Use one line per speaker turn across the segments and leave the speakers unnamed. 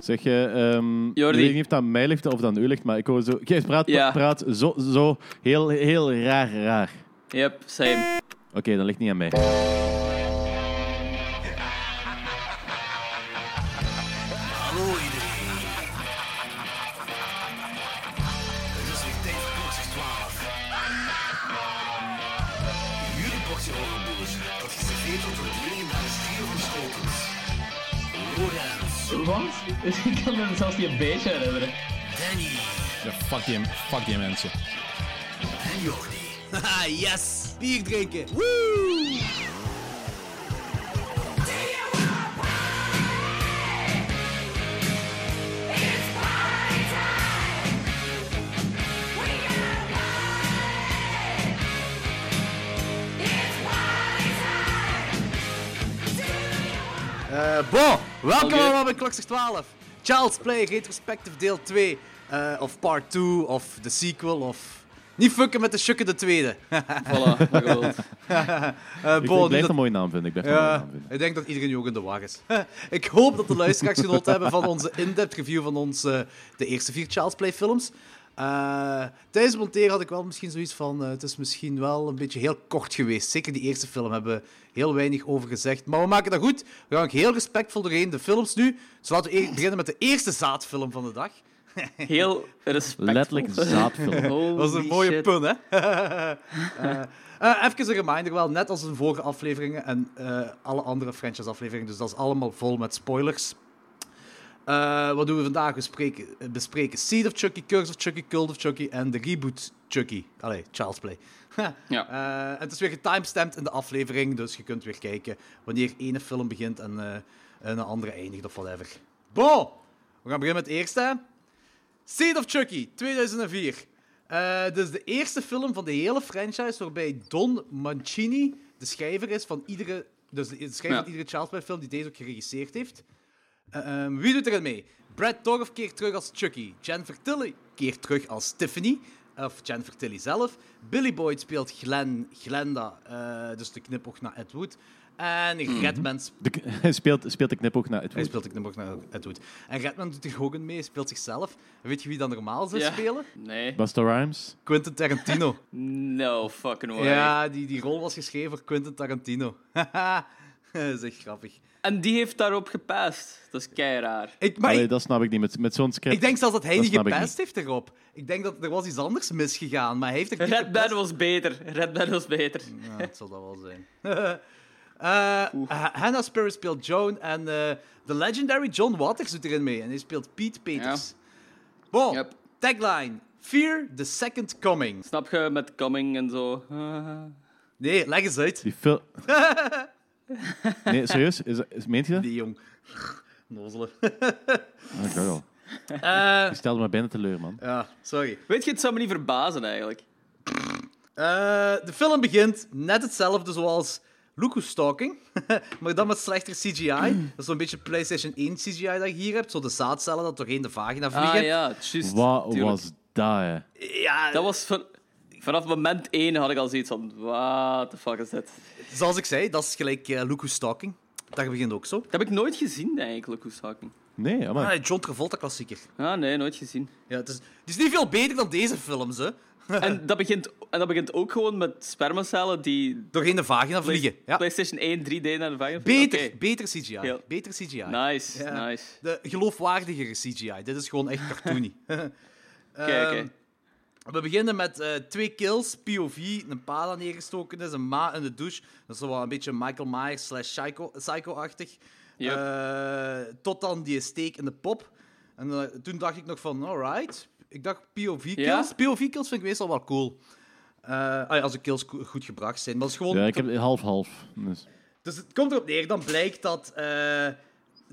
Zeg je, ehm
Jordi.
ik weet niet of dat aan mij ligt of dat aan u ligt, maar ik hoor zo... Jij praat,
Ja.
praat zo, zo heel, heel raar, raar.
Yep, same.
Oké, dat ligt niet aan mij.
Hallo iedereen. Het is weer tijd voor klokjes 12. Jullie portie hongerboers, dat geserveerd wordt door de jongen naar de stier van Schotens. Lorenz,
Wat? Ik kan me zelfs niet een beetje herinneren.
Danny
Ja, fuck, die, fuck die mensen.
en Jordi.
Haha, yes! Bier drinken! Woo! Eh, bon, welkom
Oké.
allemaal bij Klokzicht 12. Child's Play Retrospective deel 2. eh, of part 2, of de sequel, of... Niet fucken met de schukken de tweede.
Voilà, wat je wilt.
Eh,
Ik,
bon,
ik
dus
blijf dat
dat-
een mooie naam vinden. Ik blijf dat een mooie
ja,
naam vinden.
ik denk dat iedereen nu ook in de war is. ik hoop dat de luisteraars genoten hebben van onze in-depth review van onze, de eerste vier Child's Play films. Eh, tijdens het monteren had ik wel misschien zoiets van, eh, het is misschien wel een beetje heel kort geweest. Zeker die eerste film hebben we heel weinig over gezegd. Maar we maken dat goed. We gaan ook heel respectvol doorheen de films nu. Dus laten we e- beginnen met de eerste zaadfilm van de dag.
Heel respect.
Letterlijk zaadfilm.
Holy
Dat was een mooie
shit.
pun, hè? Eh, eh, even een reminder, wel, net als in vorige afleveringen en eh, alle andere franchise-afleveringen, dus dat is allemaal vol met spoilers. Eh, wat doen we vandaag? We spreken, eh, bespreken Seed of Chucky, Curse of Chucky, Cult of Chucky en de reboot Chucky. Allee, Child's Play.
Ja.
Eh, en het is weer getimestamped in de aflevering, dus je kunt weer kijken wanneer ene film begint en eh, en een andere eindigt of whatever. Bon, we gaan beginnen met het eerste. hè. Seed of Chucky, 2004. Eh dit is de eerste film van de hele franchise waarbij Don Mancini de schrijver is van iedere, dus de de schrijver
Ja.
van iedere Charles Play film die deze ook geregisseerd heeft. Eh, ehm, wie doet er aan mee? Brad Dorff keert terug als Chucky. Jan Vertilly keert terug als Tiffany. Of Jan Vertilly zelf. Billy Boyd speelt Glenn, Glenda, eh, dus de knipoog naar Ed Wood. En
Mhm.
Redman speelt...
De k- Hij speelt, speelt de knipoog naar het
Hij
woord.
speelt de knipoog naar Ed Wood. En Redman doet er ook een mee, hij speelt zichzelf. En weet je wie dan normaal zou
Ja.
spelen?
Nee.
Busta Rhymes?
Quentin Tarantino.
No fucking way.
ja, die, die rol was geschreven voor Quentin Tarantino. Haha, dat is echt grappig.
En die heeft daarop gepast. Dat is kei raar.
Ik, maar
Allee,
ik,
dat snap ik niet. Met, met zo'n script.
ik denk zelfs dat hij
dat
niet
snap ik
gepest heeft erop. Ik denk dat er was iets anders misgegaan, maar hij heeft er niet
Red
gepest.
Band was beter. Red Band was beter.
Ja, het zal dat wel zijn. Eh, eh, Hannah Spirit speelt Joan en eh, de legendary John Waters doet erin mee. En hij speelt Pete Peters. Bon,
Yep.
tagline. Fear the second coming.
Snap je met coming en zo? Ah.
Nee, leg eens uit.
Die fil- nee, serieus? Is, is, meent je dat?
Die jong. Nozelen.
Ah, ik dacht al.
Eh,
Ik stelde me bijna teleur, man.
ja, sorry.
Weet je, het zou me niet verbazen eigenlijk.
Eh, de film begint net hetzelfde zoals Look Who's Talking, maar dan met slechter CGI. Dat is zo'n beetje PlayStation 1 CGI dat je hier hebt. Zo de zaadcellen dat doorheen de vagina vliegen.
Ah ja, juist.
Wat
tuurlijk.
was dat, hè?
Ja,
Dat was van... Vanaf moment 1 had ik al zoiets van... What the fuck is dit?
zoals ik zei, dat is gelijk eh Look Who's Talking. Dat begint ook zo.
Dat heb ik nooit gezien eigenlijk, Loose Hawking.
Nee, maar
Ah, John Travolta klassieker.
Ah nee, nooit gezien.
Ja, het, is, het is niet veel beter dan deze films, hè.
En dat begint, en dat begint ook gewoon met spermacellen die...
Doorheen de vagina vliegen. Ja.
PlayStation 1 3D naar de vijf.
Beter,
Oké.
beter CGI.
Heel.
Beter CGI.
Nice,
Ja.
nice.
De geloofwaardigere CGI. Dit is gewoon echt cartoony. Eh,
Kijk,
Ehm, We beginnen met eh, twee kills, POV, een pala neergestoken is, een ma in de douche. Dat is zo wel een beetje Michael Myers slash psycho- psycho-achtig.
Yep.
Eh, tot dan die steek in de pop. En eh, toen dacht ik nog van, alright. Ik dacht POV-kills.
Ja?
POV-kills vind ik meestal wel cool. Eh, ah ja, als de kills ko- goed gebracht zijn. Maar het is gewoon...
ja, ik heb half-half. Dus.
Dus het komt erop neer, dan blijkt dat eh,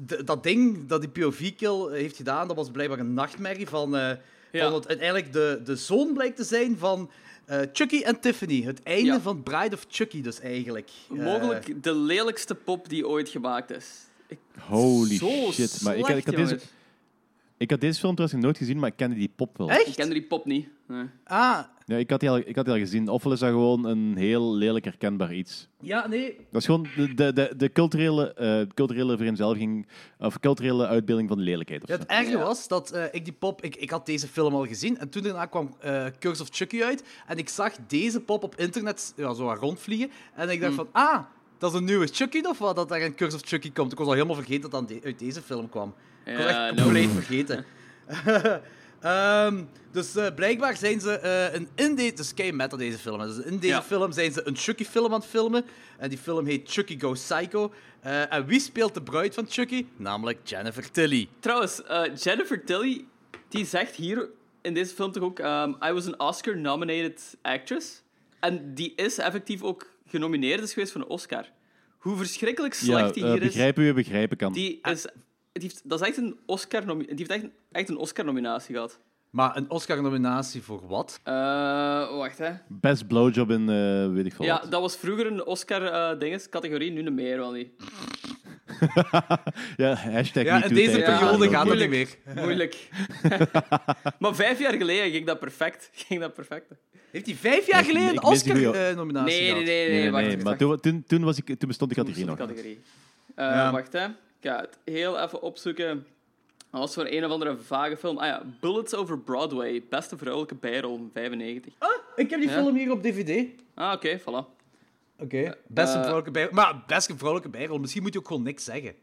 d- dat ding dat die POV-kill heeft gedaan, dat was blijkbaar een nachtmerrie van, eh,
Ja.
van wat uiteindelijk de, de zoon blijkt te zijn van eh, Chucky en Tiffany. Het einde
Ja.
van Bride of Chucky dus eigenlijk. Eh,
Mogelijk de lelijkste pop die ooit gemaakt is. Ik,
Holy
zo
shit.
Slecht,
maar ik, had- ik, had deze,
jongens.
ik had deze film trouwens nog nooit gezien, maar ik kende die pop wel.
Echt?
Ik kende die pop niet. Nee.
Ah,
Ja, Ja, ik had, die al, ik had die al gezien. Offel is dat gewoon een heel lelijk herkenbaar iets.
Ja, nee.
Dat is gewoon de, de, de, de culturele, eh, culturele vereenzelviging, of culturele uitbeelding van lelijkheid. Of
Ja,
zo.
het erge
Ja.
was dat eh, ik die pop... Ik, ik had deze film al gezien. En toen daarna kwam eh Curse of Chucky uit. En ik zag deze pop op internet ja, zo wat rondvliegen. En ik
Mm.
dacht van... Ah, dat is een nieuwe Chucky of wat? Dat daar een Curse of Chucky komt. Ik was al helemaal vergeten dat dat aan de- uit deze film kwam. Ik was
Ja,
echt
no.
compleet vergeten. Ehm, dus eh, blijkbaar zijn ze eh, een in deze... Dus kei meta deze film. hè. Dus in deze
Ja.
film zijn ze een Chucky-film aan het filmen. En die film heet Chucky Go Psycho. Eh, en wie speelt de bruid van Chucky? Namelijk Jennifer Tilly.
Trouwens, eh, Jennifer Tilly, die zegt hier in deze film toch ook... ehm, I was an Oscar-nominated actress. En die is effectief ook genomineerd is geweest voor een Oscar. Hoe verschrikkelijk slecht die
eh,
hier is.
begrijpen wie begrijpen kan.
Die is... Die heeft, dat is echt een Oscar nomi- die heeft echt, echt een Oscar-nominatie gehad.
Maar een Oscar-nominatie voor wat?
Eh, wacht, hè.
Best blowjob in, eh, weet ik veel
Ja,
wat.
dat was vroeger een eh, Oscar-dinges-categorie, nu niet meer, wel niet.
Ja, hashtag eh,
Ja,
MeToo
in deze
tijd.
Ja,
periode
dat
gaat dat niet
moeilijk.
meer.
Moeilijk. maar vijf jaar geleden ging dat perfect. Ging dat perfect.
Heeft hij vijf jaar
Ik-
geleden een
ik mis die goeie-
Oscar-nominatie
Nee, nee, nee,
gehad?
nee,
Nee, nee,
wacht,
nee,
wacht,
maar
wacht.
toen, toen, toen, was ik, toen bestond die categorie
Stond
nog.
de categorie. Eh,
Ja.
Wacht, hè. Ik ga het heel even opzoeken. Dat was voor een of andere vage film. Ah ja, Bullets Over Broadway. Beste vrouwelijke bijrol, 95.
Ik heb die
Ja.
film hier op DVD.
Ah, oké, voilà.
Oké. Beste vrouwelijke bijrol. Maar beste vrouwelijke bijrol. Misschien moet je ook gewoon niks zeggen.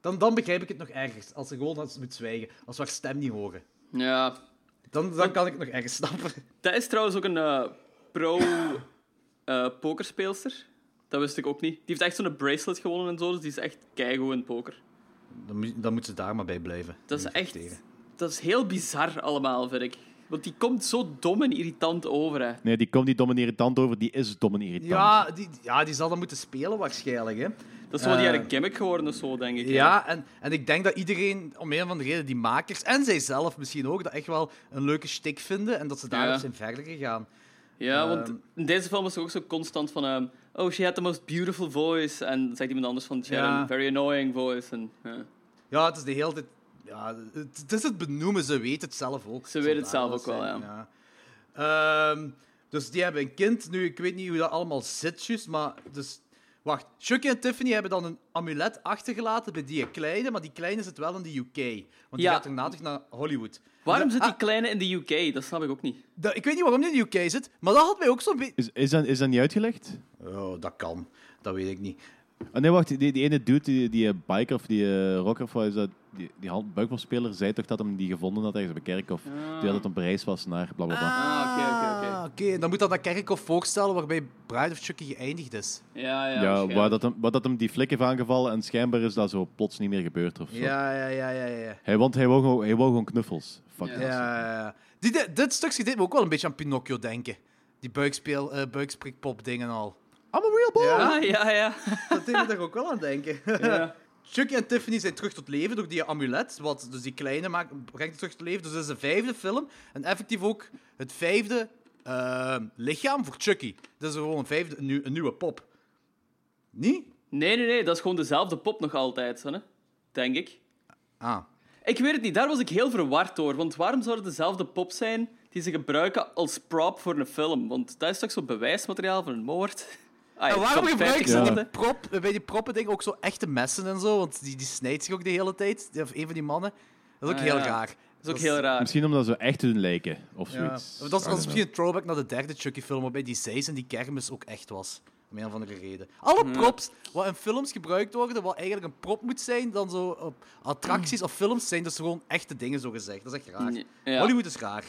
Dan, dan begrijp ik het nog ergens. Als ze gewoon als- moet zwijgen. Als we haar stem niet horen.
Ja.
Dan, dan kan ik het nog ergens snappen.
Dat is trouwens ook een eh, pro-pokerspeelster. dat wist ik ook niet. Die heeft echt zo'n bracelet gewonnen en zo, dus die is echt keigoed in poker.
Dan, moet- dan moet ze daar maar bij blijven.
Dat is
Niet
echt...
verteren.
Dat is heel bizar allemaal, vind ik. Want die komt zo dom en irritant over, hè.
Nee, die komt niet dom en irritant over, die is dom en irritant.
Ja die, ja, die zal dan moeten spelen waarschijnlijk. Hè.
Dat is wel die
Eh.
jaren gimmick geworden of zo, denk ik. hè.
Ja, en, en ik denk dat iedereen, om een van de reden, die makers en zijzelf misschien ook, dat echt wel een leuke shtick vinden en dat ze daarop
Ja.
zijn verder gegaan.
Ja, want
Ehm.
in deze film was er ook zo constant van... ehm, oh, she had the most beautiful voice. En dan zegt iemand anders van... She had
Ja.
a very annoying voice. En, ja.
Ja, het is de hele tijd. Ja, het, het is het benoemen, ze weet het zelf ook.
Ze weet het
Zal
zelf
daar
ook wel,
zijn, Ehm, dus die hebben een kind. Nu, ik weet niet hoe dat allemaal zit, juist, maar. Dus, wacht, Chucky en Tiffany hebben dan een amulet achtergelaten bij die kleine, maar die kleine zit wel in de UK. Want die
Ja.
gaat daarna terug naar Hollywood.
Waarom
Dus-
zit die
ah,
kleine in de UK? Dat snap ik ook niet.
dat- ik weet niet waarom die in de UK zit, maar dat had mij ook zo'n beetje.
Is, is, dat, is dat niet uitgelegd?
Oh, dat kan. Dat weet ik niet.
Ah, nee, wacht, die, die ene dude, die, die eh, biker of die eh, rocker, of wat is dat, die, die hand- buikbalspeler, zei toch dat hem die gevonden had ergens op een kerk of die dat het op reis was naar bla bla bla.
Ah, oké, oké, oké.
Ah, oké. Dan moet dat dat kerkhof voorstellen waarbij Bride of Chucky geëindigd is.
Ja, ja,
ja,
waarschijnlijk.
waar dat, hem, waar dat hem die flik heeft aangevallen en schijnbaar is dat zo plots niet meer gebeurd of zo.
Ja, ja, ja, ja, ja.
Hij, want hij wou, gewoon- hij wou gewoon knuffels. Fuck
Ja.
dat.
ja, ja. Die, dit, dit stukje deed me ook wel een beetje aan Pinocchio denken. Die buikspeel, eh buikspreekpop dingen al.
I'm a real boy!
Ah, ja, ja.
dat deed me daar ook wel aan denken.
ja.
Chucky en Tiffany zijn terug tot leven door die amulet. Wat dus die kleine maakt, brengt terug tot leven. Dus dat is de vijfde film. En effectief ook het vijfde ehm, lichaam voor Chucky. Dat is gewoon een, vijfde, een, nieuw- een nieuwe pop. Niet?
Nee, nee, nee. Dat is gewoon dezelfde pop nog altijd, hè? Denk ik.
Ah.
Ik weet het niet, daar was ik heel verward door. Want waarom zou het dezelfde pop zijn die ze gebruiken als prop voor een film? Want dat is toch zo'n bewijsmateriaal voor een moord? Ah, ja,
En waarom
van 50
gebruiken ze
Ja.
die
seconden.
prop, eh, bij die proppen ding ook zo echte messen en zo? Want die, die snijdt zich ook de hele tijd. Die- Of een van die mannen. Dat is ook
Ah,
heel
ja.
raar.
Dat is ook heel raar.
Misschien omdat ze echt hun lijken of
Ja.
zoiets.
Dat is,
I
Ah,
dat
don't
is
know.
misschien een throwback naar de derde Chucky-film, waarbij die zeis en die kermis ook echt was. Om een of andere reden. Alle props wat in films gebruikt worden, wat eigenlijk een prop moet zijn, dan zo op attracties of films zijn, dus gewoon echte dingen, zo gezegd. Dat is echt raar.
Nee, ja.
Hollywood is raar.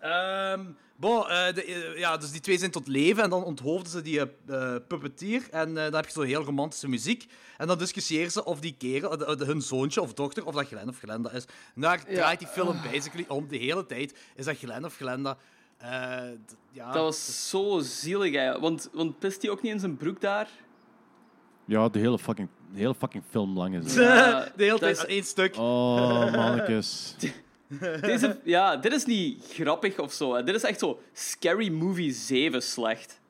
Ehm bon, eh, de, eh, ja, dus die twee zijn tot leven en dan onthoofden ze die eh, eh, puppetier. En eh, dan heb je zo heel romantische muziek. En dan discussiëren ze of die kerel, eh, de- eh, de- hun zoontje of dochter, of dat Glenn of Glenda is. En daar draait die film basically om. De hele tijd is dat Glenn of Glenda. eh, d- ja,
Dat was zo zielig, hè. Want, want pist hij ook niet in zijn broek daar?
Ja, de hele fucking, de hele fucking film lang is het.
Ja,
de hele
dat
tijd
is-
aan één stuk.
Oh, mannetjes.
Deze, ja, dit is niet grappig of zo. Hè. Dit is echt zo Scary Movie 7 slecht.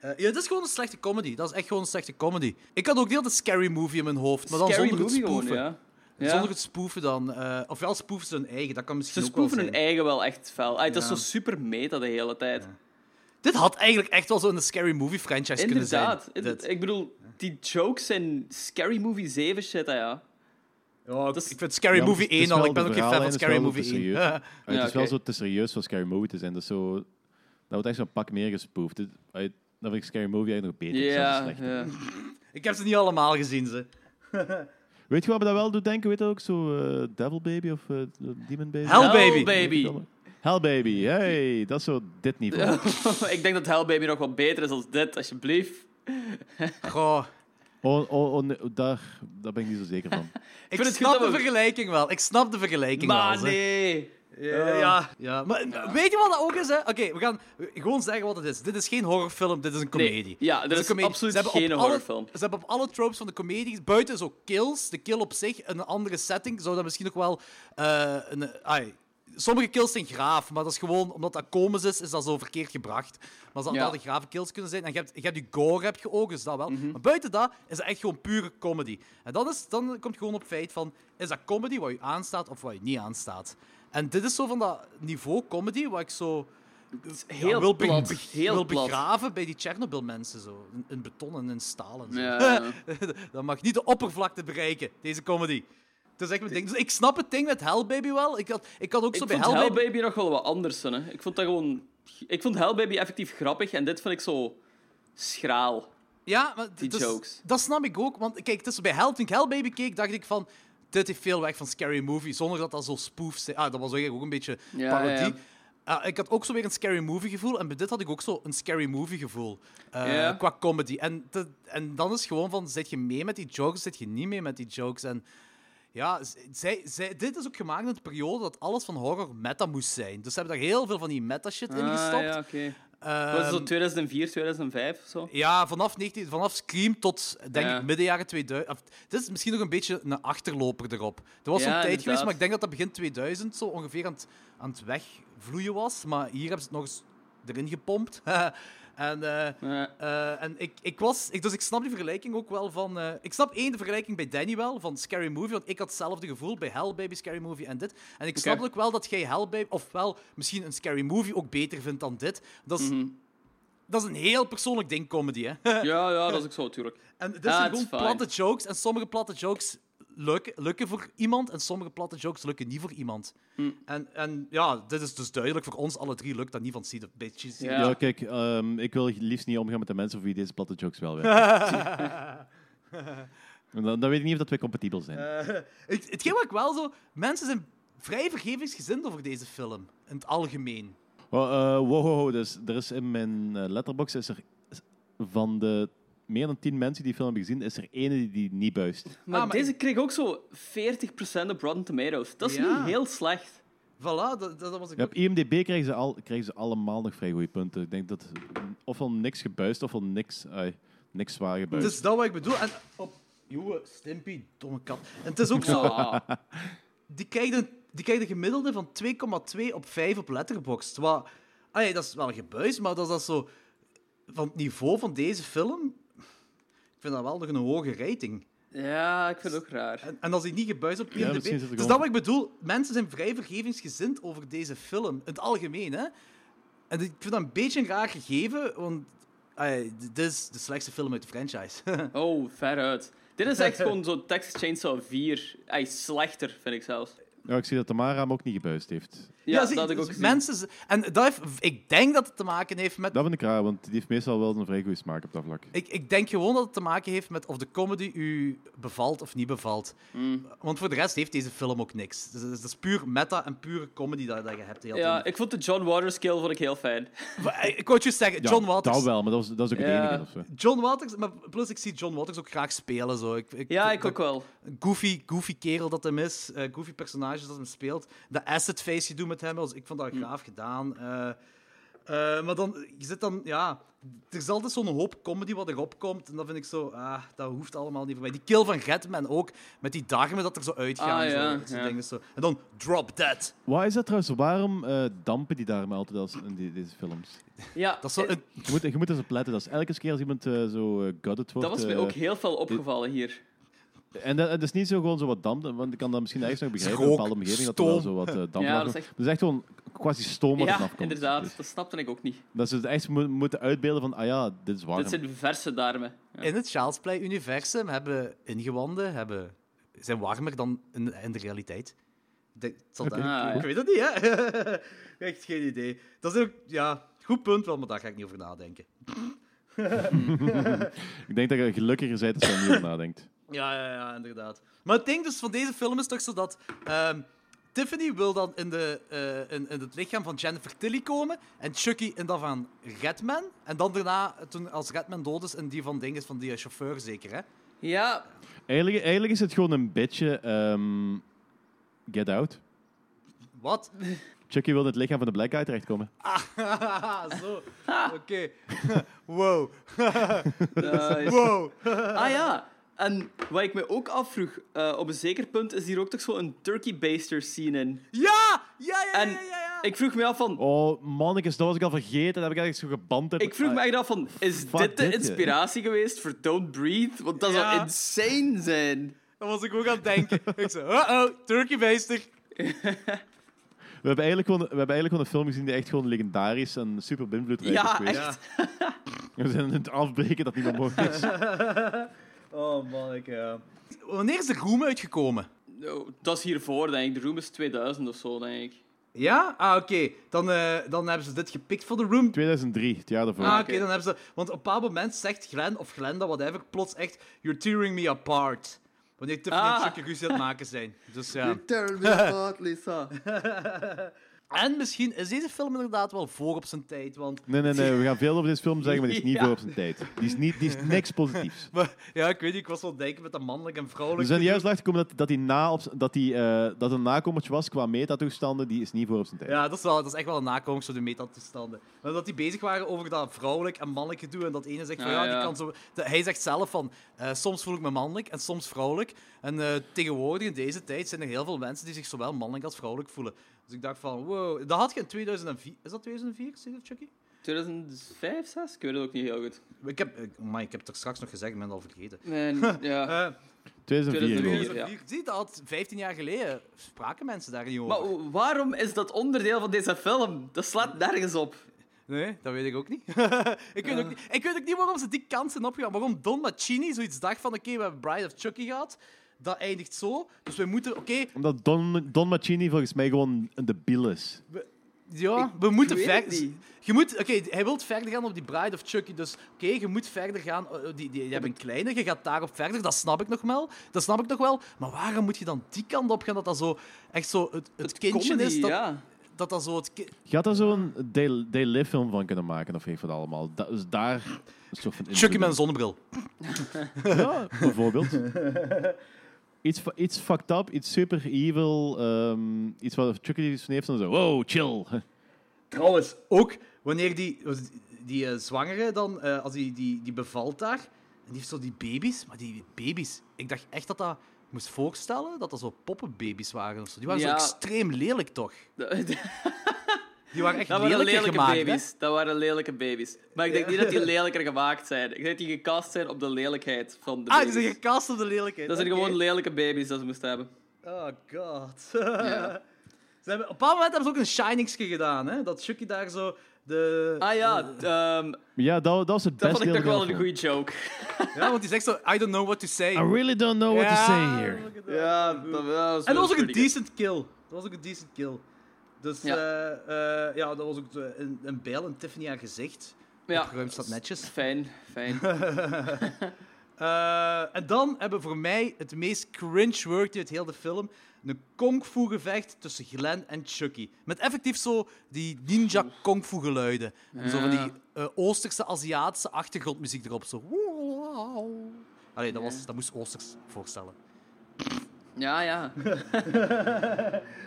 Eh, ja, dat is gewoon een slechte comedy. Dat is echt gewoon een slechte comedy. Ik had ook de hele tijd Scary Movie in mijn hoofd, maar dan
scary
zonder het
Movie
spoeven.
gewoon, ja. Ja.
Zonder het spoeven dan. eh, of wel spoeven ze hun eigen, dat kan misschien
Ze
ook wel
spoeven hun
zijn.
eigen wel echt fel. Ah, dat is
Ja.
zo super meta de hele tijd.
Dit had eigenlijk echt wel zo'n scary movie franchise kunnen zijn.
Inderdaad.
Dit.
Ik bedoel, die jokes zijn Scary Movie 7 shit, ah ja.
Ja, ik,
Dat is-
ik vind Scary
Ja,
Movie
het is
1 al.
wel
Ik ben
de
ook geen fan van
verhaallijn, het
Scary
is wel
Movie 1.
dat
Ja.
Ah, het
Ja,
is wel
oké.
zo te serieus voor Scary Movie te zijn. Dat, is zo, dat wordt echt zo'n pak meer gespoofd. Dit- uit- Dan vind ik Scary Movie eigenlijk nog beter. zelfs
Ja,
slechter.
ja.
Ik heb ze niet allemaal gezien, ze.
Weet je wat me dat wel doet denken? Weet je ook zo eh, Devil Baby of eh, Demon Baby?
Hell Baby.
Hell Baby, hey, dat is zo dit niveau.
ik denk dat Hellbaby nog wat beter is dan dit, alsjeblieft.
Goh.
Oh, oh, oh, nee, daar, daar ben ik niet zo zeker van.
Ik
vind het
snap
goed dat
de
we-
vergelijking wel. Ik snap de vergelijking
Maar
wel. ze.
nee.
Ja, ja. Maar weet je wat dat ook is? hè? Oké, we gaan gewoon zeggen wat het is. Dit is geen horrorfilm, dit is een
Nee,
comedie.
ja,
Dit
dit
een
is
comedie.
absoluut
Ze hebben op
geen
alle-
horrorfilm.
Ze hebben op alle tropes van de comedie, buiten zo kills, de kill op zich, een andere setting, zou dat misschien ook wel... eh, een, ai, sommige kills zijn graaf, maar dat is gewoon, omdat dat komisch is, is dat zo verkeerd gebracht. Maar ze hadden
Ja. Mhm.
altijd grave kills kunnen zijn. En je hebt, je hebt die gore, heb je ook, dus dat wel. Maar buiten dat is het echt gewoon pure comedy. En dan, is, dan komt het gewoon op het feit van, is dat comedy wat je aanstaat of wat je niet aanstaat? En dit is zo van dat niveau comedy, wat ik zo
Heel
ja, wil, be-
plat.
be-
heel
wil
plat.
begraven bij die Tsjernobyl-mensen. zo. In, in beton en in staal en zo.
Ja.
dat mag niet de oppervlakte bereiken, deze comedy. Dus ik, ding. Dus ik snap het ding met Hellbaby wel. Ik had, ik had ook
Ik
zo
vond
bij
Hellbaby...
Hellbaby...
nog wel wat anders. dan, Hè. Ik vond dat gewoon... Ik vond Hellbaby effectief grappig en dit vond ik zo schraal.
Ja, maar d-
Die
dus-
jokes.
dat snap ik ook. Want kijk, tussen bij Hell, toen ik Hellbaby keek, dacht ik van... Dit heeft veel weg van Scary Movie, zonder dat dat zo spoof is. Ah, dat was eigenlijk ook een beetje
Ja,
parodie.
ja, ja.
Ah, ik had ook zo weer een Scary Movie gevoel. En bij dit had ik ook zo een Scary Movie gevoel. eh,
Ja.
Qua comedy. En, te- en dan is het gewoon van, zit je mee met die jokes, zit je niet mee met die jokes. En ja, z- zij, zij, dit is ook gemaakt in de periode dat alles van horror meta moest zijn. Dus ze hebben daar heel veel van die meta-shit in
Ah,
gestopt.
ja, oké.
Ehm,
Was het zo 2004, 2005 of zo?
ja, vanaf, 19, vanaf Scream tot denk
Ja.
ik midden jaren 2000. Of, dit is misschien nog een beetje een achterloper erop. Er was
Ja,
zo'n tijd geweest,
inderdaad.
maar ik denk dat dat begin 2000 zo ongeveer aan het, aan het wegvloeien was. Maar hier hebben ze het nog eens erin gepompt. en eh,
Ja.
eh, en ik, ik was, ik, dus ik snap die vergelijking ook wel van. eh, ik snap één de vergelijking bij Danny wel van Scary Movie, want ik had hetzelfde gevoel bij Hell Baby, Scary Movie en dit. En ik snap
Oké.
ook wel dat jij Hell Baby, ofwel misschien een Scary Movie ook beter vindt dan dit. Dat is,
Mhm.
dat is een heel persoonlijk ding, comedy. Hè?
Ja, ja, dat is ook zo, natuurlijk.
en dit
Ah,
zijn
it's fine.
gewoon platte jokes en sommige platte jokes lukken, lukken voor iemand en sommige platte jokes lukken niet voor iemand.
Mhm.
En, en ja, dit is dus duidelijk voor ons alle drie lukt dat niet van Seed of Bitches.
Ja.
Ja, kijk, ehm, ik wil liefst niet omgaan met de mensen voor wie deze platte jokes wel werken. En dan, dan weet ik niet of dat wij compatibel zijn.
Het, hetgeen wat ik wel zo... Mensen zijn vrij vergevingsgezind over deze film. In het algemeen.
Wel, eh, wow, wow, wow, dus er is in mijn eh, letterbox is er is- van de meer dan tien mensen die die film hebben gezien, is er ene die, die niet buist.
Maar,
Ah, maar
deze kreeg ook zo 40% op Rotten Tomatoes. Dat is
Ja.
niet heel slecht.
Voilà, dat, dat, dat was ik...
Ja, op IMDb krijgen ze, al, krijgen ze allemaal nog vrij goede punten. Ik denk dat ofwel niks gebuist, ofwel niks, ai, niks zwaar gebuist.
Dus dat wat ik bedoel. En op... Joe, Stimpy, domme kat. En het is ook zo...
Ah.
Die krijgt een, die krijgt een gemiddelde van 2,2 op 5 op Letterboxd. Wat... Allee, dat is wel gebuis, maar dat is dat zo... Van het niveau van deze film... Ik vind dat wel nog een hoge rating.
Ja, ik vind het ook raar.
En, en als hij niet gebuist op IMDb...
misschien
dus
zit er
dat
gewoon-
wat ik bedoel. Mensen zijn vrij vergevingsgezind over deze film. In het algemeen, hè. En ik vind dat een beetje een raar gegeven, want... ai, d- dit is de slechtste film uit de franchise.
Oh, veruit. Dit is echt gewoon zo'n Texas Chainsaw 4. Hij is slechter, vind ik zelfs.
Ja, ik zie dat Tamara hem ook niet gebuist heeft.
Ja,
zie,
dat had ik ook
dus
gezien.
mensen, z- En dat heeft, ik denk dat het te maken heeft met...
Dat vind ik raar, want die heeft meestal wel een vrij goede smaak op dat vlak.
Ik, ik denk gewoon dat het te maken heeft met of de comedy u bevalt of niet bevalt.
Mm.
Want voor de rest heeft deze film ook niks. Dus het is, het is puur meta en pure comedy dat, dat je hebt. de hele
Ja,
tijd.
ik vond de John Waters kill vond ik heel fijn.
ik, wou het juist zeggen,
Ja,
John Waters...
Dat wel, maar dat, was, dat is ook het
Ja.
enige. Of zo.
John Waters, maar plus ik zie John Waters ook graag spelen. Zo. Ik, ik,
Ja, ik ook wel.
Goofy, goofy kerel dat hem is, eh, goofy personage dat hem speelt. Dat asset face je doet met hem, dus ik vond dat
Hm.
graaf gedaan. Eh, eh, maar dan, je zit dan, ja, er is altijd zo'n hoop comedy wat erop komt. En dat vind ik zo, ah, dat hoeft allemaal niet voor mij. Die kill van Redman ook, met die darmen dat er zo uitgaan.
Ah,
zo,
ja,
dat soort
ja.
dingen zo. En dan drop that.
Waar is dat trouwens? Waarom eh, dampen die daar maar altijd als in die- deze films?
Ja,
Dat is zo
eh,
een
Je moet, je moet eens op letten. Dat is elke keer als iemand eh, zo eh, gutted wordt...
dat was mij
eh,
ook heel veel opgevallen hier.
En dat, het is niet zo gewoon zo wat damp, want ik kan dat misschien ergens nog begrijpen in
Rook,
een bepaalde omgeving dat er wel
stoom.
zo wat eh, damp
Ja,
naar
dat is
komt.
echt-
Het is echt gewoon quasi stoom wat er
Ja,
vanaf komt. Dus
inderdaad. Dat snapte ik ook niet.
Dat ze het echt mo- moeten uitbeelden van, ah ja, dit is warm.
Dit zijn verse darmen. Ja.
In het Child's Play-universum hebben ingewanden hebben, zijn warmer dan in, in de realiteit. Ik denk- het zal daar-
Ah, ja.
Ik weet het niet, hè? Echt geen idee. Dat is ook, ja, goed punt wel, maar daar ga ik niet over nadenken.
Ik denk dat je gelukkiger bent als je er niet over nadenkt.
Ja, ja, ja, inderdaad. Maar het ding dus van deze film is toch zo dat... ehm, Tiffany wil dan in, de, eh, in, in het lichaam van Jennifer Tilly komen. En Chucky in dat van Redman. En dan daarna, toen, als Redman dood is, in die van ding is van die eh, chauffeur zeker, hè?
Ja,
Eigenlijk, eigenlijk is het gewoon een beetje ehm, Get Out.
Wat?
Chucky wil in het lichaam van de Black Guy terechtkomen.
zo. Oké. wow.
eh,
Wow.
Ah ja, en wat ik me ook afvroeg, eh, op een zeker punt is hier ook toch zo'n turkey baster scene in.
Ja! Ja, ja,
En
ja, ja, ja.
ik vroeg me af van,
Oh, mannetjes, dat was ik al vergeten. Dat heb ik eigenlijk zo geband. heb- Ah,
ik vroeg me echt af van, is
fuck
dit de
dit, hè?
inspiratie geweest voor Don't Breathe? Want dat
Ja.
zou insane zijn.
Dan was ik ook aan het denken. ik zei, oh-oh, turkey beestig.
We hebben, eigenlijk gewoon, we hebben eigenlijk gewoon een film gezien die echt gewoon legendarisch en super beïnvloedrijk is
Ja,
geweest.
echt.
We zijn aan het afbreken dat niet meer mogelijk is.
Oh, man, ik... Wanneer is de Room uitgekomen?
Nou, dat is hiervoor, denk ik. De Room is 2000 of zo, denk ik.
Ja? Ah, oké. Dan, eh, dan hebben ze dit gepikt voor de Room.
2003, het jaar daarvoor.
Ah, oké,
Oké.
dan hebben ze... Want op een bepaald moment zegt Glenn of Glenda, whatever, plots echt... You're tearing me apart. Wanneer Tiffany
Ah.
en Chucky ruzie aan het maken zijn. Dus ja.
Terrible thought, Lisa.
En misschien is deze film inderdaad wel voor op zijn tijd, want...
Nee, nee, nee, we gaan veel over deze film zeggen, maar die is niet
Ja.
voor op zijn tijd. Die is, niet, die is niks positiefs.
Maar, ja, ik weet niet, ik was wel aan het denken met dat mannelijk en
We
vrouwelijk.
zijn juist erachter gekomen dat, dat, die na op, dat, die, eh, dat een nakomertje was qua metatoestanden, die is niet voor op zijn tijd.
Ja, dat is, wel, dat is echt wel een nakomst van de metatoestanden. Maar dat die bezig waren over dat vrouwelijk en mannelijk gedoe. En dat ene zegt van
Ah,
ja,
ja.
die kan zo. de- hij zegt zelf van eh, soms voel ik me mannelijk en soms vrouwelijk. En eh, tegenwoordig in deze tijd zijn er heel veel mensen die zich zowel mannelijk als vrouwelijk voelen. Dus ik dacht van wow, dat had je in 2004. Is dat 2004, Steve Chucky?
2005, 6? Ik weet het ook niet heel goed.
Ik heb, eh, amai, ik heb het er straks nog gezegd, ik ben het al vergeten.
Nee, n- ja.
Eh
2004
2004.
gewoon.
2004, zie je dat? 15 jaar geleden spraken mensen daar niet over.
Maar o- waarom is dat onderdeel van deze film? Dat slaat nergens op.
Nee, dat weet ik ook niet. Eh. ik, weet ook niet ik weet ook niet waarom ze die kant zijn opgegaan. Waarom Don Machini zoiets dacht van... Oké, we hebben Bride of Chucky gehad. Dat eindigt zo. Dus we moeten... Oké,
Omdat Don, Don Machini volgens mij gewoon een debiel is.
ja, we moeten
weet het
verder...
niet.
Je moet... Oké, hij wil verder gaan op die Bride of Chucky. Dus oké, je moet verder gaan. Eh, eh, die, die, die hebben een kleine, je gaat daarop verder. Dat snap ik nog wel. Dat snap ik nog wel. Maar waarom moet je dan die kant op gaan? Dat dat zo... Echt zo het, het, kindje
Comedy,
is. Dat,
ja.
dat dat zo het... ki-
Je had daar zo'n Day Day Live film van kunnen maken, of heeft dat allemaal. Da- dus daar een soort van
Chucky
invloed
met een zonnebril.
op. Ja, bijvoorbeeld. Iets, fu- iets fucked up, iets super evil, ehm, iets wat Chucky iets van heeft, en dan zo, wow, chill.
Trouwens, ook wanneer die, die eh, zwangere dan, eh, als die, die, die bevalt daar, en die heeft zo die baby's, maar die baby's, ik dacht echt dat dat ik moest voorstellen dat dat zo poppenbaby's waren of zo. Die waren
Ja.
zo extreem lelijk toch?
Dat-
Die waren echt
Dat
lelijker,
waren lelijke
gemaakt. hè?
baby's. Dat waren lelijke baby's. Maar ik denk niet dat die lelijker gemaakt zijn. Ik denk dat die gecast zijn op de lelijkheid van de
Ah, die
baby's.
zijn gecast op de lelijkheid.
Dat zijn
oké.
gewoon lelijke baby's dat ze moesten hebben.
Oh god.
Ja.
ze hebben, op een bepaald moment hebben ze ook een Shiningske gedaan, hè? Dat Chucky daar zo de...
Ah ja, ehm,
Ja, dat, dat was het
dat
beste
vond ik
deel
toch
van
wel
de
een
film.
goede joke.
Ja, want die zegt zo, I don't know what to say.
I really don't know what to say here.
Ja, dat was
En dat was ook een
pretty
decent kill. Dat was ook een decent kill. Dus
Ja.
ja, ja dat was ook eh, een, een bijl en Tiffany haar gezicht.
Ja.
Opgeruimd staat netjes.
good. Fijn, fijn.
Eh, en dan hebben we voor mij het meest cringe-worthy uit heel de film. Een kung fu gevecht tussen Glenn en Chucky. Met effectief zo die ninja kung fu geluiden. En Zo van die eh, Oosterse, Aziatische achtergrondmuziek erop. Zo. Allee, dat, was, dat moest Oosters voorstellen.
Ja, ja.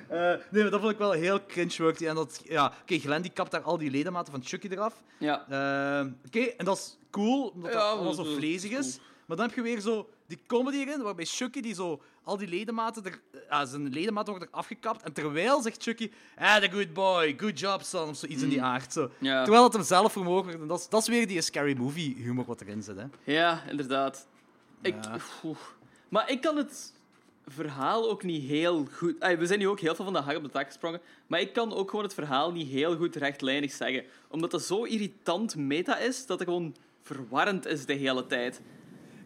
Eh, nee, maar dat vond ik wel heel cringe-worthy. En dat, ja, oké, Glenn die kapt daar al die ledematen van Chucky eraf.
Ja.
Ehm, oké, en dat is cool, omdat
Ja,
dat allemaal
dat
zo
is
vlezig
cool.
is. Maar dan heb je weer zo die comedy erin, waarbij Chucky die zo al die ledematen, er, ah, zijn ledematen worden er afgekapt. En terwijl zegt Chucky, ah, the good boy, good job son, of zoiets in die aard. Zo.
Mm. Ja.
Terwijl het hem zelf vermogen wordt. En dat is, dat is weer die scary movie humor wat erin zit, hè.
ja, inderdaad. Ik,
Ja.
oeh. Maar ik kan het verhaal ook niet heel goed... Ay, we zijn nu ook heel veel van de hak op de tak gesprongen. Maar ik kan ook gewoon het verhaal niet heel goed rechtlijnig zeggen. Omdat dat zo irritant meta is, dat het gewoon verwarrend is de hele tijd.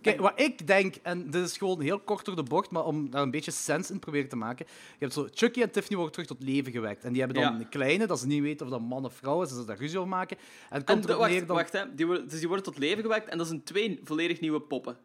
Kijk, wat ik denk, en dit is gewoon heel kort door de bocht, maar om daar een beetje sens in te proberen te maken. Je hebt zo, Chucky en Tiffany worden terug tot leven gewekt. En die hebben dan
Ja.
een kleine, dat ze niet weten of dat man of vrouw is, dat ze daar ruzie over maken. En het
En
komt
de-
erop neer
wacht,
dan...
wacht hè. Die, worden- dus die worden tot leven gewekt en dat zijn twee volledig nieuwe poppen.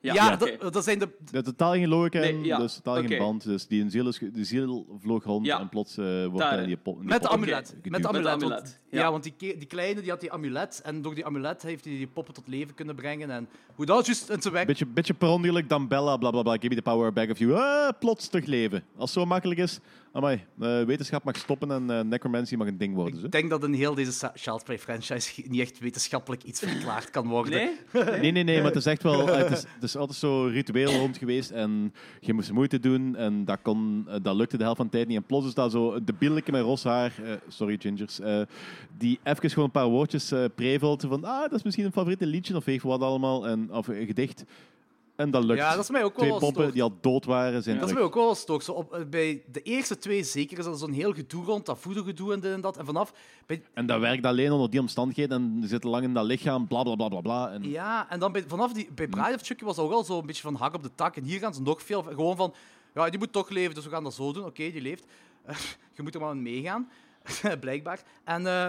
Ja,
oké.
dat, dat zijn de...
Ja, totaal geen logica in,
Nee, ja,
dus totaal
oké.
geen band. Dus die een ziel, is, ge- die ziel vloog rond
Ja.
en plots eh, wordt
Daar,
hij die pop. die
Met de
pop-
amulet.
geduwd.
Met de amulet.
Met de
want-
amulet,
ja.
ja.
want die, ke- die kleine die had die amulet. En door die amulet heeft hij die poppen tot leven kunnen brengen. En hoe dat juist in zijn werk...
Beetje, beetje per ongeluk dan Bella, bla bla bla. Give me the power back of you. Ah, plots terug leven. Als het zo makkelijk is, amai, eh, wetenschap mag stoppen en eh, necromancy mag een ding worden. Zo.
Ik denk dat in heel deze sa- Child's Play franchise niet echt wetenschappelijk iets verklaard kan worden.
Nee?
Nee, nee, nee, maar het is echt wel. eh, Het is, het is altijd zo ritueel rond geweest en je moest moeite doen en dat, kon, eh, dat lukte de helft van de tijd niet. En plots is dat zo de bielke met ros haar, eh, sorry Gingers, eh, die even gewoon een paar woordjes eh prevelt van ah, dat is misschien een favoriete liedje of weet je wat allemaal, en, of een gedicht. En dat lukt.
Ja, dat is mij ook wel
Twee
wat
pompen
stoort.
die al dood waren zijn
Dat is
terug.
mij ook wel stook. Zo op, eh, bij de eerste twee zeker is dat zo'n heel gedoe rond, dat voedergedoe en dit en dat. En vanaf... Bij,
En dat werkt alleen onder die omstandigheden en je zit lang in dat lichaam, bla bla bla bla bla. En
ja, en dan bij, vanaf die... Bij Bride of Chucky was dat ook al zo'n beetje van hak op de tak. En hier gaan ze nog veel... Gewoon van... Ja, die moet toch leven, dus we gaan dat zo doen. Oké, die leeft. je moet er maar aan meegaan. Blijkbaar. En... eh,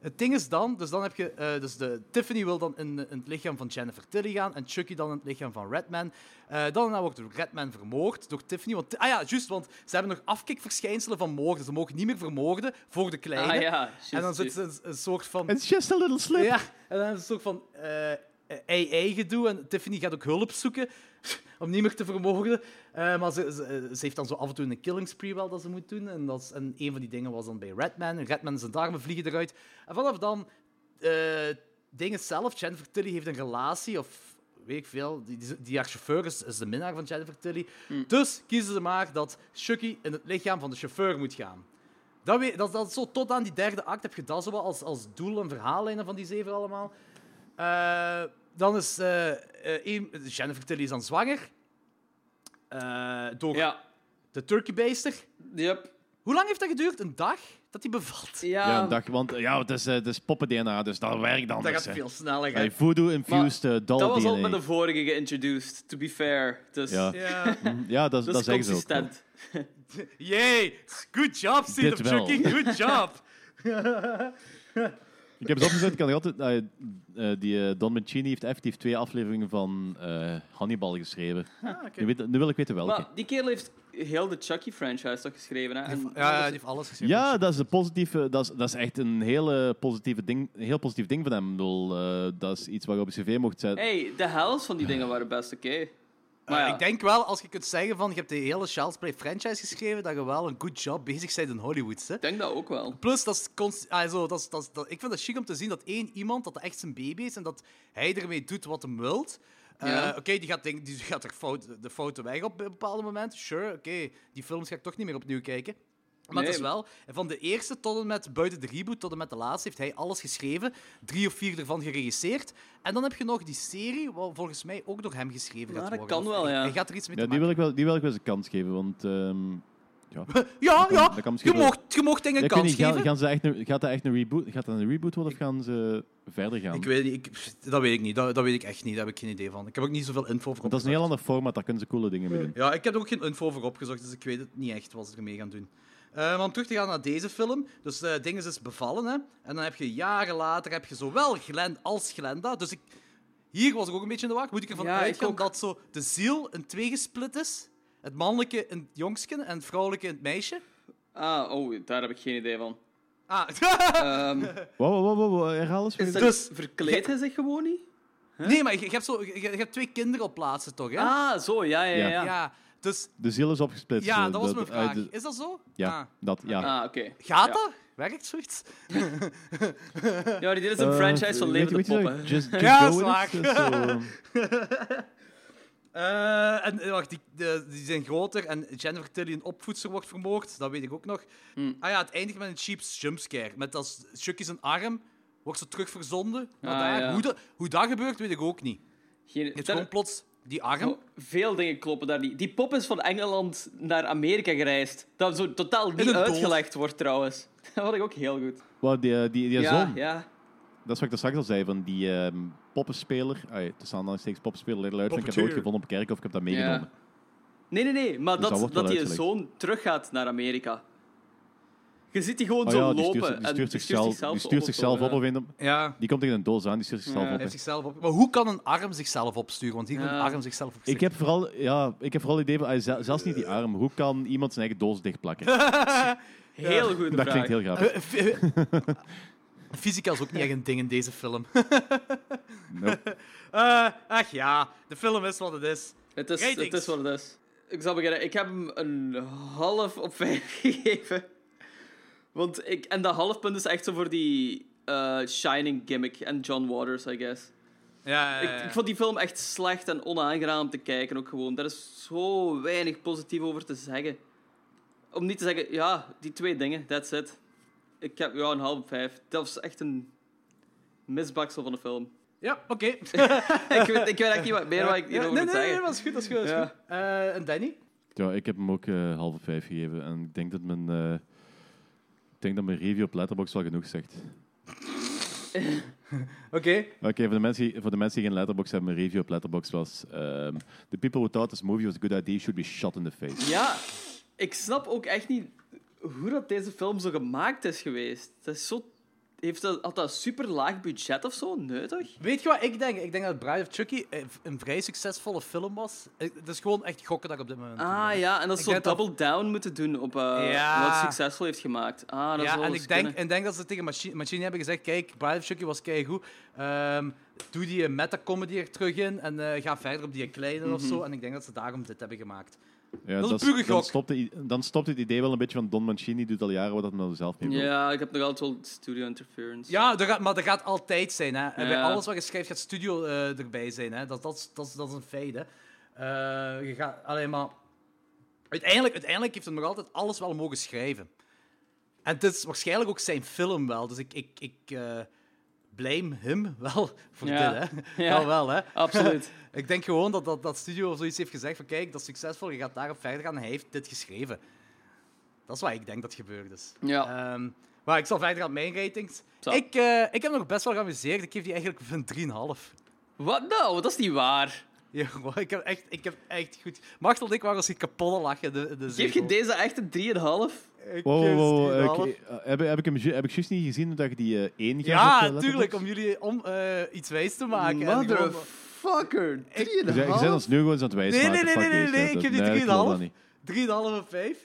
het ding is dan, dus dan heb je, eh, dus de, Tiffany wil dan in, in het lichaam van Jennifer Tilly gaan en Chucky dan in het lichaam van Redman. Eh, dan daarna wordt Redman vermoord door Tiffany. Want, ah ja, juist, want ze hebben nog afkikverschijnselen van moorden. Ze mogen niet meer vermoorden voor de kleine.
Ah ja,
En dan
juist,
zit ze een, een soort van.
It's just a little slip.
Ja, en dan is het een soort van eh ei-ei-gedoe. En Tiffany gaat ook hulp zoeken om niet meer te vermoorden. Eh, maar ze, ze, ze heeft dan zo af en toe een killing spree wel dat ze moet doen. En, dat is, en een van die dingen was dan bij Redman. En Redman zijn darmen vliegen eruit. En vanaf dan, eh, dingen zelf. Jennifer Tilly heeft een relatie of weet ik veel. Die, die, die haar chauffeur is, is de minnaar van Jennifer Tilly. Dus kiezen ze maar dat Chucky in het lichaam van de chauffeur moet gaan. Dat, weet, dat, dat is zo tot aan die derde act heb je dat zo wat als, als doel en verhaallijnen van die zeven allemaal. Eh, dan is eh, eh, één- Jennifer Tilly is dan zwanger. Eh, door
Ja.
de turkeybeister.
Yep.
Hoe lang heeft dat geduurd? Een dag? Dat die bevalt?
Ja.
Ja, een dag, want eh, ja, het is, eh, het is poppen-DNA, dus dat werkt anders.
dat gaat
hè.
veel sneller. hè.
Hey, voodoo-infused eh, doll
Dat was al
DNA.
met de vorige geïntroduced, to be fair. Dus
Ja,
Ja.
ja dat, dat,
dat
zeggen
is
ze ook. wel.
consistent.
Yay! Good job, Seed
Dit
of
wel.
Chucky. Good job.
Ik heb het opgezet, ik kan er altijd... eh, eh, die eh, Don Mancini heeft effectief twee afleveringen van eh, Hannibal geschreven.
oké.
nu, weet- nu wil ik weten welke.
Ah, Maar die kerel heeft heel de Chucky-franchise toch geschreven, hè? En-
Ja, die heeft alles gezien.
ja, dat is, een positieve, dat, is, dat is echt een, hele positieve ding, een heel positief ding van hem. Ik bedoel, eh, dat is iets waar je op je cv mocht zetten.
Hey, de helft van die dingen waren best oké. Maar ja,
Eh, Ik denk wel, als je kunt zeggen van je hebt de hele Child's Play franchise geschreven, dat je wel een good job bezig bent in Hollywood. Hè?
ik denk dat ook wel.
Plus, dat is const- ah, zo, dat is, dat is- dat, ik vind het chic om te zien dat één iemand, dat dat echt zijn baby is en dat hij ermee doet wat hem wilt. Eh,
Ja.
oké, die gaat, denk- die gaat er fout, de foute weg op een bepaald moment. Sure, oké, die films ga ik toch niet meer opnieuw kijken. Maar het
Nee.
is wel, van de eerste tot en met buiten de reboot, tot en met de laatste, heeft hij alles geschreven. Drie of vier ervan geregisseerd. En dan heb je nog die serie, wat volgens mij ook door hem geschreven
Ja,
gaat
dat
worden.
kan
Of
wel,
hij-
ja.
Hij gaat er iets mee
Ja,
te
die
maken
wil, ik wel, die wil ik wel eens een kans geven, want... ehm,
Ja,
kan-
ja,
dat kan
je
misschien wel-
mocht, je mocht dingen
ja, ik weet
kans
niet, gaan,
geven.
gaan ze echt een, gaat dat echt een reboot, gaat dat een reboot worden of gaan ze verder gaan?
Ik weet niet, ik, pff, dat weet ik niet. Dat, dat weet ik echt niet. Daar heb ik geen idee van. Ik heb ook niet zoveel info voor
Want dat is een heel ander format, daar kunnen ze coole dingen mee doen.
Ja, ik heb er ook geen info voor opgezocht, dus ik weet het niet echt wat ze ermee gaan doen. Eh, maar om terug te gaan naar deze film. Dus eh ding is dus bevallen, hè. En dan heb je jaren later heb je zowel Glenn als Glenda. Dus ik, hier was ik ook een beetje in de wacht. Moet ik ervan
Ja, ik
uitgaan
ook.
dat zo de ziel in twee gesplit is? Het mannelijke in het jongsken en het vrouwelijke in het meisje?
Ah, oh, daar heb ik geen idee van.
Ah,
Ehm,
Wow, wow, wow, wow, wow, herhaal eens.
is dat-
Dus-
verkleedt hij zich gewoon niet?
nee, maar je, je hebt zo, je, je hebt twee kinderen op plaatsen, toch? Hè?
Ah, zo, ja, ja, ja.
Ja.
ja.
Ja, dus
De ziel is opgesplitst.
ja,
eh,
dat was mijn
eh,
vraag.
de-
Is dat zo?
ja,
Ah.
dat, ja.
Ah, oké.
Gaat
Ja.
dat? Werkt zoiets?
Ja, dit is een
Eh,
franchise van
weet je-
levende
weet je
poppen.
wat- Just, just
Ja,
go
is
with
waar.
it, dus, eh,
Eh, en eh, wacht, die, de- die zijn groter en Jennifer Tilly een opvoedster wordt vermoord, dat weet ik ook nog. Ah ja, het eindigt met een cheap jumpscare. Met als Chucky zijn arm wordt ze terug verzonden. Maar
Ah,
daar,
ja.
hoe, dat, hoe dat gebeurt, weet ik ook niet.
Geen-
Het is
daar-
gewoon plots... Die arm?
Oh, veel dingen kloppen daar niet. Die pop is van Engeland naar Amerika gereisd. Dat zo totaal
In
niet
een doos.
uitgelegd wordt trouwens. Dat vond ik ook heel goed.
Wow, die, eh, die, die
ja,
zon,
ja.
dat is wat ik daar straks al zei, van die ehm, poppenspeler. Ai, tussen aanhalingstekens poppenspeler, Little Luid, ik heb het ooit
Puppeteer.
gevonden op kerk of ik heb dat meegenomen.
ja. Nee, nee, nee. Maar
Dus dat
dat, dat,
wordt wel
die
uitgelegd.
zoon teruggaat naar Amerika. Je ziet die gewoon
Oh
zo
ja, die
lopen.
stuurt, die
en
stuurt zichzelf, die stuurt
of zo,
zichzelf op,
ja.
op een-
Ja.
Die komt tegen een doos aan, die stuurt zichzelf
Ja.
op.
Hij
hè.
heeft zichzelf op. Maar hoe kan een arm zichzelf opsturen? Want hier kan een
Ja.
arm zichzelf op.
Ik heb vooral, ja, ik heb vooral het idee van, ah, zel- zelfs niet die arm. Hoe kan iemand zijn eigen doos dichtplakken?
Heel goed.
Dat klinkt heel grappig.
Eh, Fysica is ook niet echt een ding in deze film.
Nope.
Eh, ach ja, de film is wat het is.
Het is,
Ratings.
het is wat het is. Ik zal beginnen. Ik heb hem een half op vijf gegeven. Want ik, en dat halfpunt is echt zo voor die eh, Shining gimmick en John Waters, I guess.
Ja, eh, ja, ja.
Ik, ik vond die film echt slecht en onaangenaam te kijken ook gewoon. Daar is zo weinig positief over te zeggen. Om niet te zeggen, ja, die twee dingen, that's it. Ik heb ja, een half op vijf. Dat was echt een misbaksel van de film.
Ja, oké.
ik, weet, ik weet eigenlijk niet wat meer wat ik
Ja,
hierover
nee,
moet
nee, nee,
zeggen.
dat is goed. Dat is goed, dat is
Ja.
goed. Eh, en Danny?
Ja, ik heb hem ook eh halve vijf gegeven. En ik denk dat mijn, eh, ik denk dat mijn review op Letterboxd wel genoeg zegt.
Oké.
Oké, voor de mensen die- voor de mensen die geen Letterboxd hebben, mijn review op Letterboxd was... ehm, the people who thought this movie was a good idea should be shot in the face.
Ja, ik snap ook echt niet hoe dat deze film zo gemaakt is geweest. Dat is zo... Heeft dat, had dat een super laag budget of zo? Nee, toch?
Weet je wat ik denk? Ik denk dat Bride of Chucky eh, een vrij succesvolle film was. Eh, Het is gewoon echt gokken dat ik op dit moment doe.
eh,
Ah ja, en dat ze
Ik
zo
denk dat-
double down moeten doen op eh,
Ja.
wat het succesvol heeft gemaakt. Ah, dat
Ja,
zou
en
wel
ik
eens
denk,
kunnen.
en denk dat ze tegen Machine, Machine hebben gezegd: Kijk, Bride of Chucky was keigoed. Ehm doe die eh, meta-comedy er terug in en eh, ga verder op die kleine of zo. En ik denk dat ze daarom dit hebben gemaakt.
Ja,
Dat is een
is-
pure
dan,
gok.
stopt de i- dan stopt het idee wel een beetje van Don Mancini doet al jaren wat dat nou zelf niet wil.
Ja, ik heb nog altijd wel studio interference.
Ja, er gaat, maar dat gaat altijd zijn. Hè. En Bij
Ja.
alles wat je schrijft gaat studio eh, erbij zijn. Hè. Dat, dat, is- dat, is- dat is een feit. Hè. Eh, je gaat alleen maar. Uiteindelijk, uiteindelijk heeft hij nog altijd alles wel mogen schrijven. En het is waarschijnlijk ook zijn film wel. Dus ik, ik, ik eh, blame hem wel voor
Ja.
dit. Hè.
Ja.
Wel wel, hè.
Absoluut.
Ik denk gewoon dat, dat dat studio of zoiets heeft gezegd van kijk, dat is succesvol, je gaat daarop verder gaan en hij heeft dit geschreven. Dat is wat ik denk dat gebeurd is.
Ja.
Ehm, maar ik zal verder gaan met mijn ratings.
Zo.
Ik, eh, ik heb nog best wel geamuseerd. Ik geef die eigenlijk een 3,5.
Wat nou? Dat is niet waar.
Ja, wow, ik heb echt, ik heb echt goed... Machtel en ik waren als ik kapot lachen. De, de
Geef je
zetel.
deze echt een 3,5?
Ik
Wow, wow,
geef
wow,
ze 3,5.
ik- eh, heb, heb ik hem ju- heb ik juist niet gezien dat je die eh één geeft op, eh,
Ja,
Letterboxd?
tuurlijk, om jullie om, eh, iets wijs te maken. en gewoon-
Motherfucker, 3,5?
Je zei- je zei ons nu gewoon eens aan het wijsmaken.
Nee, nee, nee,
Fuck
nee,
deze
nee,
shit.
ik heb die
Nee, ik wil dat
3,5.
niet.
3,5 op 5.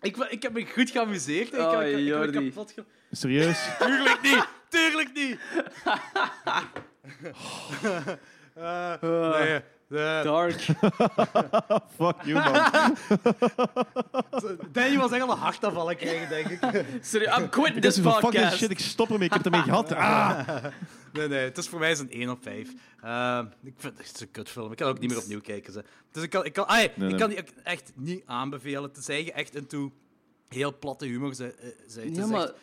Ik, wa- ik heb me goed geamuseerd. Ik, heb- ik, heb- ik, heb me
Jordi.
kapot ge-
Serieus?
Tuurlijk niet! Tuurlijk niet! Eh,
Ah.
nee, eh,
Dark.
Fuck you, man.
Danny was echt al een hartaanvallen krijgen, denk ik.
Sorry, I'm quitting
Dit
this
is van fuck this
podcast.
shit, ik stop ermee. Ik heb het ermee gehad. Ah.
Nee, nee, het is voor mij is een 1 op 5. Eh, ik vind het is een kutfilm. Ik kan ook niet meer opnieuw kijken. Ze. Dus ik kan, ik kan, ai,
Nee,
ik
nee.
kan die ook echt niet aanbevelen. Tenzij je echt into heel platte humor ze- eh, zijt. Het
Ja,
is
maar...
echt-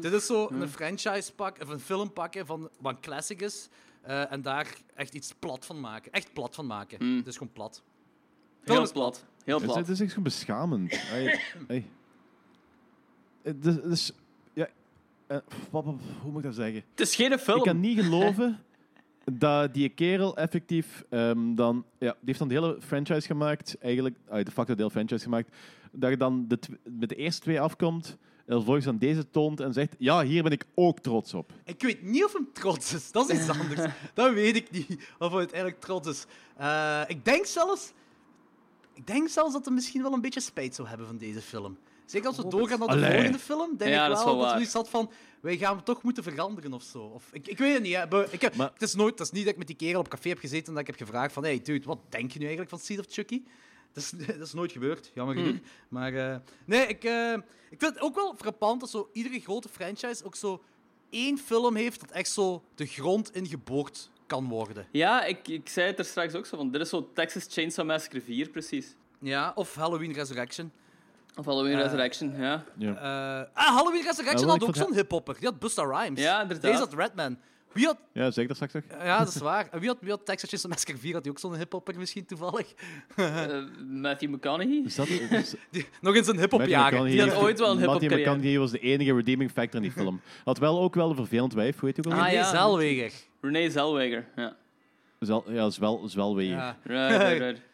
Dit is zo een franchise pak, of een film pakken van wat een classic is. eh, en daar echt iets plat van maken. Echt plat van maken.
Mm.
Het is gewoon plat. Film
Heel
is
plat. Heel
Het is-
plat.
Het is echt zo beschamend. Ai, ai. Het is- het is- ja, eh, wat- wat- hoe moet ik dat zeggen?
Het is geen film.
Ik kan niet geloven dat die kerel effectief ehm, dan... Ja, die heeft dan de hele franchise gemaakt. Eigenlijk, ah, de facto de hele franchise gemaakt. Dat je dan de tw- met de eerste twee afkomt. En vervolgens dan deze toont en zegt... Ja, hier ben ik ook trots op.
Ik weet niet of hem trots is. Dat is iets anders. dat weet ik niet. Of hij uiteindelijk trots is. Eh, ik denk zelfs... Ik denk zelfs dat hij misschien wel een beetje spijt zou hebben van deze film. Zeker als we doorgaan naar de
Allee.
volgende film, denk
Ja, dat
ik wel
is
dat,
wel waar.
hij zat van... Wij gaan hem toch moeten veranderen of zo. Of, ik, ik weet het niet. Hè. Maar Ik heb,
Maar-
het, is nooit, het is niet dat ik met die kerel op café heb gezeten en dat ik heb gevraagd van... Hey dude, wat denk je nu eigenlijk van Seed of Chucky? Dat is, dat is nooit gebeurd, jammer
Hmm.
genoeg. Maar eh, nee, ik, eh, ik vind het ook wel frappant dat zo iedere grote franchise ook zo één film heeft dat echt zo de grond in geboord kan worden.
Ja, ik, ik zei het er straks ook zo van. Dit is zo Texas Chainsaw Massacre 4, precies.
Ja, of Halloween Resurrection.
Of Halloween
Eh.
Resurrection, ja.
Ja.
Eh, ah, Halloween Resurrection
Ah, wel,
had
ik
ook
vond-
zo'n hiphopper. Die had Busta Rhymes.
Ja, inderdaad.
Deze had Redman. Wie had...
Ja, zeg dat straks toch?
Ja, dat is waar. En Wie had, wie had Texas Chainsaw Massacre 4? Had die ook zo'n hiphopper misschien toevallig?
Eh, Matthew McConaughey.
Is dat... is-
Die, nog eens een hiphop
Matthew
jagen.
McConaughey
Die had
heeft-
ooit wel een hiphop
Matthew
carrière.
McConaughey was de enige redeeming factor in die film. Had wel ook wel een vervelend wijf, hoe heet die ook alweer?
Ah,
Nee,
ja.
Zellweger.
René Zellweger. Ja.
Zal- Ja, Zwel, Zwelweer.
Ja.
Right, right, right.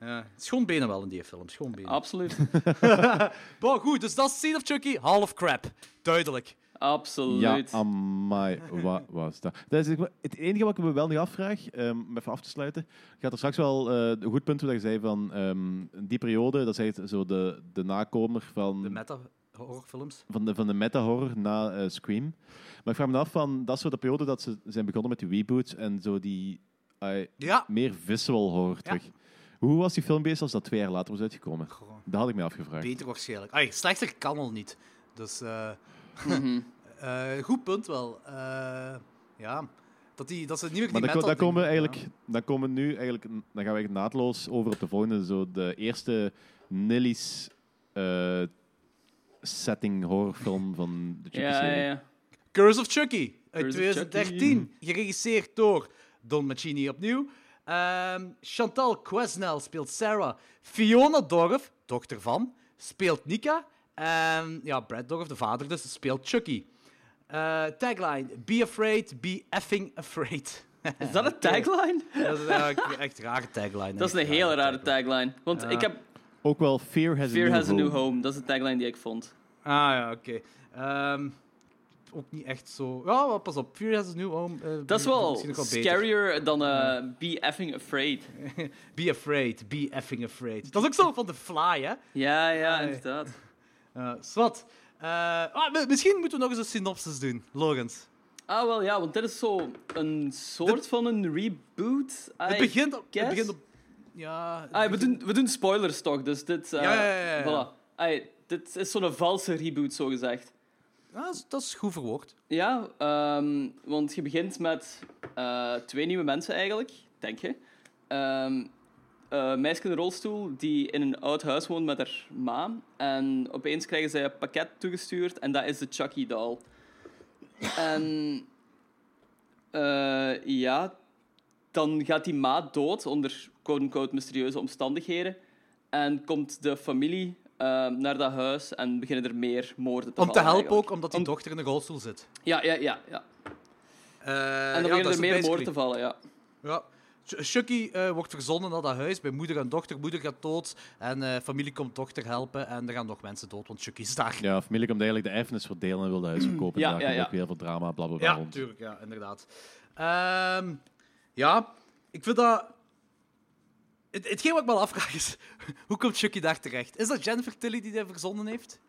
Ja. Schoonbenen wel in die film, schoonbenen.
Absoluut.
Maar goed, dus dat is Seed of Chucky, half crap. Duidelijk.
Ja,
Absoluut.
amai, wat was dat? dat is het enige wat ik me wel nog afvraag, ehm, om even af te sluiten, gaat er straks wel eh, een goed punt toe dat je zei van ehm, die periode, dat is eigenlijk zo de, de nakomer van
De meta-horrorfilms.
van de, van de meta-horror na eh, Scream. Maar ik vraag me af, van, dat is zo de periode dat ze zijn begonnen met die reboots en zo die ai,
Ja.
meer visceral horror terug. Hoe was die film bezig als dat twee jaar later was uitgekomen? Dat had ik me afgevraagd.
Beter waarschijnlijk. Ai, slechter kan al niet. Dus, eh,
Mhm.
eh, goed punt wel. Eh, ja. Dat, die, dat ze niet meer die
maar dan, ko-
metal
dan komen we
dingen-
eigenlijk, dan komen we nu eigenlijk, dan gaan we eigenlijk naadloos over op de volgende, zo de eerste Nilly's eh, setting horrorfilm van de Chucky
Ja, ja,
serie.
ja.
Curse of Chucky uit
Curse of
2013. Geregisseerd door Don Mancini opnieuw. Ehm, Chantal Quesnel speelt Sarah. Fiona Dorf, dochter van, speelt Nika. En ja, Brad Dorf, de vader dus, speelt Chucky. Eh, tagline: Be afraid, be effing afraid.
Is dat een tagline?
dat is eigenlijk een echt rare tagline.
Dat is een
Echt
heel rare tagline. Want ik heb
Ook wel Fear Has,
Fear
a, new
Has a
home.
New Home. Dat is de tagline die ik vond.
Ah ja, oké. Ehm, ook niet echt zo. Ja, maar pas op. Fear has a new home. eh,
Dat is
misschien
wel
nog beter.
scarier dan eh, Be Effing Afraid.
Be afraid, be effing afraid. Dat is ook zo van de fly, hè?
Ja, ja,
Ai.
inderdaad.
Eh zwart. Eh, ah, mi- misschien moeten we nog eens een synopsis doen, Logans.
Ah, wel ja, want dit is zo een soort van een reboot.
Het begint op. Het
guess.
begint op ja, het
Ah, we,
begint-
doen, we doen spoilers toch, dus dit... eh,
Ja, ja, ja, ja.
Voilà. Ah, dit is zo'n valse reboot, zogezegd.
Ah, dat is- dat is goed verwoord.
Ja, ehm, want je begint met eh, twee nieuwe mensen eigenlijk, denk je. Ehm een meisje in een rolstoel die in een oud huis woont met haar ma. En opeens krijgen zij een pakket toegestuurd en dat is de Chucky doll. En eh, ja, dan gaat die ma dood onder quote-unquote mysterieuze omstandigheden. En komt de familie ehm, naar dat huis en beginnen er meer moorden te
Om te
vallen
helpen
eigenlijk.
ook, omdat die
Om-
dochter in de rolstoel zit.
Ja, ja, ja, ja.
Eh,
En dan
ja,
beginnen
dat is
er meer
basically-
moorden te vallen, ja.
Ja. Ch- Chucky eh, wordt verzonnen naar dat huis bij moeder en dochter. Moeder gaat dood en eh, familie komt dochter helpen. En er gaan nog mensen dood, want Chucky is daar.
Ja, familie komt eigenlijk de erfenis verdelen en wilde huis verkopen.
Ja,
Daar
ja,
komt
ja.
ook weer heel veel drama, blablabla.
Mm. Ja,
rond.
natuurlijk, ja, inderdaad. Ehm, ja, ik vind dat. Het, hetgeen wat ik me al afvraag is: hoe komt Chucky daar terecht? Is dat Jennifer Tilly die dat verzonnen heeft?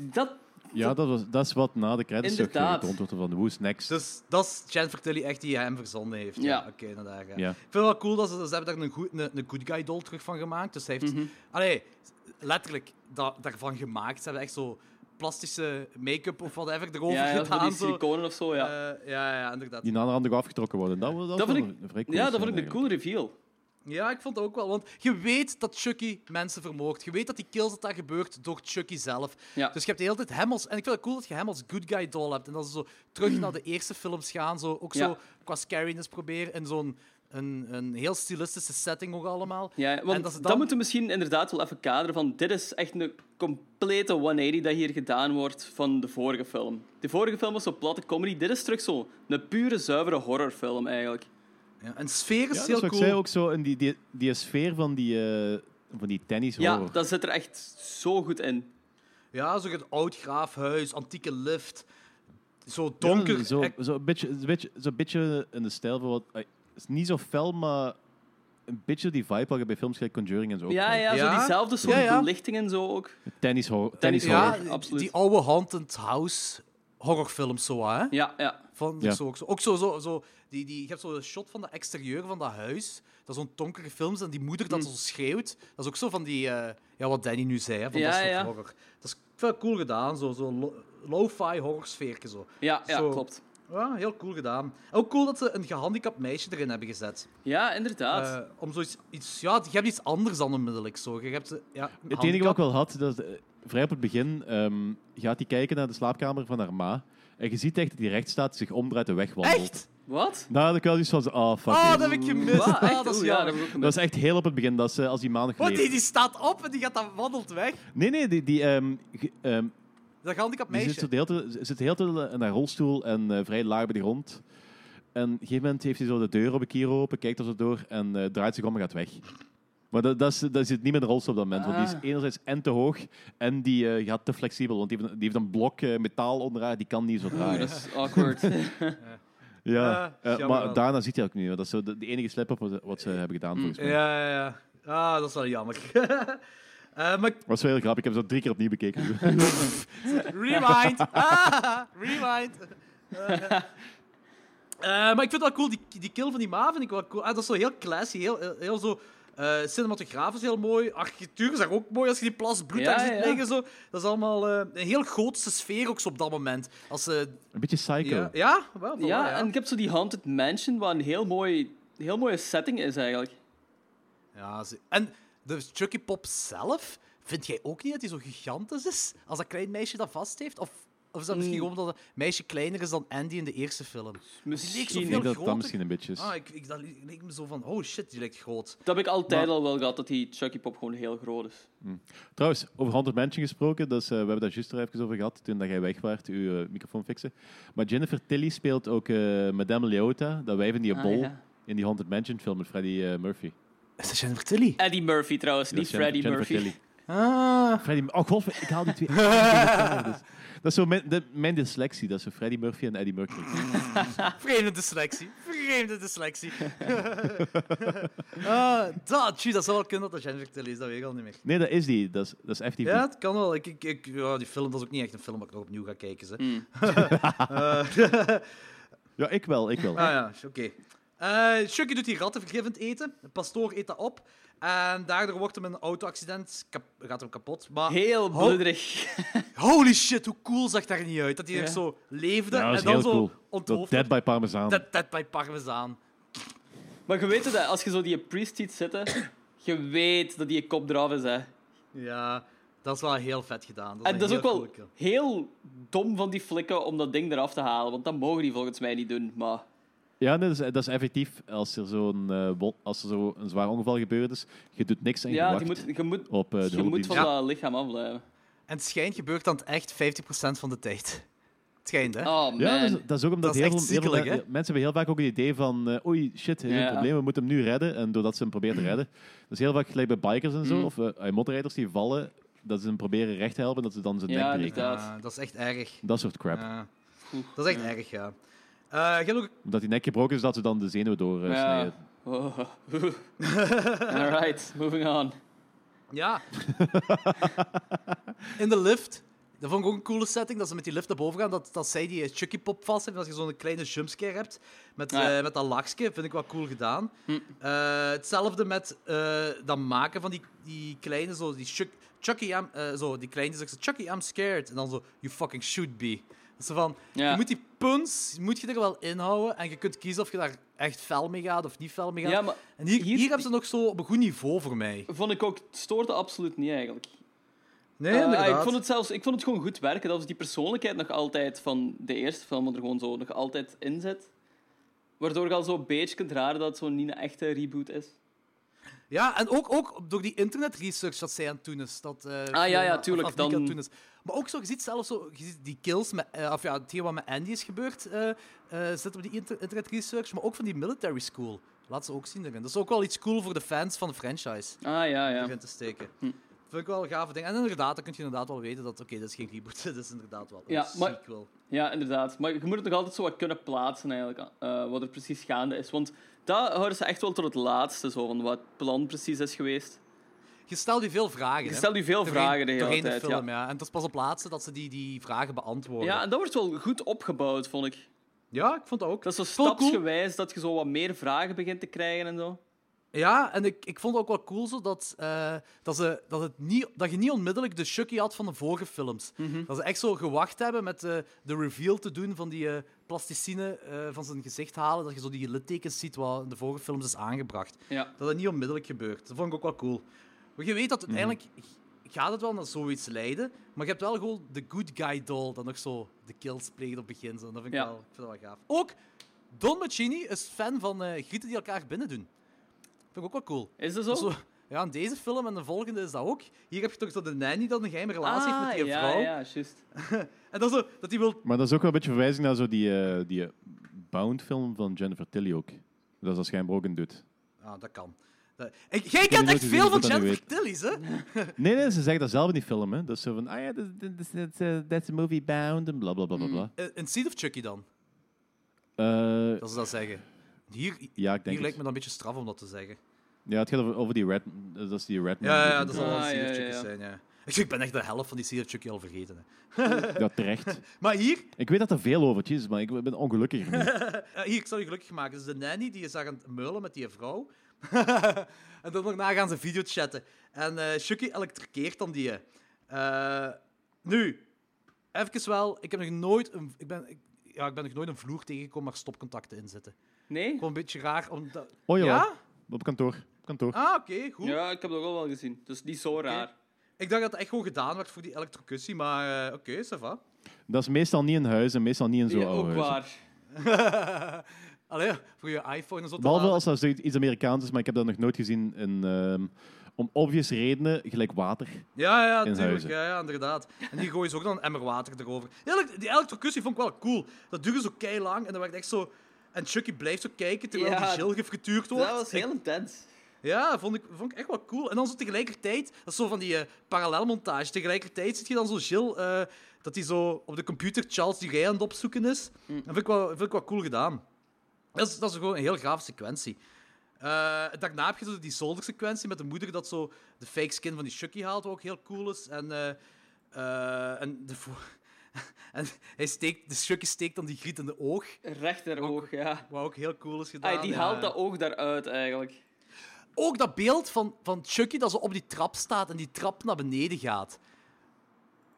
Dat,
Ja, dat, was, dat is wat na de credits ook
Inderdaad.
het antwoord van Who's Next.
Dus dat is Jennifer Tilly echt die hem verzonnen heeft. Ja,
Ja.
oké, inderdaad. Ja.
Ja.
Ik vind het wel cool dat ze, ze hebben daar een good, een, een good guy doll terug van gemaakt. Dus hij heeft,
Mhm.
allee, letterlijk da, daarvan gemaakt. Ze hebben echt zo plastische make-up of whatever erover
ja, ja,
gedaan.
van die
zo.
siliconen of zo, ja.
Eh, ja, ja, inderdaad.
Die naderhand nog afgetrokken worden. Dat, dat,
Dat
vond
vond
een vrij cool
ja, dat
scène
vond ik een
eigenlijk.
cool reveal.
Ja, ik vond dat ook wel. Want je weet dat Chucky mensen vermoordt. Je weet dat die kills dat daar gebeurt door Chucky zelf.
Ja.
Dus je hebt de hele tijd hem als... En ik vind het cool dat je hem als good guy doll hebt. En dat ze zo terug naar de eerste films gaan. Zo, ook
Ja.
zo qua scariness proberen. In zo'n een, een heel stilistische setting ook allemaal.
Ja, want
en
dat,
ze
moeten we misschien inderdaad wel even kaderen. Van, dit is echt een complete 180 dat hier gedaan wordt van de vorige film. De vorige film was zo'n platte comedy. Dit is terug zo een pure, zuivere horrorfilm eigenlijk.
Ja, en sfeer
Ja,
is
dat is
heel
wat
cool.
ik zei ook zo, in die, die, die sfeer van die, eh, van die tennis
Ja,
horror.
Oh.
dat zit er echt zo goed in.
Ja, zo het oud graafhuis, antieke lift. Zo
Ja,
donker.
zo,
echt-
zo, een beetje, een beetje, zo een beetje in de stijl van wat... eh, Het is niet zo fel, maar een beetje die vibe wat je bij films gelijk Conjuring en zo ook
Ja,
krijgt.
ja,
Ja?
zo diezelfde soort
Ja, ja.
belichting en zo ook.
Tennis horror.
Tennis
Tennis
ja,
horror.
horror, absoluut.
die oude Haunted House horrorfilms zo, hè?
Ja, ja.
Van,
Ja.
zo, ook zo, ook zo, zo, zo die, die, je hebt zo'n shot van dat exterieur van dat huis. Dat is zo'n donkere films en die moeder
Mm.
dat zo schreeuwt. Dat is ook zo van die, eh, ja, wat Danny nu zei, hè, van
Ja,
dat soort
ja.
horror. Dat is veel cool gedaan, zo'n zo lo- lo-fi horrorsfeertje zo.
Ja, ja
Zo.
klopt.
Ja, heel cool gedaan. En ook cool dat ze een gehandicapt meisje erin hebben gezet.
Ja, inderdaad.
Eh, om zoiets, iets, ja, je hebt iets anders dan onmiddellijk zo. Je hebt, eh, ja, een
Het enige wat
handicap.
ik wel had, dat, is, eh, vrij op het begin, ehm, gaat hij kijken naar de slaapkamer van haar ma. En je ziet echt dat hij recht staat, zich omdraait en wegwandelt.
Echt?
Wat?
Daar had ik wel iets van, ah, fuck
Ah,
it.
dat heb ik gemist.
Wat?
Ah,
Echt?
dat is
Oeh, ja, dat
jammer.
heb ik ook
Dat
gemist.
is echt heel op het begin, dat is eh, als die maandag
Want die,
leeft.
die staat op en die gaat dan wandelt weg.
Nee, nee, die, die, ehm, ge- ehm,
Dat handicap
die zit
meisje.
zo de hele tijd- zit de hele tijd in haar rolstoel en eh, vrij laag bij de grond. En op een gegeven moment heeft hij zo de deur op een keer open, kijkt er zo door en eh, draait zich om en gaat weg. Maar dat, dat, is, dat zit niet met de rolstoel op dat moment, want die
Ah.
is enerzijds en te hoog en die eh, gaat te flexibel, want die heeft, een- die heeft een blok eh, metaal onder haar, die kan niet zo
Oeh,
draaien.
dat is awkward.
Ja,
Ja,
eh,
Ah, jammer
maar
wel. Mm,
daarna ziet hij ook niet meer. Dat is zo de, de enige slip-up wat, ze- wat ze hebben gedaan, volgens mij.
Ja, ja, ja. Ah, dat is wel jammer. Eh, maar
was wel heel grappig. Ik heb zo drie keer opnieuw bekeken.
Rewind. Ah, rewind. Eh, eh, maar ik vind het wel cool, die, die kill van die ma vind ik wel cool. Ah, dat is zo heel classy, heel, heel, heel zo... eh cinematograaf is heel mooi, architectuur is daar ook mooi als je die plas bloed
Ja,
daar ziet
ja.
liggen. Zo. Dat is allemaal eh, een heel gootse sfeer ook zo op dat moment. Als, eh,
een beetje psycho.
ja, ja, wel, wel,
ja,
ja.
en ik heb zo die Haunted Mansion, wat een heel, mooi, heel mooie setting is eigenlijk.
Ja, ze- en de Chucky Pop zelf, vind jij ook niet dat hij zo gigantisch is? Als dat klein meisje dat vast heeft? Of, of is dat misschien
Mm.
gewoon dat het meisje kleiner is dan Andy in de eerste film? leek zo
Ik
Misschien.
denk
veel-
Dat
dat dat
groter.
misschien een beetje is.
Ah, ik, ik, dat li- leek me zo van, oh shit, die lijkt groot.
heb ik altijd
Maar-
al wel gehad, dat die Chucky Pop gewoon heel groot is.
Trouwens, over Haunted Mansion gesproken. Dus, eh, we hebben daar juist er even over gehad, toen dat jij weg waart, uw eh, microfoon fixen. Maar Jennifer Tilly speelt ook eh, Madame Leota, dat wijf in die
Ah,
bol,
ja.
in die Haunted Mansion film met Freddy eh, Murphy.
Is dat Jennifer Tilly?
Eddie Murphy trouwens,
Dat
niet
is Jennifer-
Freddie
Jennifer
Murphy.
Tilly.
Ah,
Freddy, oh god, ik haal die twee. uit elkaar, dus. Dat is zo mijn, de- mijn dyslexie, dat is zo Freddy Murphy en Eddie Murphy.
Ah, vreemde dyslexie. Vreemde dyslexie. ah, dat, tjie, dat zou wel kunnen dat dat Jennifer Tilly is, dat weet ik al niet meer.
Nee, dat is die. Dat is, dat is FTV.
Ja, het kan wel. Ik, ik, ik, ja, die film dat is ook niet echt een film dat ik nog opnieuw ga kijken. Ze.
Mm.
Eh,
Ja, ik wel, ik wel.
Ah ja, oké. Eh, Chucky doet die ratten vergevend eten. De pastoor eet dat op. En daardoor wordt hem een auto-accident. kap- gaat hem kapot. Maar
Heel
Ho-
bloederig.
holy shit, hoe cool zag dat er niet uit? Dat hij
Ja.
echt zo leefde
Ja, dat is
en dan
heel
zo
cool. Dat
onthoofd.
Dead by Parmesan.
Dead, dead by parmezaan.
Maar je weet dat als je zo die priest ziet zitten, je weet dat die een kop eraf is. Hè.
Ja, dat is wel heel vet gedaan. Dat is
En dat is ook
heel
wel
coole kill.
heel dom van die flikken om dat ding eraf te halen, want dat mogen die volgens mij niet doen. Maar
Ja, nee, dat, is, dat is effectief. Als er zo'n eh, wol- als er zo een zwaar ongeval gebeurd is, je doet niks en je
ja,
wacht
die moet, je moet,
op eh, de
Dus je moet
hulpdienst.
van
Ja.
dat lichaam afblijven.
En het schijnt gebeurt dan echt 50% van de tijd. Het schijnt, hè?
Oh man.
Ja, dat is, dat is ook omdat
Dat is
heel,
echt
veel, heel veel
ziekelijk,
men-
hè?
mensen hebben heel vaak ook het idee van eh, oei, shit, er is
Ja.
een probleem, we moeten hem nu redden. En doordat ze hem proberen te redden, dat is heel vaak gelijk bij bikers en zo, of eh, eh, motorrijders die vallen, dat ze hem proberen recht te helpen en dat ze dan zijn
Ja,
nek breken.
inderdaad.
Ja, dat is echt erg.
Dat soort crap.
Ja.
Oeh,
dat is echt erg, ja. Eh, je hebt ook
Omdat die nek gebroken is, dat ze dan de zenuwen eh, doorsnijden.
Ja. Oh. Alright, moving on.
Ja. In de lift. Dat vond ik ook een coole setting, dat ze met die lift naar boven gaan. Dat, dat zij die eh, Chucky Pop vast hebben. Dat je zo'n kleine jumpscare hebt met,
Ja. Hm.
eh, met dat lachje. Vind ik wel cool gedaan. Eh, hetzelfde met eh, dat maken van die, die kleine, zo, die Chuck- Chucky, I'm, eh, zo, die kleine zegt zo, Chucky, I'm scared. En dan zo, you fucking should be. Dat is zo van,
Ja.
je moet die puns, moet je er wel inhouden. En je kunt kiezen of je daar echt fel mee gaat of niet fel mee gaat.
Ja, maar
en hier, hier,
hier-
hebben ze nog zo op een goed niveau voor mij.
vond ik ook, het stoorde absoluut niet eigenlijk.
Nee,
Eh,
inderdaad.
ik vond het zelfs ik vond het gewoon goed werken. Dat was die persoonlijkheid nog altijd van de eerste film er gewoon zo nog altijd in zit. Waardoor je al zo'n beetje kunt raden dat het zo niet een echte reboot is.
Ja, en ook, ook door die internetresearch dat zij aan het doen is. Dat, eh,
Ah, ja, ja,
Fiona
tuurlijk,
Fabrik
dan-
aan het doen is. Maar ook zo, je ziet zelfs zo, je ziet die kills, met, eh, of ja, hetgeen wat met Andy is gebeurd, eh eh, zit op die inter- internetresearch, maar ook van die military school. Laat ze ook zien erin. Dat is ook wel iets cool voor de fans van de franchise
Ah ja, Hm. ja.
erin te steken. Vind ik wel een gave ding. En inderdaad, dan kun je inderdaad wel weten dat, oké, dit is geen reboot, dit is inderdaad wel een
Ja, maar-
sequel.
Ja, inderdaad. Maar je moet het nog altijd zo wat kunnen plaatsen, eigenlijk, eh, wat er precies gaande is. Want dat houden ze echt wel tot het laatste, zo, van wat het plan precies is geweest.
Je stelt je veel vragen.
Je
hè?
stelt u veel
Doorheen-
vragen de hele
doorheen
tijd.
de film,
ja.
ja. En het is pas op laatste dat ze die, die vragen beantwoorden.
ja,
Ja.
en dat wordt wel goed opgebouwd, vond ik.
ik vond dat ook.
Dat is zo
Vond ik cool.
stapsgewijs dat je zo wat meer vragen begint te krijgen en zo.
Ja, en ik, ik vond het ook wel cool zo dat, eh, dat, ze, dat, het niet, dat je niet onmiddellijk de Chucky had van de vorige films. Dat ze echt zo gewacht hebben met eh, de reveal te doen van die eh, plasticine eh, van zijn gezicht halen. Dat je zo die littekens ziet wat in de vorige films is aangebracht.
Ja.
Dat het niet onmiddellijk gebeurt. Dat vond ik ook wel cool. Maar je weet
Mhm.
dat uiteindelijk gaat het wel naar zoiets leiden. Maar je hebt wel gewoon de good guy doll dat nog zo de kills pleegt op het begin. Zo. Dat vind ik
Ja.
wel, ik vind dat wel gaaf. Ook Don Mancini is fan van eh, grieten die elkaar binnen doen. Vind ik ook wel cool.
Is dat zo?
Zo, ja, in deze film en de volgende is dat ook. Hier heb je toch zo de nanny dat een geheime relatie heeft met die
Ah, ja,
vrouw.
Ja, juist.
En dat, zo, dat die wil...
Maar dat is ook wel een beetje verwijzing naar zo die, eh, die eh, Bound-film van Jennifer Tilly ook. Dat is dat schijnbaar ook een dude.
Ah, dat kan. Dat- En jij
die
kent
nooit
echt
gezien,
veel
ik
van
moet dat niet
Jennifer Tilly's, hè?
Nee, nee, ze zeggen dat zelf in die film. Hè. Dat is zo van, ah ja, dat- dat- dat- dat- eh, that's a movie bound en bla bla bla bla. bla.
Eh, Een Seed of Chucky dan,
Eh,
dat ze dat zeggen. Hier, hier
ja, ik denk
lijkt me
het.
dan een beetje straf om dat te zeggen.
Ja, het gaat over, over die Red... Dat is die Redman.
Ja, ja, dat zal
dat,
wel
Ah,
een Seed
ja,
of
ja,
Chucky
ja.
zijn, ja. Ik zeg, ik ben echt de helft van die Seed of Chucky al vergeten. Hè.
terecht.
Maar hier,
Ik weet dat er veel over is, maar ik ben ongelukkiger nu.
eh, hier, ik zal je gelukkig maken. Dus de nanny die is daar aan het meulen met die vrouw. en dan daarna gaan ze video chatten. En eh Chucky elektrikeert dan die. eh. Eh, nu, even wel, ik heb nog nooit een, ik ben, ik, ja, ik ben nog nooit een vloer tegengekomen waar stopcontacten in zitten.
Nee?
Gewoon een beetje raar. Omdat...
Oh jawel.
Ja?
Op kantoor. Op kantoor.
Ah, oké, goed.
Ja, ik heb dat ook al wel gezien. Dus niet zo raar.
Ik dacht dat het echt gewoon gedaan werd voor die elektrocutie, maar eh, oké, ça va.
Dat is meestal niet in huis en meestal niet in zo'n
Ja,
oude
ook
huis.
waar.
Allee, voor je iPhone en zo te
Behalve
laden.
als dat zoiets- iets Amerikaans is, maar ik heb dat nog nooit gezien in... ehm, om obvious redenen, gelijk water.
Ja, ja,
in
tuurlijk.
huizen.
Ja, ja, inderdaad. En die gooien ze ook dan een emmer water erover. Die, elek- die elektrocutie vond ik wel cool. Dat duurde zo kei lang en dan werd echt zo... En Chucky blijft zo kijken terwijl
Ja,
die Jill gefrituurd wordt.
Dat was heel
Ik-
intens.
ja, vond ik, vond ik echt wel cool. En dan zo tegelijkertijd, dat is zo van die eh, parallelmontage. Tegelijkertijd zit je dan zo Jill, eh, dat hij zo op de computer Charles die rij aan het opzoeken is.
Mm.
Dat vind ik wel, vind ik wel cool gedaan. Dat is, dat is gewoon een heel gaaf sequentie. Eh, daarna heb je zo die zoldersequentie met de moeder dat zo de fake skin van die Chucky haalt, wat ook heel cool is. En, eh, eh, en, de vo- en hij steekt, de Chucky steekt dan die griet in de oog,
Recht naar oog, ja.
wat ook heel cool is gedaan.
Ah, die
En,
haalt
eh,
dat oog daaruit, eigenlijk.
ook dat beeld van, van Chucky dat zo op die trap staat en die trap naar beneden gaat.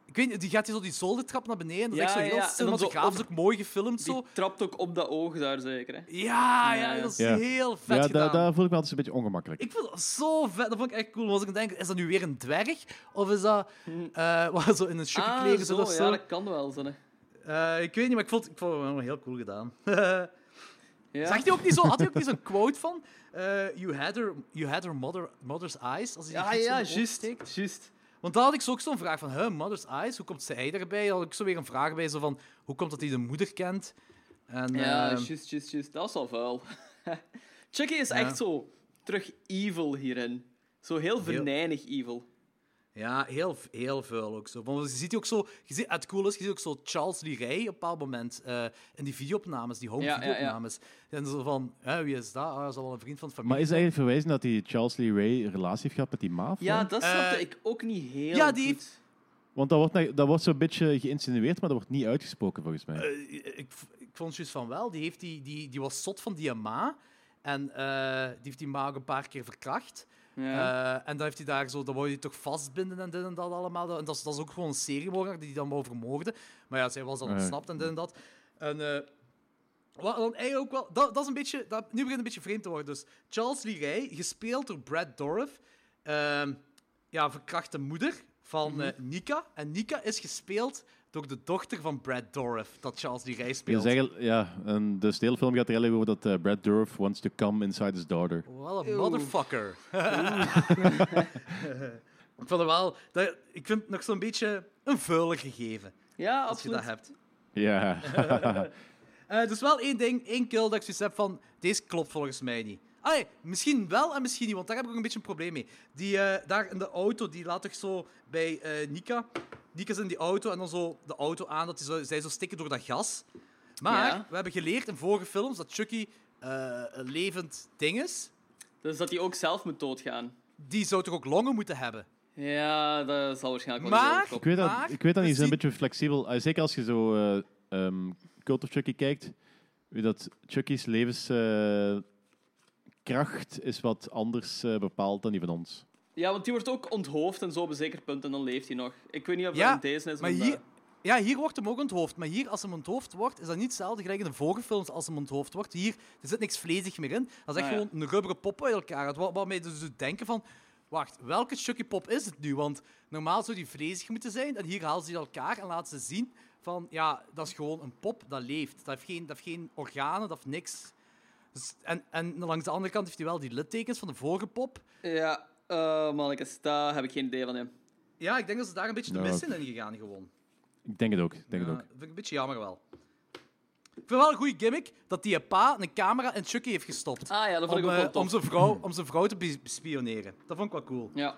Ik weet niet, die gaat hier zo die zoldertrap naar beneden. Dat is
Ja,
echt zo
ja,
heel
ja. En dan zo
cinematograaf. Dat is ook mooi gefilmd
Die
zo.
trapt ook op dat oog daar, zeker. Hè.
Ja, ja,
Ja, ja.
dat is
Ja.
heel
ja,
vet
da-
gedaan.
daar voel ik me altijd een beetje ongemakkelijk.
Ik vond dat zo vet. Dat vond ik echt cool. Want ik denk, is dat nu weer een dwerg? Of is dat eh, wat zo in een Chucky
Hmm. Ah,
kleren zit
zo,
of zo?
ja, dat kan wel zijn. hè.
Eh, ik weet niet, maar ik vond, ik vond het wel heel cool gedaan.
Ja.
Zag hij ook niet zo, had hij ook niet zo'n quote van? eh, you had her, you had her mother, mother's eyes. Als hij die
Ja,
gids in
Ah, ja,
de ogen steekt.
juist. juist.
Want daar had ik zo ook zo'n vraag van, huh, Mother's Eyes, hoe komt zij daarbij? Daar had ik zo weer een vraag bij, zo van, hoe komt dat hij de moeder kent? En,
Ja,
ehm,
juist, juist, juist. Dat is al vuil. Chucky is echt zo terug evil hierin. Zo heel venijnig evil.
ja heel, heel veel ook zo. Want je ziet die ook zo, je ziet, het cool is, je ziet ook zo Charles Lee Ray op een bepaald moment eh, in die videoopnames, die home
Ja, ja, ja.
videoopnames. En zo van, hè, wie is dat? Ah, dat is al wel een vriend van de familie.
Maar is eigenlijk verwijzing dat die Charles Lee Ray een relatie heeft gehad met die maaf?
Ja,
dan?
dat
Eh,
snapte ik ook niet heel
ja, die-
goed.
Want dat wordt, nou- dat wordt zo'n beetje geïnsinueerd, maar dat wordt niet uitgesproken volgens mij.
Eh, ik, ik vond juist van wel, die, heeft die, die, die was zot van die ma. En eh, die heeft die ma ook een paar keer verkracht.
Ja.
Eh, en dan heeft hij daar zo, dan wou hij toch vastbinden en dit en dat allemaal. En dat is, dat is ook gewoon een seriemoordenaar die die dan wou vermoorden. Maar ja, zij was dan
Ja.
ontsnapt en dit en dat. En eh, wat dan eigenlijk ook wel, dat, dat is een beetje, dat, nu begint het een beetje vreemd te worden. Dus Charles Lee Ray, gespeeld door Brad Dorff, ehm, ja, verkrachte moeder van eh, Nika. En Nika is gespeeld door de dochter van Brad Dorff, dat Charles Lee Ray
Dus
speelt.
eigenlijk, ja, en dus de hele film gaat er eigenlijk over dat eh, Brad Dourif wants to come inside his daughter.
Wel een motherfucker. ik vond het wel... Dat, ik vind het nog zo'n beetje een vuile gegeven,
ja,
als je
absoluut.
dat hebt.
Ja.
Eh, dus wel één ding, één kill dat ik zoiets heb van... Deze klopt volgens mij niet. Allee, misschien wel en misschien niet, want daar heb ik ook een beetje een probleem mee. Die eh, daar in de auto, die laat toch zo bij eh, Nika... Nika is in die auto en dan zo de auto aan, dat die zo, zij zo stikken door dat gas. Maar
Ja.
we hebben geleerd in vorige films dat Chucky eh, een levend ding is.
Dus dat hij ook zelf moet doodgaan.
Die zou toch ook longen moeten hebben?
Ja, dat zal waarschijnlijk wel
Maar-
Ik
niet heel
weet dat,
Maar
ik weet dat
we
niet, ze zijn een
zien-
beetje flexibel. Eh, zeker als je zo eh, ehm, Cult of Chucky kijkt, weet dat Chucky's levenskracht is wat anders eh, bepaald dan die van ons.
Ja, want die wordt ook onthoofd en zo op een zeker punt en dan leeft hij nog. Ik weet niet of dat
Ja,
in deze is,
maar
omdat-
hier, ja, hier wordt hem ook onthoofd. Maar hier, als hem onthoofd wordt, is dat niet hetzelfde gelijk in de vorige films als hem onthoofd wordt. Hier er zit niks vlezig meer in. Dat is echt
Ah, ja.
gewoon een rubberen pop uit elkaar. Het wa- Wat mij dus doet denken van... Wacht, welke stukje pop is het nu? Want normaal zou die vlezig moeten zijn. En hier halen ze die uit elkaar en laten ze zien... van, ja, dat is gewoon een pop, dat leeft. Dat heeft geen, dat heeft geen organen, dat heeft niks. Dus- en, en langs de andere kant heeft hij wel die littekens van de vorige pop.
Ja, eh mannetjes, daar heb ik geen idee van Ah hem.
Ja, ik denk dat ze daar een beetje de
Ja.
mis in zijn gegaan gewoon.
Ik denk het ook. Ik denk
Ja,
het ook.
vind ik een beetje jammer wel. Ik vind wel een goede gimmick dat die pa een camera in Chucky heeft gestopt.
Ah ja, dat vond
om,
ik ook
eh,
wel tof.
om, zijn vrouw, om zijn vrouw te bes- bespioneren. Dat vond ik wel cool.
Ja.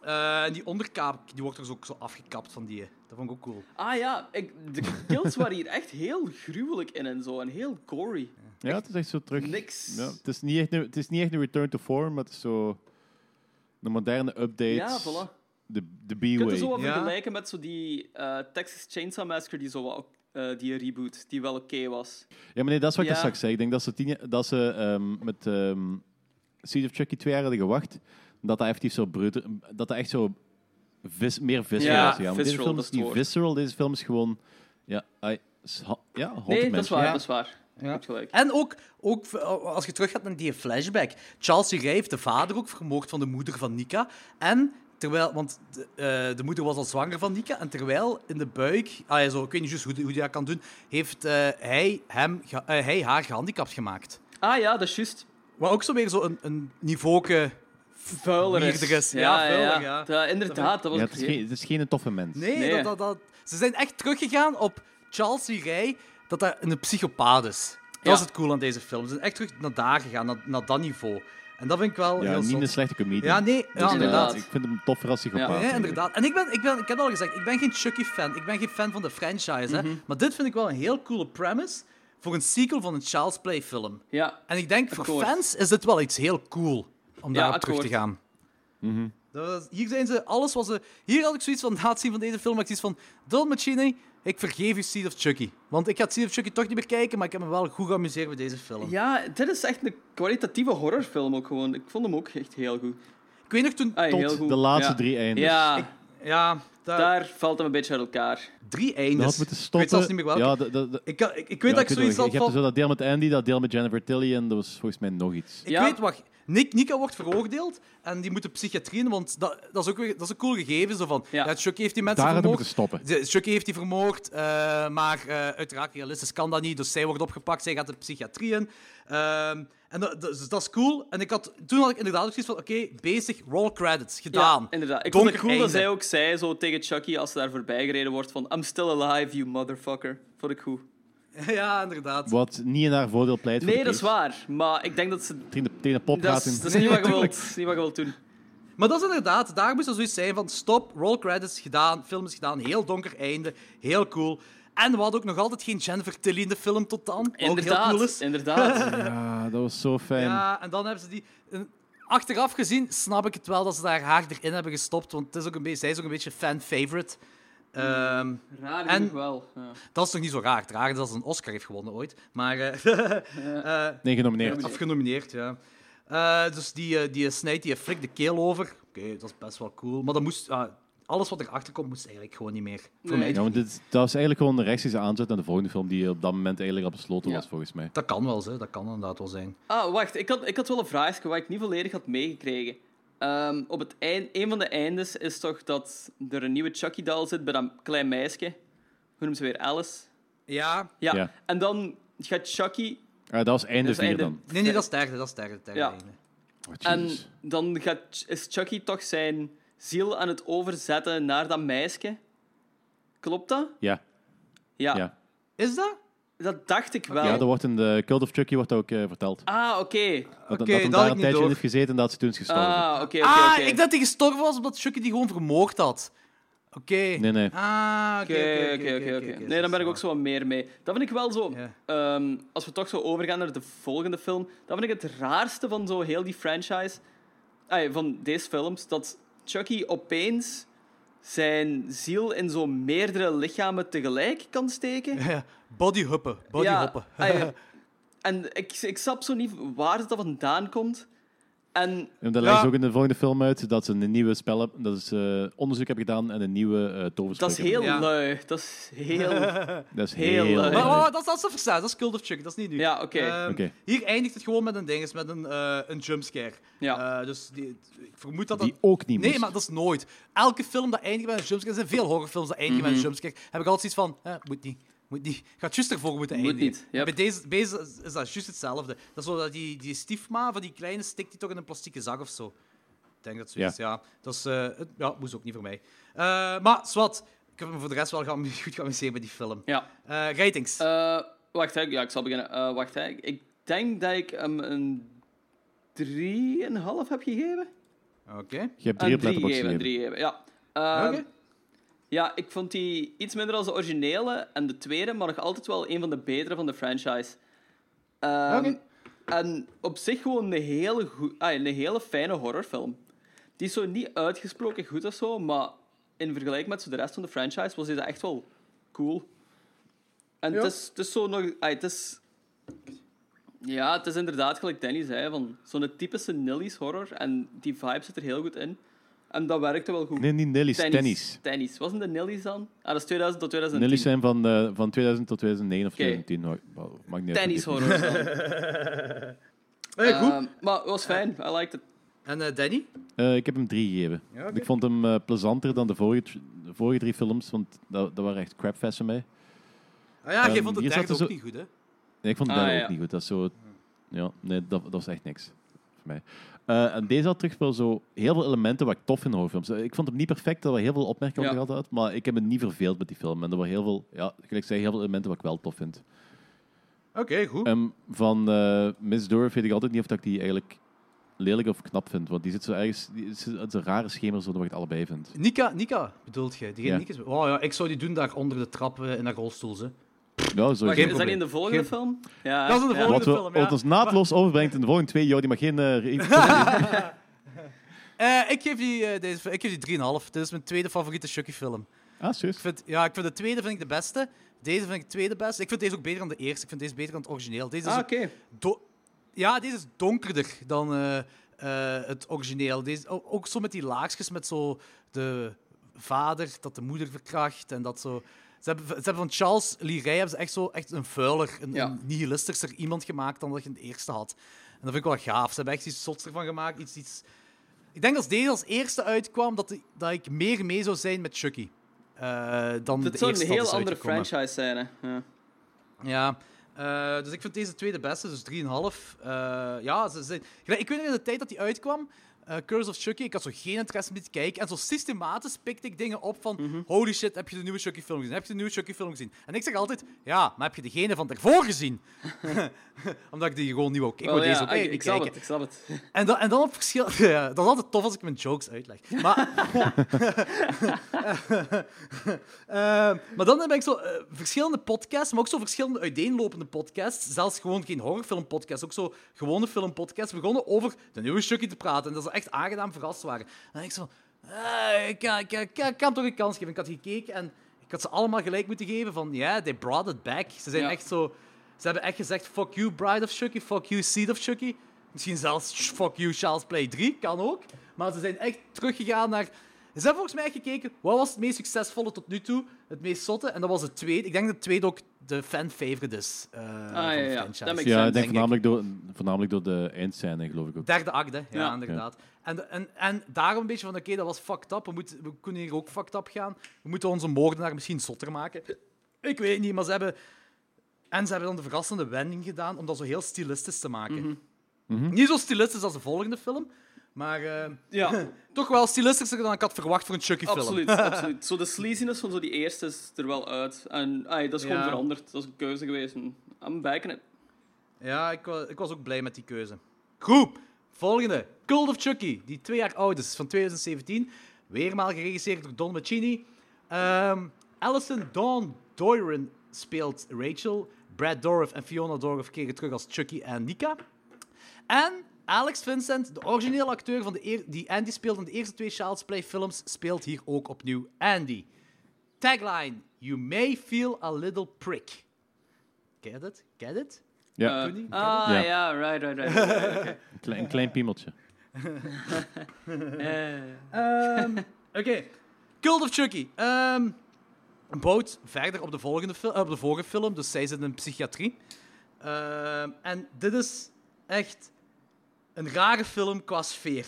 Eh, en die onderkaap die wordt er dus ook zo afgekapt van die. eh, Dat vond ik ook cool.
Ah ja, ik, de kills waren hier echt heel gruwelijk in en zo. En heel gory.
Ja, het is echt zo terug.
Niks.
Ja, het, is niet echt een, het is niet echt een return to form, maar het is zo een moderne update.
Ja, voilà.
De, de
Je kunt het zo
B-way.
wat
Ja.
vergelijken met zo die eh, Texas Chainsaw Massacre, die, zo wat, ok- eh, die reboot, die wel oké was.
Ja, maar nee, dat is wat ik
Ja.
daar straks zei. Ik denk dat ze, tien, jaar- dat ze ehm, met ehm Siege of Chucky twee jaar hadden gewacht, dat dat effectief zo bruter, dat dat echt zo vis, meer visceral
Ja,
is gegaan. Want deze
visceral,
film is
dat is het
niet
woord.
visceral, deze film is gewoon... Ja, I, is ha- ja haunted
Nee, dat is
mansion.
waar,
Ja.
dat is waar. Je hebt gelijk.
En ook, ook v- eh, als je terug gaat naar die flashback. Charles Sirij heeft de vader ook vermoord van de moeder van Nika. En terwijl, want de, eh, de moeder was al zwanger van Nika. En terwijl in de buik, ah, ja, zo, ik weet niet juist hoe, die- hoe die dat kan doen, heeft eh, hij, hem, ge- eh, hij haar gehandicapt gemaakt.
Ah ja, dat is juist.
Wat ook zo weer zo een, een niveauke.
Vuiler is.
Weirder is. Ja, vuiler, ja.
Dat- inderdaad, dat was
Ja,
ik
het, is geen, het is geen toffe mens.
Nee,
Nee.
Dat, dat, dat- ze zijn echt teruggegaan op Charles Sirij, dat dat een psychopaat is. Dat
Ja.
is het cool aan deze film. Ze zijn echt terug naar daar gegaan, naar, naar dat niveau. En dat vind ik wel
Ja,
heel
niet
zot.
een slechte comedian.
Ja, nee, ja,
Dus, eh,
inderdaad.
Ik vind hem toffer als psychopaat.
Ja,
Ja,
eigenlijk.
inderdaad. En ik ben, ik ben, ik heb al gezegd, ik ben geen Chucky-fan. Ik ben geen fan van de franchise. Hè. Maar dit vind ik wel een heel coole premise voor een sequel van een Child's Play-film.
Ja,
En ik denk, voor
Akkoord.
fans is dit wel iets heel cool om
Ja,
daarop terug te
akkoord. Mhm.
gaan. Dat was- hier zijn ze, alles was ze... Hier had ik zoiets van, na het zien van deze film, had ik zoiets van... Don Machine, ik vergeef u Seed of Chucky. Want ik ga Seed of Chucky toch niet meer kijken, maar ik heb me wel goed geamuseerd met deze film.
ja, dit is echt een kwalitatieve horrorfilm ook gewoon. Ik vond hem ook echt heel goed.
Ik weet nog toen...
Ah,
Tot
heel goed.
de laatste
Ja.
drie eindes.
Ja,
eh, Ja, daar,
daar valt hem een beetje uit elkaar.
drie
Dat
eindes.
had moeten
Ik
stoppen.
weet zelfs niet meer welke.
Ja, dat- dat- dat-
Ik, kan- ik, ik weet
ja,
dat ik dus zoiets
wel.
had
Je hebt
van...
zo dat deel met Andy, dat deel met Jennifer Tilly en dat was volgens mij nog iets.
Ik
Ja.
weet, wacht. Nick, Nika wordt veroordeeld en die moet de psychiatrie in, want dat, dat is ook weer, dat is een cool gegeven. Zo van, ja.
Ja.
Chucky heeft die mensen
Daar hadden we
vermoord.
moeten stoppen.
De- Chucky heeft die vermoord, eh, maar eh, uiteraard realistisch kan dat niet. Dus zij wordt opgepakt, zij gaat de psychiatrie in. Ehm, en dat, dat- dus dat is cool. En ik had, toen had ik inderdaad ook zoiets van, oké, bezig, roll credits, gedaan.
Ja, inderdaad. Ik
Donker
vond het cool dat
einde.
zij ook zei zo tegen Chucky als ze daar voorbij gereden wordt van I'm still alive, you motherfucker. Vond ik goed.
ja, inderdaad.
Wat niet in haar voordeel pleit voor
Nee,
de
dat is
case.
waar. Maar ik denk dat ze...
Tegen de, tegen de pop
Dat
gaat
is,
in.
dat is niet wat je wilt, dat is niet wat je wilt doen.
Maar dat is inderdaad, daar moest er zoiets zijn van stop, roll credits gedaan, film is gedaan, heel donker einde, heel cool. En we hadden ook nog altijd geen Jennifer Tilly in de film tot dan, wat ook heel
Inderdaad,
cool is.
inderdaad.
Ja, dat was zo fijn.
Ja, en dan hebben ze die... en Achteraf gezien snap ik het wel dat ze daar haar erin hebben gestopt, want het is ook een beetje, zij is ook een beetje fan-favorite. Ehm,
Raar
En-
genoeg wel. Ja.
dat is nog niet zo raar. Het raar is dat ze een Oscar heeft gewonnen ooit. Maar eh, eh,
Nee, genomineerd.
afgenomineerd, ja. Eh, dus die, eh, die snijdt die flik de keel over. Oké, dat is best wel cool. Maar dat moest, ah, alles wat erachter komt, moest eigenlijk gewoon niet meer. Voor
Nee.
mij.
Ja, want dit, dat was eigenlijk gewoon de rechtstreekse aanzet naar de volgende film die op dat moment eigenlijk al besloten
Ja.
was, volgens mij.
Dat kan wel, zo. dat kan inderdaad wel zijn.
Ah, wacht. Ik had, ik had wel een vraagje wat ik niet volledig had meegekregen. Ehm, op het eind, een van de eindes is toch dat er een nieuwe Chucky-doll zit bij dat klein meisje. Hoe noemt ze weer? Alice?
Ja.
Ja.
Ja.
En dan gaat Chucky...
Ah, dat was einde
Dus
4
einde-
dan.
Nee, nee, dat is derde, dat is derde. derde
Ja.
einde.
Oh,
En
jezus.
dan gaat, is Chucky toch zijn ziel aan het overzetten naar dat meisje. Klopt dat?
Ja,
Ja.
ja.
Is dat?
Dat dacht ik wel.
ja, dat wordt in de Cult of Chucky wordt dat ook eh, verteld.
Ah, oké.
Dat,
Oké,
dat hem
dat
daar
had
een
ik niet
tijdje in
door.
heeft gezeten en dat ze toen is gestorven.
Ah, oké, oké,
ah,
oké.
ik dacht dat hij gestorven was omdat Chucky die gewoon vermoord had. Oké.
Nee, nee.
Ah, oké,
Oké, oké, oké, oké. Nee, dan ben ik ook zo wat meer mee. Dat vind ik wel zo.
Ja.
ehm, als we toch zo overgaan naar de volgende film, dat vind ik het raarste van zo heel die franchise, ai, van deze films, dat Chucky opeens zijn ziel in zo meerdere lichamen tegelijk kan steken.
Bodyhuppen, bodyhuppen.
ai, en ik, ik snap zo niet waar dat vandaan komt. En
En dat
Ja.
legt ze ook in de volgende film uit dat ze een nieuwe spel hebben, dat ze eh, onderzoek hebben gedaan en een nieuwe eh toverspel.
dat is heel
Ja.
lui. Dat is heel...
Dat is heel.
heel, eh,
erg.
Maar, maar, maar dat, dat is te verstaan, dat is Cult of Chuck, dat is niet nu.
Ja, oké.
Ehm,
Oké.
Hier eindigt het gewoon met een ding, met een, eh, een jumpscare.
ja.
Eh, dus die, ik vermoed dat dat...
die ook niet
Nee,
moest.
maar dat is nooit. Elke film dat eindigt met een jumpscare, er zijn veel horrorfilms dat eindigen met een jumpscare, heb ik altijd zoiets van, eh, moet niet. Moet niet. Gaat juist ervoor moeten
Moet
eindigen.
niet, yep.
Bij deze, bij deze is- is dat juist hetzelfde. Dat is zo dat die, die stiefma van die kleine stikt die toch in een plastieke zak of zo. Ik denk dat zoiets, ja. Dat is, eh, het- ja, moest ook niet voor mij. Eh, maar, zwart. Ik heb me voor de rest wel geam- goed geamuseerd met die film.
ja.
Eh, ratings.
Eh, wacht, hè. ja, ik zal beginnen. Eh, wacht, hè. ik denk dat ik hem een 3,5 heb gegeven.
Oké.
Je hebt
Een
drie op
drie
letterbox
gegeven,
gegeven.
drie gegeven, ja. Eh,
Oké.
Ja, ik vond die iets minder als de originele en de tweede, maar nog altijd wel een van de betere van de franchise. Ehm,
Oké.
En op zich gewoon een hele, goe- ah, een hele fijne horrorfilm. Die is zo niet uitgesproken goed of zo, maar in vergelijking met zo de rest van de franchise was deze echt wel cool. En
Ja.
het, is, het is zo nog... ah, het is, ja, het is inderdaad gelijk Danny zei, van zo'n typische Nilly's horror. En die vibe zit er heel goed in. En dat werkte wel goed.
Nee, niet Nelly's, tennis.
Tennis. Tennis. Wasn't de Nillies dan? Ah, dat is 2000 tot 2010.
Nelly's zijn van, eh, van 2000 tot 2009 of
Oké.
2010. Nou, wauw, maakt niet uit.
Tennis
Dit-
horror. eh,
Hey, goed.
maar het was fijn. I liked it.
en eh, Danny?
Eh, ik heb hem drie gegeven.
Ja, oké.
Ik vond hem eh, plezanter dan de vorige, tr- de vorige drie films, want dat, dat waren echt crapfests voor mij.
Ah ja, jij
Ehm,
vond het
hier
derde ook
zaten zo-
niet goed, hè?
Nee, ik vond het
Ah,
daar
ja.
ook niet goed. Dat is zo... Ja, nee, dat, dat was echt niks voor mij. Eh, en deze had terug wel zo heel veel elementen wat ik tof vind in horrorfilms. Eh, Ik vond hem niet perfect, dat we heel veel opmerkingen
Ja.
gehad hadden, maar ik heb me niet verveeld met die film. En er waren heel veel, ja, gelijk ik zei, heel veel elementen wat ik wel tof vind.
Oké, goed.
Ehm, van eh, Miss Dorf weet ik altijd niet of dat ik die eigenlijk lelijk of knap vind, want die zit zo ergens... Die, het is het is een rare schemer zo dat ik het allebei vind.
Nika, Nika, bedoelt je? Diegene
Ja.
Nika is... Oh ja, ik zou die doen daar onder de trap eh, in haar rolstoel, ze.
Ja, zo
Wacht,
geen
is dat niet
probleem.
in de volgende
Geen-
film? Ja.
Dat is in de
ja.
volgende-
Nou, Wat, we,
film, ja.
wat ons naadloos overbrengt in de volgende twee, joh, die mag geen... eh, re-
Eh, ik geef die, eh, deze, ik geef die 3,5. Dit is mijn tweede favoriete Chucky-film.
ah,
Ik
serieus?
vind, ja, ik vind de tweede vind ik de beste. Deze vind ik de tweede beste. Ik vind deze ook beter dan de eerste. Ik vind deze beter dan het origineel. Deze is
Ah,
ook
oké.
do- ja, deze is donkerder dan eh, eh, het origineel. Deze, o- ook zo met die laagjes met zo de vader dat de moeder verkracht en dat zo. Ze hebben, ze hebben van Charles Lee Ray hebben ze echt zo echt een vuiler, een,
Ja.
een nihilistischer iemand gemaakt dan dat je in de eerste had. En dat vind ik wel gaaf. Ze hebben echt iets zots ervan gemaakt. Iets, iets... Ik denk als deze als eerste uitkwam, dat, die- dat ik meer mee zou zijn met Chucky. eh, dan de
Dit zou
eerste
een
dat
heel
is
andere
uitgekomen.
franchise zijn. Hè. Ja.
Ja, eh, dus ik vind deze tweede beste, dus 3,5. Eh, ja, ze zijn... Gelijk, Ik weet nog in de tijd dat die uitkwam, eh, Curse of Chucky, ik had zo geen interesse om die te kijken. En zo systematisch pikte ik dingen op van,
Mhm.
holy shit, heb je de nieuwe Chucky-film gezien? Heb je de nieuwe Chucky-film gezien? En ik zeg altijd, ja, maar heb je degene van daarvoor gezien? Omdat ik die gewoon niet wou kijken. Ik
Wel,
wou
ja,
deze ook
ik, ik
eigenlijk
snap
niet
het,
kijken.
ik snap het.
En, dan en dan op verschil... Ja, dat is altijd tof als ik mijn jokes uitleg. Maar... Ehm, maar dan heb ik zo eh, verschillende podcasts, maar ook zo verschillende uiteenlopende podcasts. Zelfs gewoon geen horrorfilmpodcasts, ook zo gewone filmpodcasts. Begonnen over de nieuwe Chucky te praten. En dat ze echt aangenaam verrast waren. En dan denk ik zo, eh, ik, kan- ik, kan- ik, kan- ik kan hem toch een kans geven. Ik had gekeken en ik had ze allemaal gelijk moeten geven van, ja, they brought it back. Ze zijn
Ja.
echt zo... Ze hebben echt gezegd, fuck you Bride of Chucky, fuck you Seed of Chucky. Misschien zelfs sh- fuck you Charles Play 3, kan ook. Maar ze zijn echt teruggegaan naar... Ze hebben volgens mij echt gekeken, wat was het meest succesvolle tot nu toe? Het meest zotte? En dat was het tweede. Ik denk dat het tweede ook de fan-favorite is eh,
Ah, ja,
van de
ja.
franchise.
Dat makes-
Ja,
sense,
ik
denk
denk
ik.
voornamelijk, Door, voornamelijk door de eindscène, geloof ik ook.
Derde acte, ja,
Ja.
inderdaad. En, en, en daarom een beetje van, oké, dat was fucked up. We, moeten, we kunnen hier ook fucked up gaan. We moeten onze moordenaar misschien zotter maken. Ik weet niet, maar ze hebben... En ze hebben dan de verrassende wending gedaan om dat zo heel stilistisch te maken.
Mhm.
Niet zo stilistisch als de volgende film, maar eh,
Ja,
toch wel stilistischer dan ik had verwacht voor een Chucky-film.
absoluut, absoluut. Zo de sleaziness van zo die eerste is er wel uit. En ai, dat is gewoon
Ja.
veranderd. Dat is een keuze geweest. en I'm backing it.
Ja, ik was, ik was ook blij met die keuze. Goed, volgende. Cult of Chucky, die twee jaar oud is, van 2017. Weermaal geregisseerd door Don Mancini. Ehm Alison Dawn Doiron speelt Rachel. Brad Dorff en Fiona Dorff keren terug als Chucky en Nika. En Alex Vincent, de originele acteur van de eer- die Andy speelt in de eerste twee Child's Play films, speelt hier ook opnieuw Andy. Tagline, you may feel a little prick. Get it? Get it?
Ja,
Eh,
Tony?
ah,
Ja.
ja, right, right, right.
een, klein, een klein piemeltje.
Eh,
Ehm, Oké. Cult of Chucky. Ehm bouwt verder op de, volgende fil- eh, op de vorige film. Dus zij zit in een psychiatrie. Ehm, en dit is echt een rare film qua sfeer.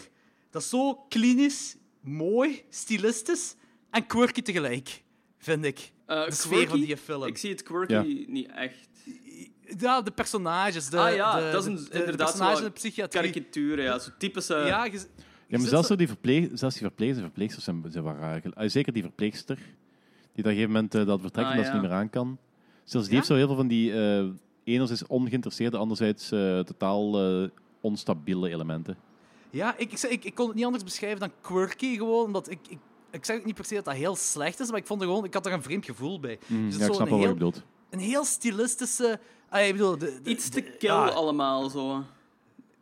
Dat is zo klinisch, mooi, stilistisch en quirky tegelijk, vind ik.
eh,
de sfeer van
quirky?
die film.
Ik zie het quirky
Ja.
niet echt.
Ja, de personages. De,
ah ja,
de-
dat is een,
de- de
inderdaad
personages
zo'n
in de psychiatrie.
karikaturen, ja. Zo typische...
Ja, je- je
Ja, maar
zit
zelfs,
zo-
zo die verpleeg, zelfs die verplegers en verpleegsters zijn, zijn wel raar. gel- Ah, Zeker die verpleegster, die op een gegeven moment eh, dat vertrekt
Ah,
omdat ze
ja.
niet meer aan kan. Zelfs die
Ja?
heeft zo heel veel van die, eh, enerzijds ongeïnteresseerde, anderzijds eh, totaal eh, onstabiele elementen.
Ja, ik, ik, zei- ik, ik kon het niet anders beschrijven dan quirky gewoon. Omdat ik, ik, ik zeg ook niet per se dat dat heel slecht is, maar ik, vond er gewoon, ik had er een vreemd gevoel bij. Dus
Mm, ja, ik snap
een,
wel wat je
heel,
bedoelt.
een heel stilistische... ah, ik bedoel, de- de- ah. Oh,
Iets te
de-
kill
ja,
allemaal, zo.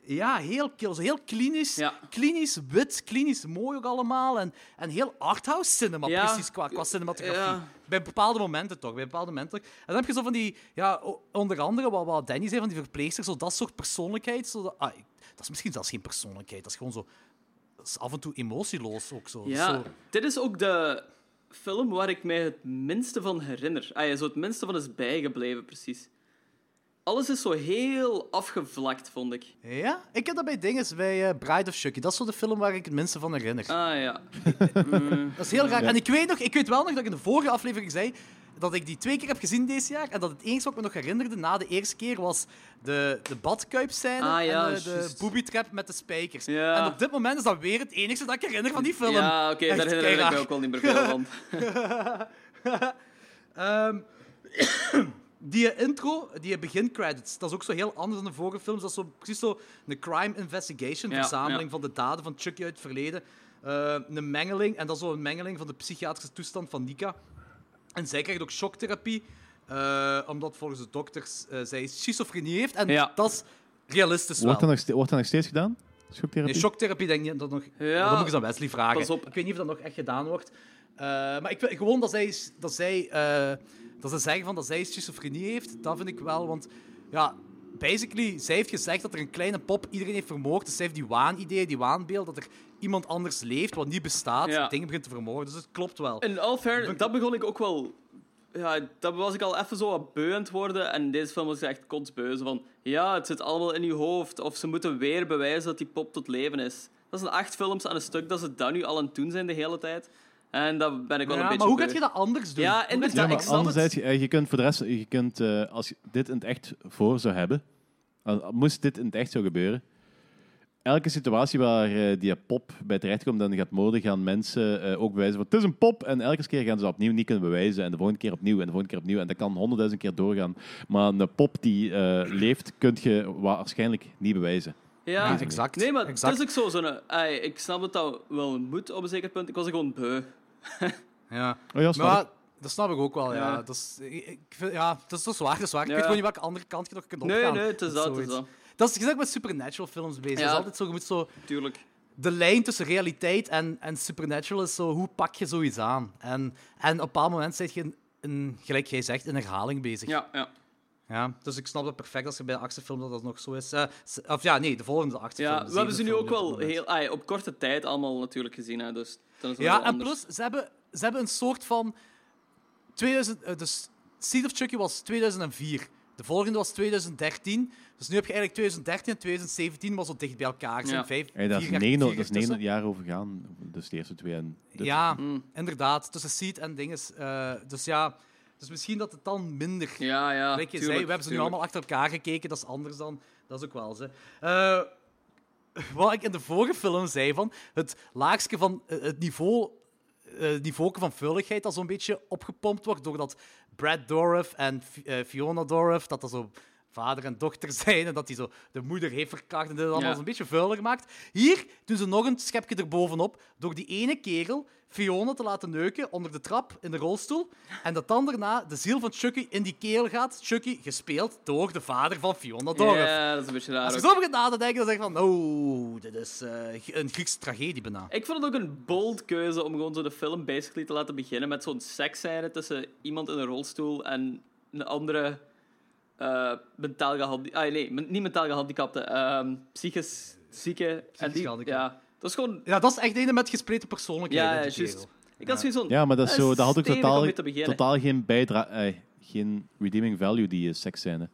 Ja, heel kill. Zo Heel klinisch,
Ja.
klinisch wit, klinisch mooi ook allemaal. En, en heel arthouse cinema,
Ja.
precies, qua, qua cinematografie.
Ja.
Bij bepaalde momenten toch, bij bepaalde momenten. En dan heb je zo van die, ja, o- onder andere wat, wat Danny zei, van die verpleegster, zo dat soort persoonlijkheid. Zo dat, ah, dat is misschien zelfs geen persoonlijkheid, dat is gewoon zo... Dat is af en toe emotieloos ook zo.
Ja,
zo
dit is ook de film waar ik mij het minste van herinner. Ah, ja, zo het minste van is bijgebleven, precies. Alles is zo heel afgevlakt, vond ik.
Ja, ik heb dat bij dinges, bij eh, Bride of Chucky. Dat is zo de film waar ik het minste van herinner.
Ah ja.
dat is heel raar. En ik weet, nog, ik weet wel nog dat ik in de vorige aflevering zei dat ik die twee keer heb gezien deze jaar. En dat het enige wat ik me nog herinnerde na de eerste keer was de, de badkuipscène
Ah, ja,
en de, de
juist.
booby trap met de spijkers.
Ja.
En op dit moment is dat weer het enige dat ik herinner van die film.
Ja, oké,
Echt
daar herinner ik
keiraar.
me ook al niet meer veel van.
Ehm, die eh, intro, die begincredits, dat is ook zo heel anders dan de vorige films. Dat is zo, precies zo een crime investigation,
Ja,
verzameling
ja.
van de daden van Chucky uit het verleden. Eh, een mengeling, en dat is zo een mengeling van de psychiatrische toestand van Nika. En zij krijgt ook shocktherapie, eh, omdat volgens de dokters eh, zij schizofrenie heeft. En
Ja.
dat is realistisch wel.
Wordt dat, nog ste- wordt dat nog steeds gedaan? Schoktherapie?
Nee, shocktherapie denk ik niet dat nog...
Ja.
Dat moet ik eens aan Wesley vragen.
Pas op.
Ik weet niet of dat nog echt gedaan wordt. Eh, maar ik, wil- gewoon dat zij, dat zij eh, dat ze zeggen van dat zij schizofrenie heeft, dat vind ik wel. Want ja, basically, zij heeft gezegd dat er een kleine pop iedereen heeft vermoord. Dus zij heeft die waanidee, die waanbeeld, dat er iemand anders leeft wat niet bestaat.
Ja.
Dingen begint te vermoorden, dus het klopt wel.
In all fairness, dat begon ik ook wel... Ja, dat was ik al even zo wat beu aan het worden. En in deze film was ik echt kotsbeu. Zo van, ja, het zit allemaal in uw hoofd. Of ze moeten weer bewijzen dat die pop tot leven is. Dat zijn acht films aan een stuk dat ze dat nu al aan het doen zijn de hele tijd. En dat ben ik wel
Ja,
een beetje
maar hoe
beu.
gaat je dat anders doen?
Ja,
Hoe gaat je
inderdaad,
dat
ik
ja,
anders
maar
snap het.
anderzijds, je, eh, je kunt voor de rest, je kunt, eh, als je dit in het echt voor zou hebben, als- moest dit in het echt zo gebeuren, elke situatie waar eh, die pop bij terechtkomt en gaat moorden, gaan mensen eh, ook bewijzen van het is een pop. En elke keer gaan ze dat opnieuw niet kunnen bewijzen. En de volgende keer opnieuw en de volgende keer opnieuw. En dat kan honderdduizend keer doorgaan. Maar een pop die eh, leeft, kun je waarschijnlijk niet bewijzen.
Ja,
Ja, exact,
Nee, maar dus-
exact.
het is ook zo. Zo'n, ai, ik snap dat dat wel moet op een zeker punt. Ik was er gewoon beu.
Ja.
Oh ja, snap
Maar
ik.
dat snap ik ook wel, ja.
Ja.
Dat, is, ik- ik vind- ja dat, is, dat is waar, dat is waar. Ik
Ja.
weet gewoon niet welke andere kant je nog kunt opgaan.
Nee, nee, het is
met
dat, het is
zoiets.
dat.
Dat is, je bent ook met supernatural films bezig.
Ja.
Dat is altijd zo, je moet zo...
Tuurlijk.
De lijn tussen realiteit en, en supernatural is zo, hoe pak je zoiets aan? En, en op een bepaald moment zit je, in, in, gelijk jij zegt, in herhaling bezig.
Ja, ja.
Ja, dus ik snap dat perfect als je bij de achtste film dat dat nog zo is. Eh, s- of ja, nee, de volgende achtste film.
ja
de
we hebben ze nu
zevende
ook
film op
wel
dit moment.
heel, ai, op korte tijd allemaal natuurlijk gezien. Hè, dus dan is het
Ja,
wel
en
anders.
plus, ze hebben, ze hebben een soort van... 2000, eh, dus Seed of Chucky was 2004. De volgende was 2013. Dus nu heb je eigenlijk 2013 en 2017 was zo dicht bij elkaar. Er zijn
Ja.
vijf,
Hey, daar is
vier jaar-
negen,
vier
dat
jaar
is
tussen.
negen jaar over gaan. Dus de eerste twee en dit.
Ja,
Mm.
inderdaad. Tussen Seed en dinges. eh, dus ja, dus misschien dat het dan minder...
Ja, ja.
Gelijk je
tuurlijk,
zei, we hebben ze nu
tuurlijk.
allemaal achter elkaar gekeken. Dat is anders dan... Dat is ook wel ze. Eh, wat ik in de vorige film zei, van het laagste van eh, het niveau... eh niveau van vulligheid dat zo'n beetje opgepompt wordt doordat Brad Dorff en Fi- eh, Fiona Dorff, dat dat zo vader en dochter zijn en dat die zo de moeder heeft verkracht en dit en dat
Ja.
allemaal een beetje vuiler maakt. Hier doen ze nog een schepje erbovenop door die ene kerel Fiona te laten neuken onder de trap in de rolstoel en dat dan daarna de ziel van Chucky in die kerel gaat. Chucky gespeeld door de vader van Fiona Dorff.
Ja, dat is een beetje raar.
Als je
ook.
zo begint na te denken, dan zeg je van, oh, dit is eh, een Griekse tragedie bijna.
Ik vond het ook een bold keuze om gewoon zo de film basically te laten beginnen met zo'n seksscène tussen iemand in een rolstoel en een andere eh, mentaal gehandicapten... Ah, nee, men- niet mentaal gehandicapten. ehm, psychisch zieken. en die,
gehandicapten.
Ja, dat is gewoon...
Ja, dat is echt de ene met gespleten persoonlijkheid.
Ja,
hè,
ja,
die kerel.
juist. Ik had zoiets van...
Ja, maar dat, is
eh,
zo, dat had ook
stevig om
totaal,
mee te beginnen.
totaal geen bijdrage... geen redeeming value, die seks seksscène.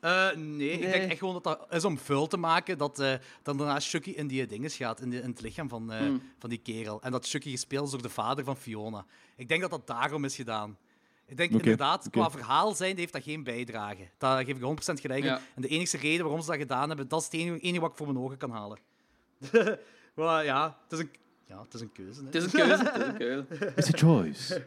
Eh, nee, ik denk
Nee.
echt gewoon dat dat is om vuil te maken dat eh, dan daarna Chucky in die dinges gaat, in, die- in het lichaam van, eh,
Hmm.
van die kerel. En dat Chucky gespeeld is door de vader van Fiona. Ik denk dat dat daarom is gedaan. Ik denk
Oké,
inderdaad,
oké.
qua verhaal zijn heeft dat geen bijdrage. Daar geef ik 100% gelijk in.
Ja.
En de enige reden waarom ze dat gedaan hebben, dat is het enige, enige wat ik voor mijn ogen kan halen. maar ja, het is een, ja, het is een keuze. Hè.
Het is een keuze. het is een keuze.
It's a choice.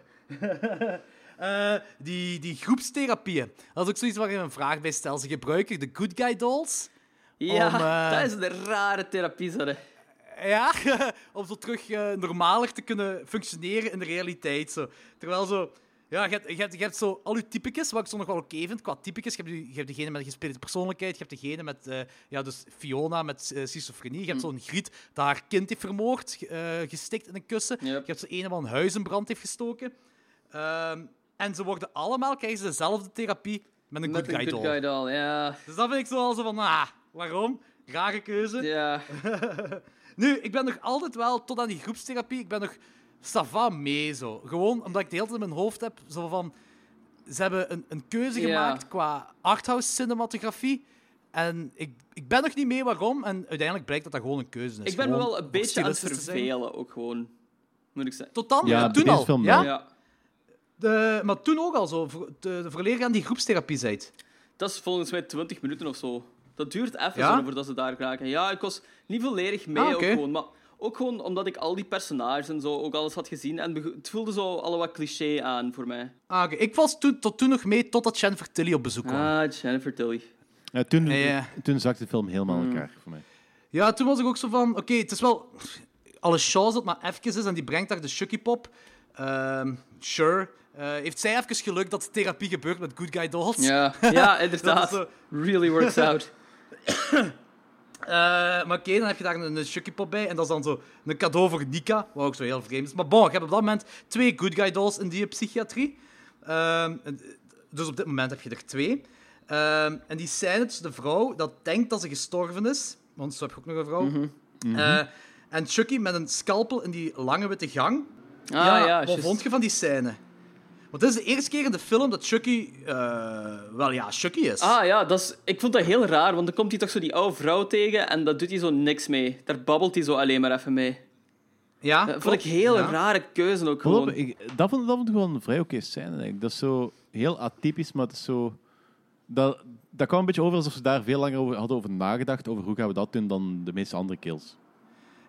Eh, die, die groepstherapieën. Dat is ook zoiets waar ik een vraag bij stel. Ze gebruiken de good guy dolls...
Ja,
Om, eh,
dat is een rare therapie, zo, hè.
Ja, om zo terug eh, normaler te kunnen functioneren in de realiteit. Zo. Terwijl zo... Ja, je hebt, je, hebt, je hebt zo al je typicus, wat ik zo nog wel oké vind, qua typicus. Je hebt, die- je hebt degene met een gespleten persoonlijkheid, je hebt degene met, eh, ja, dus Fiona met eh, schizofrenie. Je hebt zo'n Griet dat haar kind heeft vermoord, ge- eh, gestikt in een kussen.
Yep.
Je hebt zo'n ene wat een huis in brand heeft gestoken. Ehm, en ze worden allemaal, krijgen ze dezelfde therapie met een
Met
good guy
een
doll.
good guy doll, ja.
Dus dat vind ik zo al zo van, ah, waarom? Rare keuze.
Ja,
Nu, ik ben nog altijd wel, tot aan die groepstherapie, ik ben nog sava mee zo. Gewoon omdat ik de hele tijd in mijn hoofd heb, zo van... Ze hebben een, een keuze
Ja.
gemaakt qua arthouse cinematografie. En ik, ik ben nog niet mee waarom. En uiteindelijk blijkt dat dat gewoon een keuze is.
ik ben me
Gewoon
wel een
om
beetje aan het
stilistisch te zijn.
vervelen, ook gewoon. Moet ik zeggen.
Tot dan?
Ja,
Ja,
bij
toen
deze
al.
film
ja?
wel.
Ja,
De, maar toen ook al zo. voor- De, de verleden aan die groepstherapie zijt.
dat is volgens mij 20 minuten of zo. Dat duurt even
Ja?
zo voordat ze daar raken. Ja, ik was niet volledig mee,
Ah, oké.
ook gewoon. Maar ook gewoon omdat ik al die personages en zo ook alles had gezien. En bego- het voelde zo al wat cliché aan voor mij.
Ah, oké. Ik was toen, tot toen nog mee totdat Jen Vertilly op bezoek kwam.
Ah, Jennifer Tilly.
Ja, toen,
Ja, Mm. ja.
toen zakte de film helemaal in elkaar voor mij.
Ja, toen was ik ook zo van... Oké, het is wel... Alle chance dat het maar even is en die brengt daar de Chucky Pop. Ehm, sure. Eh, heeft zij even geluk dat therapie gebeurt met Good Guy Dolls?
Ja, ja
Dat
inderdaad.
is zo.
Really works out.
Eh, maar oké, dan heb je daar een, een Chucky Pop bij. En dat is dan zo een cadeau voor Nika, wat ook zo heel vreemd is. Maar bon, je hebt op dat moment twee Good Guy Dolls in die psychiatrie. Ehm, en- dus op dit moment heb je er twee. Ehm, en die scène tussen de vrouw dat denkt dat ze gestorven is. Want zo heb je ook nog een vrouw.
Mhm.
Eh, en Chucky met een scalpel in die lange witte gang.
Ah, ja,
ja, wat
juist.
vond je van die scène? Want dit is de eerste keer in de film dat Chucky... eh, wel ja, Chucky is.
Ah ja, dat is, ik vond dat heel raar, want dan komt hij toch zo die oude vrouw tegen en dat doet hij zo niks mee. Daar babbelt hij zo alleen maar even mee.
ja,
Dat eh, vond ik
klopt,
heel
ja.
rare keuze ook
Gewoon,
gewoon.
ik, dat, vond, dat vond ik gewoon een vrij oké scène. Eigenlijk. Dat is zo heel atypisch, maar het is zo... Dat, dat kwam een beetje over alsof ze daar veel langer over hadden over nagedacht, over hoe gaan we dat doen, dan de meeste andere kills.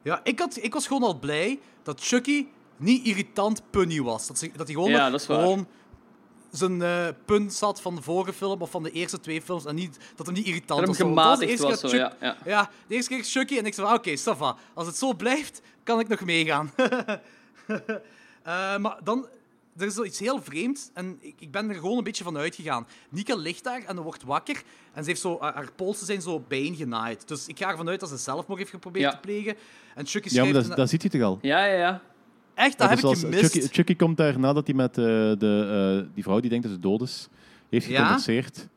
Ja, ik, had, ik was gewoon al blij dat Chucky niet irritant punny was. Dat, ze, dat hij gewoon,
Ja, dat is waar.
gewoon zijn eh, punt zat van de vorige film of van de eerste twee films. En niet, dat hem niet irritant
Dat
was.
hem
Want dat
gematigd
de eerste
was,
keer
zo,
Chuck-
ja,
de eerste keer Chucky en ik zei van, oké, ça va. Als het zo blijft, kan ik nog meegaan. Eh, maar dan... Er is zoiets heel vreemds en ik, ik ben er gewoon een beetje van uitgegaan. Nika ligt daar en wordt wakker en ze heeft zo, haar, haar polsen zijn zo bijeengenaaid. Dus ik ga ervan uit dat ze zelfmoord heeft geprobeerd
Ja.
te plegen. En Chucky
Ja, maar
schrijft
dat,
een-
dat ziet je toch al?
Ja, ja, ja.
Echt, dat,
Dat is
heb ik
dus als
gemist.
Chucky, Chucky komt daar nadat hij met eh, de, eh, die vrouw die denkt dat ze dood is, heeft
Ja?
geconverseerd.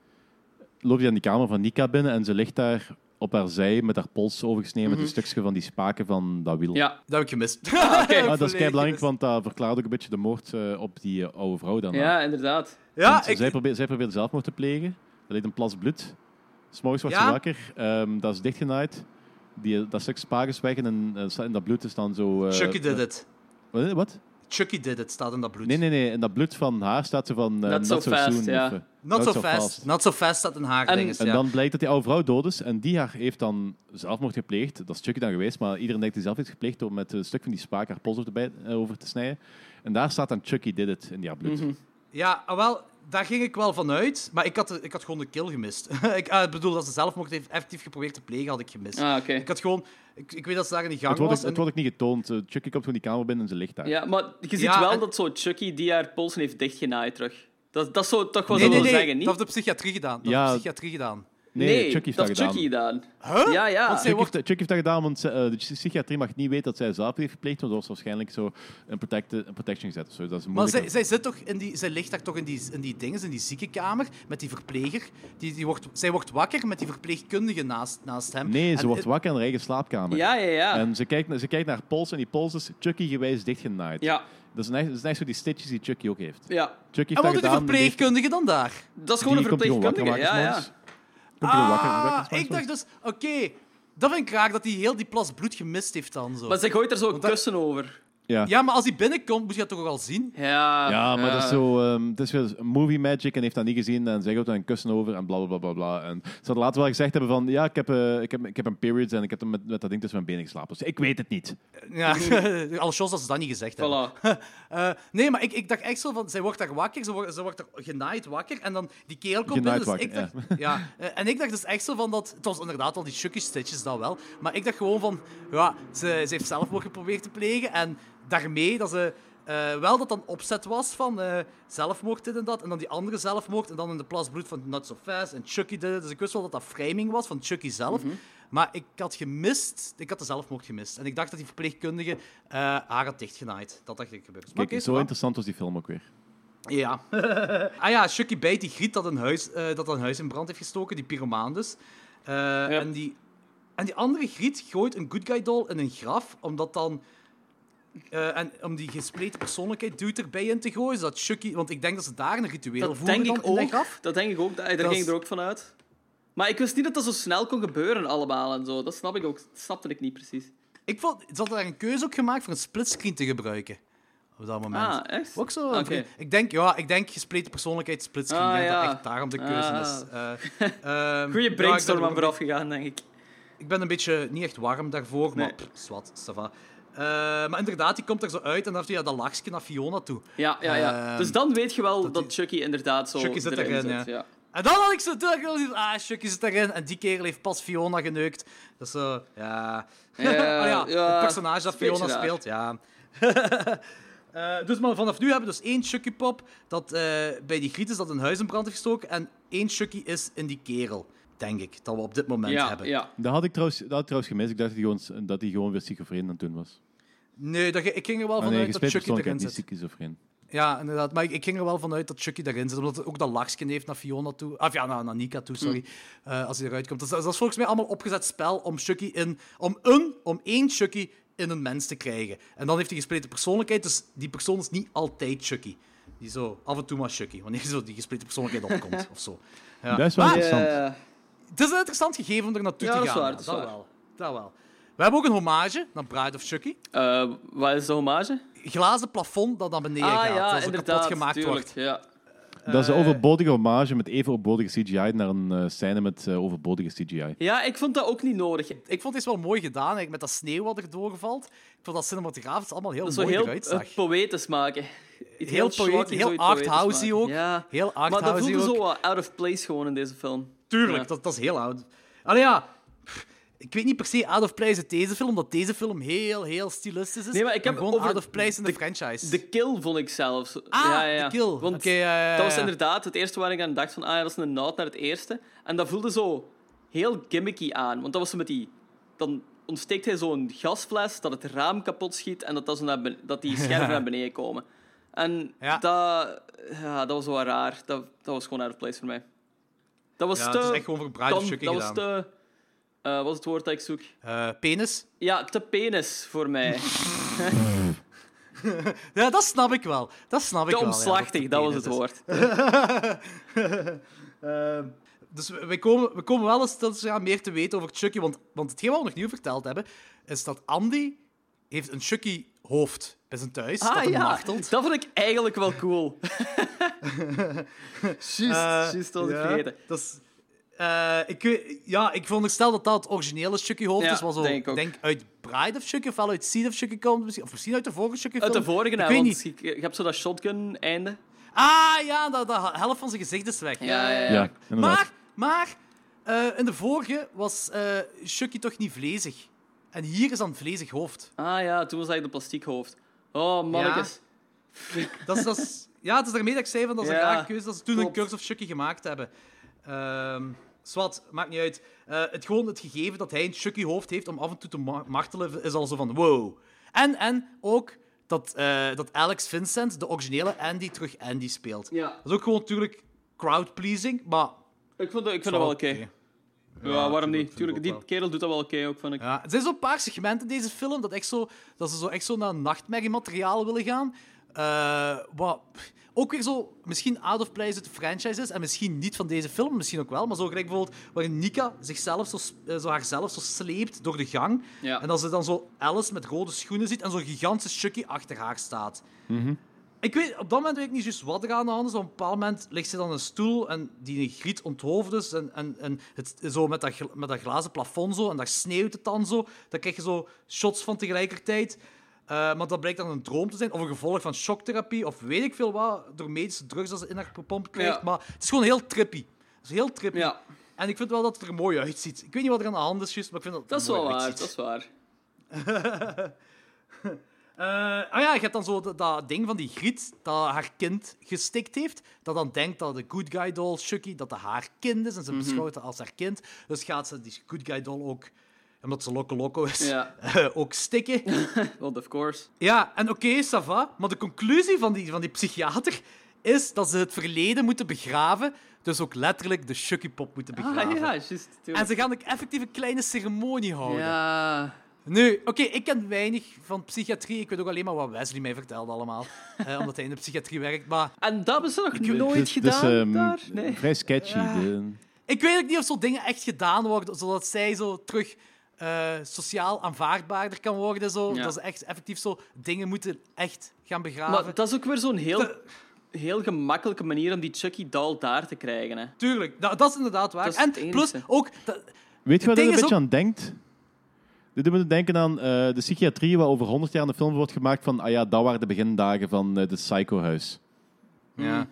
Loopt hij aan die kamer van Nika binnen en ze ligt daar op haar zij met haar pols overgesneden met
Mhm.
een stukje van die spaken van dat wiel.
Ja,
Dat heb ik gemist.
Ah, dat
Volledig
is kei belangrijk,
gemist.
want dat verklaart ook een beetje de moord eh, op die eh, oude vrouw dan.
ja inderdaad.
Ja,
Want
ik,
zij, probeerde, zij probeerde zelfmoord te plegen. Er leed een plas bloed. S'morgens wordt
Ja.
ze wakker. Ehm, dat is dichtgenaaid. Die, dat stuk spaak is weg en, eh, sta- en dat bloed is dan zo... eh,
Chucky did it.
Wat? wat?
Chucky did it, staat in dat bloed.
Nee, nee, nee. En dat bloed van haar staat ze van... eh,
Not so fast,
soon,
ja.
of, eh,
Not, so, fast. Not so fast staat in haar
En-
dinges,
En
ja.
dan blijkt dat die oude vrouw dood is. En die haar heeft dan zelfmoord gepleegd. Dat is Chucky dan geweest. Maar iedereen denkt dat hij zelf heeft gepleegd door met een stuk van die spaak haar pols over te, bij- eh, over te snijden. En daar staat dan Chucky did it in die haar bloed.
Mhm.
Ja, ah, wel, daar ging ik wel van uit, maar ik had, de- ik had gewoon de kill gemist. ik ah, bedoel, dat ze zelfmoord heeft effectief geprobeerd te plegen, had ik gemist.
Ah, oké.
Ik had gewoon... Ik, ik weet dat ze daar in die gang
Het wordt, ook,
was.
het
en-
wordt ook niet getoond. Eh, Chucky komt gewoon die kamer binnen en ze ligt daar.
Ja, maar je ziet
Ja,
wel
en-
dat zo Chucky die haar polsen heeft dichtgenaaid terug. Dat, dat zou toch wel
Nee,
zo
nee,
wil
nee,
zeggen, niet?
dat heeft de psychiatrie gedaan. Dat
Ja.
heeft de psychiatrie gedaan.
Nee, Chucky heeft dat
dat
gedaan.
Chucky gedaan.
Huh?
Ja, ja.
Want zij
Chuck
wordt...
heeft, Chuck heeft dat gedaan, want ze- eh, de psychiatrie mag niet weten dat zij zelf heeft gepleegd, want dat was waarschijnlijk zo een, protecte- een protection gezet of zo. Dat is
Maar
moeilijk.
zij, zij, zit toch in die, zij ligt daar toch in die, in die dingen, in die ziekenkamer, met die verpleger. Die, die wordt, zij wordt wakker met die verpleegkundige naast, naast hem.
Nee,
En- eh,
ze wordt wakker in haar eigen slaapkamer.
Ja, ja, ja.
En ze kijkt, naar- ze kijkt naar haar pols en die pols is Chucky gewijs dichtgenaaid.
ja,
Dat is net, dat is net zo die stitches die Chucky ook heeft.
ja.
Chucky heeft
En wat
dat
doet die
gedaan. die heeft-
verpleegkundige dan
Dat
daar?
is
die
gewoon een
komt gewoon wakker
verpleegkundige.
maken
Ja, ja.
s'morgens. Komt gewoon wakker
Ah,
wakker s'morgens.
ik dacht dus, oké, dat vind ik raar dat hij heel die plas bloed gemist heeft dan. Zo.
Maar ze gooit er zo
dat-
kussen over.
Ja.
Ja, maar als hij binnenkomt, moet je dat toch ook al zien?
Ja,
Ja, maar
eh,
dat is zo. ehm het is weer movie magic en heeft dat niet gezien. En zij gaat daar een kussen over en bla bla bla bla. bla. En ze had later wel gezegd hebben van. Ja, ik heb, eh, ik heb, ik heb een periods en ik heb dan met, met dat ding tussen mijn benen geslapen. Dus ik weet het niet.
Ja, al shows dat ze dat niet gezegd hebben.
Voilà.
Eh, nee, maar ik, ik dacht echt zo van, zij wordt daar wakker, ze wordt, ze wordt er genaaid wakker en dan die kerel komt
Genaaid
binnen. Dus
wakker,
ik dacht, ja. eh, en ik dacht dus echt zo van dat, het was inderdaad al die chucky stitches dat wel, maar ik dacht gewoon van, ja, ze, ze heeft zelfmoord geprobeerd te plegen en daarmee dat ze, eh, wel dat dan opzet was van eh, zelfmoord dit en dat en dan die andere zelfmoord en dan in de plas bloed van Not So Fast en Chucky dit. en- Dus ik wist wel dat dat framing was van Chucky zelf. Maar ik had gemist, ik had de zelfmoord gemist. En ik dacht dat die verpleegkundige eh, haar had dichtgenaaid. Dat dacht ik gebeurd. Maar
Kijk,
oké,
zo
voilà.
interessant was die film ook weer.
Ja. ah ja, Chucky bijt die griet dat een huis, eh, dat een huis in brand heeft gestoken, die pyromaan dus. Eh, en, die, en die andere griet gooit een good guy doll in een graf, omdat dan... eh, en om die gespleten persoonlijkheid duwt erbij in te gooien, zodat Chucky... Want ik denk dat ze daar een ritueel
Dat
voeren
denk
dan
ik
in dat
ook.
graf.
Dat denk ik ook. Daar daar
Dat
ging ik
is-
er ook van uit. Maar ik wist niet dat dat zo snel kon gebeuren allemaal en zo. Dat snap ik ook. Dat snapte ik niet precies.
Ik vond, ze hadden daar een keuze ook gemaakt voor een splitscreen te gebruiken. Op dat moment.
Ah, echt?
Ook zo.
Oké.
oké. Ik denk, ja, ik denk gespleten persoonlijkheid, splitscreen.
Ah,
ik denk dat
ja.
echt daarom de keuze
Ah.
is. Eh, ehm, ja,
Goeie
ik ben er
brainstorm
ook
aan
een
vooraf gegaan, denk ik.
Ik ben een beetje niet echt warm daarvoor, maar
Nee.
pff, zwart, ça va. Eh, maar inderdaad, die komt er zo uit en dan heeft hij ja, dat lachje naar Fiona toe.
Ja, ja, ja.
Ehm,
dus dan weet je wel dat,
die-
Chucky inderdaad zo
Chucky zit
erin,
erin,
zit.
ja.
Ja.
En dan had ik zo terug, ah, Chucky zit daarin. En die kerel heeft pas Fiona geneukt. Dat is zo, ja...
Ja,
Ah ja,
ja,
het personage
is
dat
een beetje
Fiona
raar.
speelt, ja. Eh, dus maar vanaf nu hebben we dus één Chucky pop dat eh, bij die griet is dat een huis in brand heeft gestoken. En één Chucky is in die kerel, denk ik, dat we op dit moment
Ja,
hebben.
ja.
Dat had ik trouwens, dat had ik trouwens gemist. Ik dacht dat hij gewoon, dat hij gewoon weer schizofreen aan het doen was.
Nee, dat, ge- ik ging er wel
Ah, nee,
vanuit dat
gespeeld
Chucky erin
persoonlijkheid, niet
zit.
schizofreen.
Ja, inderdaad. Maar ik, ik ging er wel vanuit dat Chucky daarin zit, omdat het ook dat lachje heeft naar Fiona toe. Of ja, naar, naar Nika toe, sorry.
Hmm.
eh, als hij eruit komt. Dat is, dat is volgens mij allemaal opgezet spel om Chucky in... Om een, om één Chucky in een mens te krijgen. En dan heeft hij gespleten persoonlijkheid, dus die persoon is niet altijd Chucky. Die zo af en toe maar Chucky, wanneer zo die gespleten persoonlijkheid opkomt of zo. Ja.
Dat is wel
Maar
interessant.
Eh,
het is een interessant gegeven om er naartoe
Ja,
te
dat is
gaan.
waar,
ja,
dat is
dat
waar.
wel. Dat wel. We hebben ook een hommage naar Bride of Chucky.
eh, wat is de hommage?
Glazen plafond dat naar beneden
ah
gaat,
ja,
dat zo
inderdaad.
kapot gemaakt
tuurlijk,
wordt.
Ja.
Dat is
Eh,
een overbodige hommage met even overbodige CGI naar een eh, scène met eh, overbodige CGI.
ja, ik vond dat ook niet nodig.
Ik vond het wel mooi gedaan, eigenlijk, met dat sneeuw wat er doorvalt. Ik vond dat cinematografisch allemaal heel
Dat zo
mooi
heel
eruit
eh,
zag.
poëtisch maken. Iets
Heel
schwak
poëtisch,
en
heel
zoiets poëtisch
arthousey
maken.
ook.
Ja.
Heel
Maar dat
arthousey
voelde
ook.
zo wat out of place gewoon in deze film.
Tuurlijk,
Ja.
dat, dat is heel oud. Allee, ja. pff, Ik weet niet per se out of place uit deze film, omdat deze film heel, heel stilistisch is.
Nee, maar ik heb
gewoon
over
out of place in de, franchise.
De kill vond ik zelfs.
Ah,
ja, ja.
de kill.
Want
Oké, eh, ja, ja, ja,
dat was
ja.
inderdaad het eerste waar ik aan dacht: van, ah, ja, dat is een nood naar het eerste. En dat voelde zo heel gimmicky aan. Want dat was zo met die. Dan ontsteekt hij zo'n gasfles dat het raam kapot schiet en dat, dat, zo naar ben- dat die scherven naar beneden komen. En
Ja.
dat, ja, dat was wel raar. Dat, dat was gewoon out of place voor mij. Dat was
ja,
te.
het is echt gewoon voor Bride
dom,
of Chucky
dat
gedaan.
was te. eh, wat is het woord dat ik zoek?
Eh, penis.
Ja, te penis voor mij.
Ja, dat snap ik wel. Dat snap ik
te
wel. ja,
omslachtig,
het
dat was
penis
het
is.
woord.
Ehm, dus we, we komen, we komen wel eens stilletjes aan meer te weten over Chucky. Want, want hetgeen wat we nog nieuw verteld hebben, is dat Andy heeft een Chucky-hoofd bij zijn thuis.
Ah,
dat hem martelt.
dat vond ik eigenlijk wel cool. Juist,
Eh,
juist, dat was ik
ja,
vergeten.
dat is- eh, ik, weet- ja, ik veronderstel dat dat het originele Chucky-hoofd
Ja,
is. Wat zo,
denk ik ook.
uit Bride of Chucky, of wel uit Seed of Chucky komt. Misschien, of misschien uit de vorige Chucky
Uit de
film.
vorige,
ik
hè,
weet
want eh,
niet.
je, je hebt zo dat shotgun-einde.
Ah ja, dat, dat helft van zijn gezicht is weg.
Ja, ja, ja.
Ja, inderdaad.
Maar, maar eh, in de vorige was eh, Chucky toch niet vlezig. En hier is dan vlezig hoofd.
Ah ja, toen was hij de plastic hoofd. Oh, mannetjes.
Dat is, dat is, ja, het is daarmee dat ik zei van dat is een
Ja,
rare keuze dat ze toen een
klopt.
Curse of Chucky gemaakt hebben. Ehm, Zwat, maakt niet uit. Eh, het, gewoon het gegeven dat hij een chucky hoofd heeft om af en toe te ma- martelen is al zo van wow. En, en ook dat, eh, dat Alex Vincent, de originele Andy, terug Andy speelt.
Ja.
Dat is ook gewoon natuurlijk crowdpleasing, maar...
Ik vind dat, ik vind dat wel oké. Ja, waarom niet?
vind ik
Tuurlijk,
ook
die
wel.
kerel doet dat wel oké ook, vind ik.
Ja, er zijn zo'n paar segmenten in deze film dat, echt zo, dat ze zo echt zo naar nachtmerriemateriaal willen gaan. Eh, wat pff, ook weer zo, misschien out of place uit de franchise is en misschien niet van deze film, misschien ook wel. Maar zo gelijk bijvoorbeeld waarin Nika zichzelf zo, s- eh, zo haarzelf zo sleept door de gang.
Ja.
En dat ze dan zo Alice met rode schoenen ziet en zo'n gigantische Chucky achter haar staat. Ik weet, op dat moment weet ik niet juist wat er aan de hand is. maar Op een bepaald moment ligt ze dan op een stoel en die griet onthoofd is. En, en, en het, zo met dat, gl- met dat glazen plafond zo. En daar sneeuwt het dan zo. Daar krijg je zo shots van tegelijkertijd. Eh, maar dat blijkt dan een droom te zijn. Of een gevolg van shocktherapie. Of weet ik veel wat. Door medische drugs dat ze in haar pomp krijgt.
Ja.
Maar het is gewoon heel trippy. Het is heel trippy.
Ja.
En ik vind wel dat het er mooi uitziet. Ik weet niet wat er aan de hand is, juist, maar ik vind dat het
Dat is
er mooi
wel waar,
uitziet.
dat is waar.
Eh, ah ja, je hebt dan zo dat, dat ding van die griet dat haar kind gestikt heeft. Dat dan denkt dat de good guy doll, Chucky, dat dat haar kind is. En
Mhm.
ze beschouwt dat als haar kind. Dus gaat ze die good guy doll ook, omdat ze loco loco is,
Ja.
eh, ook stikken.
Want of course.
Ja, en oké, ça va. Maar de conclusie van die, van die psychiater is dat ze het verleden moeten begraven. Dus ook letterlijk de Chucky-pop moeten begraven.
Ah ja, juist.
En
tuurlijk.
ze gaan ook effectief een kleine ceremonie houden.
Ja.
Nu, oké, ik ken weinig van psychiatrie. Ik weet ook alleen maar wat Wesley mij vertelde allemaal. Eh, omdat hij in de psychiatrie werkt. Maar
En dat hebben ze nog nooit
Dus- dus,
gedaan
ehm,
daar? Nee.
Vrij sketchy. de-
ik weet ook niet of zo'n dingen echt gedaan worden. Zodat zij zo terug eh, sociaal aanvaardbaarder kan worden. Zo.
Ja.
Dat ze echt effectief zo dingen moeten echt gaan begraven.
Maar dat is ook weer zo'n heel, heel gemakkelijke manier om die Chucky doll daar te krijgen. Hè.
Tuurlijk, nou, dat is inderdaad waar.
Dat is
en
het enige.
plus ook... dat-
Weet je waar
ding
dit een
is
beetje
ook-
aan denkt? Dit doet me denken aan eh, de psychiatrie waar over 100 jaar een film wordt gemaakt van, ah ja, dat waren de begindagen van eh, de Psycho-huis.
Ja, Mm.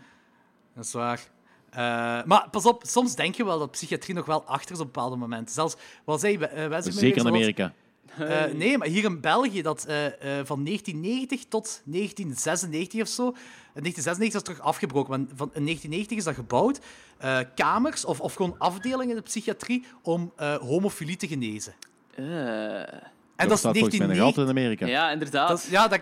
dat is waar. Eh, maar pas op, soms denk je wel dat psychiatrie nog wel achter is op bepaalde momenten. Zelfs, wat zei eh, Wesley mij weer,
Zeker in
zodat-
Amerika.
Eh, nee, maar hier in België, dat, eh, eh, van 1990 tot 1996 of zo. In 1996 is dat terug afgebroken, maar van, in 1990 is dat gebouwd. eh, kamers of, of gewoon afdelingen in de psychiatrie om eh, homofilie te genezen.
Eh,
En
dat
dat,
staat
is
volgens mij nog
1990.
altijd in Amerika.
ja, inderdaad.
Dat, is- ja, dat,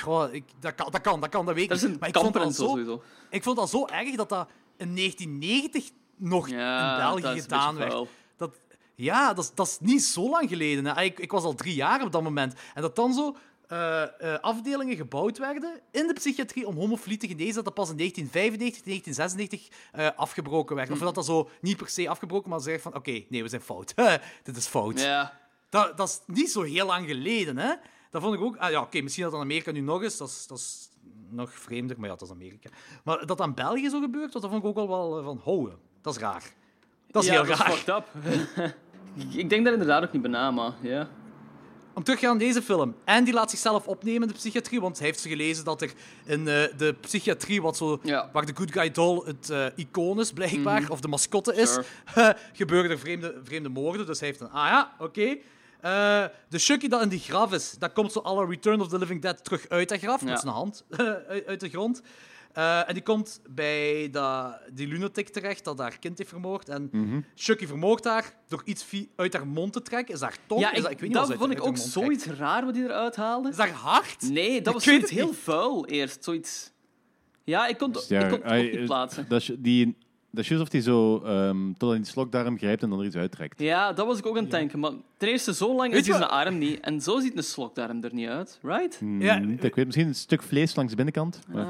goh, ik, dat, kan, dat kan, dat kan, dat weet ik
Er
niet.
zijn
Maar ik vond
kampen
het al
en zo
zo,
sowieso.
ik vond het al zo erg dat dat in 1990 nog
Ja,
in
dat
België
is een
gedaan
beetje
werd.
vuil.
Dat, ja, dat is, dat is niet zo lang geleden. Hè. Ik, ik was al drie jaar op dat moment. En dat dan zo eh, eh, afdelingen gebouwd werden in de psychiatrie om homofilie te genezen, dat dat pas in 1995, 1996 eh, afgebroken werd. Of
Mhm.
dat dat zo niet per se afgebroken, maar ze zeggen van oké, nee, we zijn fout. Dit is fout.
Ja.
Dat, dat is niet zo heel lang geleden, hè? Dat vond ik ook. Ah, ja, oké, misschien dat in Amerika nu nog is. Dat is, dat is nog vreemder, maar ja, dat is Amerika. Maar dat aan België zo gebeurt, dat dat vond ik ook al wel eh, van. Ho, dat is raar. Dat is
ja,
heel
dat
raar.
is fucked up. ik denk daar inderdaad ook niet bij na, maar ja.
Om terug te gaan naar deze film. Andy laat zichzelf opnemen in de psychiatrie, want hij heeft gelezen dat er in eh, de psychiatrie, wat zo,
Ja.
waar de Good Guy Doll het eh, icoon is blijkbaar, of de mascotte is, gebeuren er vreemde, vreemde moorden. Dus hij heeft een, ah ja, oké. Eh, de Chucky dat in die graf is, dat komt zo alle Return of the Living Dead terug uit dat graf,
Ja.
met zijn hand uit, uit de grond. Eh, en die komt bij dat- die lunatic terecht dat haar kind heeft vermoord. En
Mhm.
Chucky vermoordt haar door iets vi- uit haar mond te trekken. Is haar tong?
ja,
is
ik,
dat, ik weet niet wat
dat
ze uit-
vond
uit
ik
haar
ook
mond trekt.
zoiets raar wat die eruit haalde.
Is haar hart?
Nee, dat was
weet
zoiets
het niet.
heel vuil eerst. Zoiets... Ja, ik kon,
Dus
ik kon het
hij-
ook niet
eh,
plaatsen.
Dat is, die, dat is juist of hij zo ehm tot aan die slokdarm grijpt en dan er iets uittrekt.
Ja, dat was ik ook aan het denken. Maar ten eerste, zo lang
Weet
is
je
die zijn
wat-
arm niet. En zo ziet een slokdarm er niet uit, right?
Ja,
Mm, ik weet misschien een stuk vlees langs de binnenkant. Maar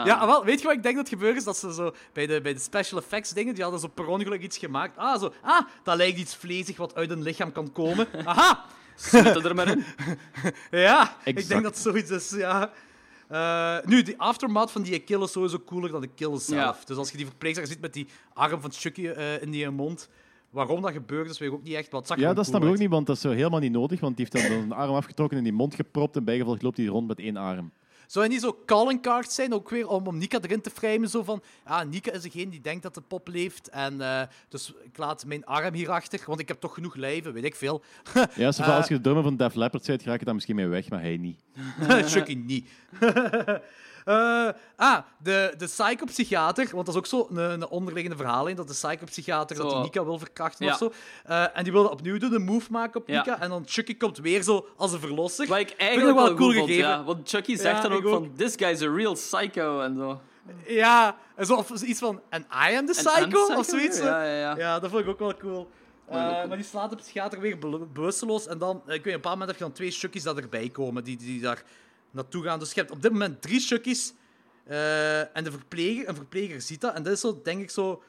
Ah.
Ja, wel, weet je wat ik denk dat gebeurd is? Dat ze zo bij de, bij de special effects dingen, die hadden zo per ongeluk iets gemaakt. Ah, zo, ah, dat lijkt iets vlezig wat uit een lichaam kan komen. Aha!
Smet het er maar in.
Ja, ik denk
Exact.
dat zoiets is, ja. Eh, nu, die aftermath van die kill is sowieso cooler dan de kill zelf.
Ja.
Dus als je die verpleegster ziet met die arm van Chucky eh, in die mond, waarom dat gebeurt, is weet ik ook niet echt. Maar het zag
ja,
gewoon
dat
cool
snap ik ook
uit.
niet, want dat is zo helemaal niet nodig. Want die heeft dan een arm afgetrokken en in die mond gepropt. En bijgevolg loopt hij rond met één arm.
Zou hij niet zo calling cards zijn, ook weer om, om Nika erin te framen? Zo van, ja, Nika is degene die denkt dat de pop leeft. En eh, dus ik laat mijn arm hierachter, want ik heb toch genoeg lijven, weet ik veel.
Ja, zo van,
Eh.
als je de drummer van Def Leppard bent, raak je daar misschien mee weg, maar hij niet.
Chucky niet. Eh, ah, de, de psychopsychiater, want dat is ook zo een, een onderliggende verhaal in, dat de psychopsychiater dat die
Zo.
Nika wil verkrachten
Ja.
of zo. Eh, en die wilde opnieuw doen, een move maken op
Ja.
Nika. En dan Chucky komt weer zo als een verlosser.
Wat ik
Vind ik
eigenlijk
wel
wel
cool
cool vond,
gegeven.
ja. Want Chucky zegt
Ja,
dan ook,
ik ook.
van, this guy's a real psycho en zo.
Ja, en zo, of iets van, and I am the
En
psycho,
I'm psycho,
of zoiets. eh.
Ja,
hè.
ja, ja.
Ja, dat vond ik ook wel cool.
ik ook
Eh,
cool.
maar die slaat de psychiater weer bel- bewusteloos. En dan, eh, ik weet, op een bepaald moment heb je dan twee Chucky's dat erbij komen, die, die daar naartoe gaan. Dus je hebt op dit moment drie Chucky's. eh, en de verpleger, een verpleger ziet dat. En dat is zo, denk ik, zo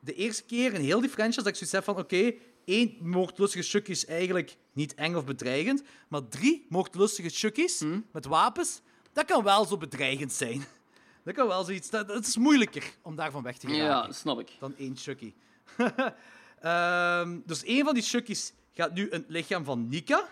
de eerste keer in heel die franchise dat ik zoiets heb van, oké, één moordlustige Chucky is eigenlijk niet eng of bedreigend, maar drie moordlustige Chucky's
Hm.
met wapens, dat kan wel zo bedreigend zijn. Dat kan wel zoiets. Dat, het is moeilijker om daarvan weg te
ja.
geraken
snap ik.
dan één Chucky. Ehm, dus één van die Chucky's gaat nu in het lichaam van Nika.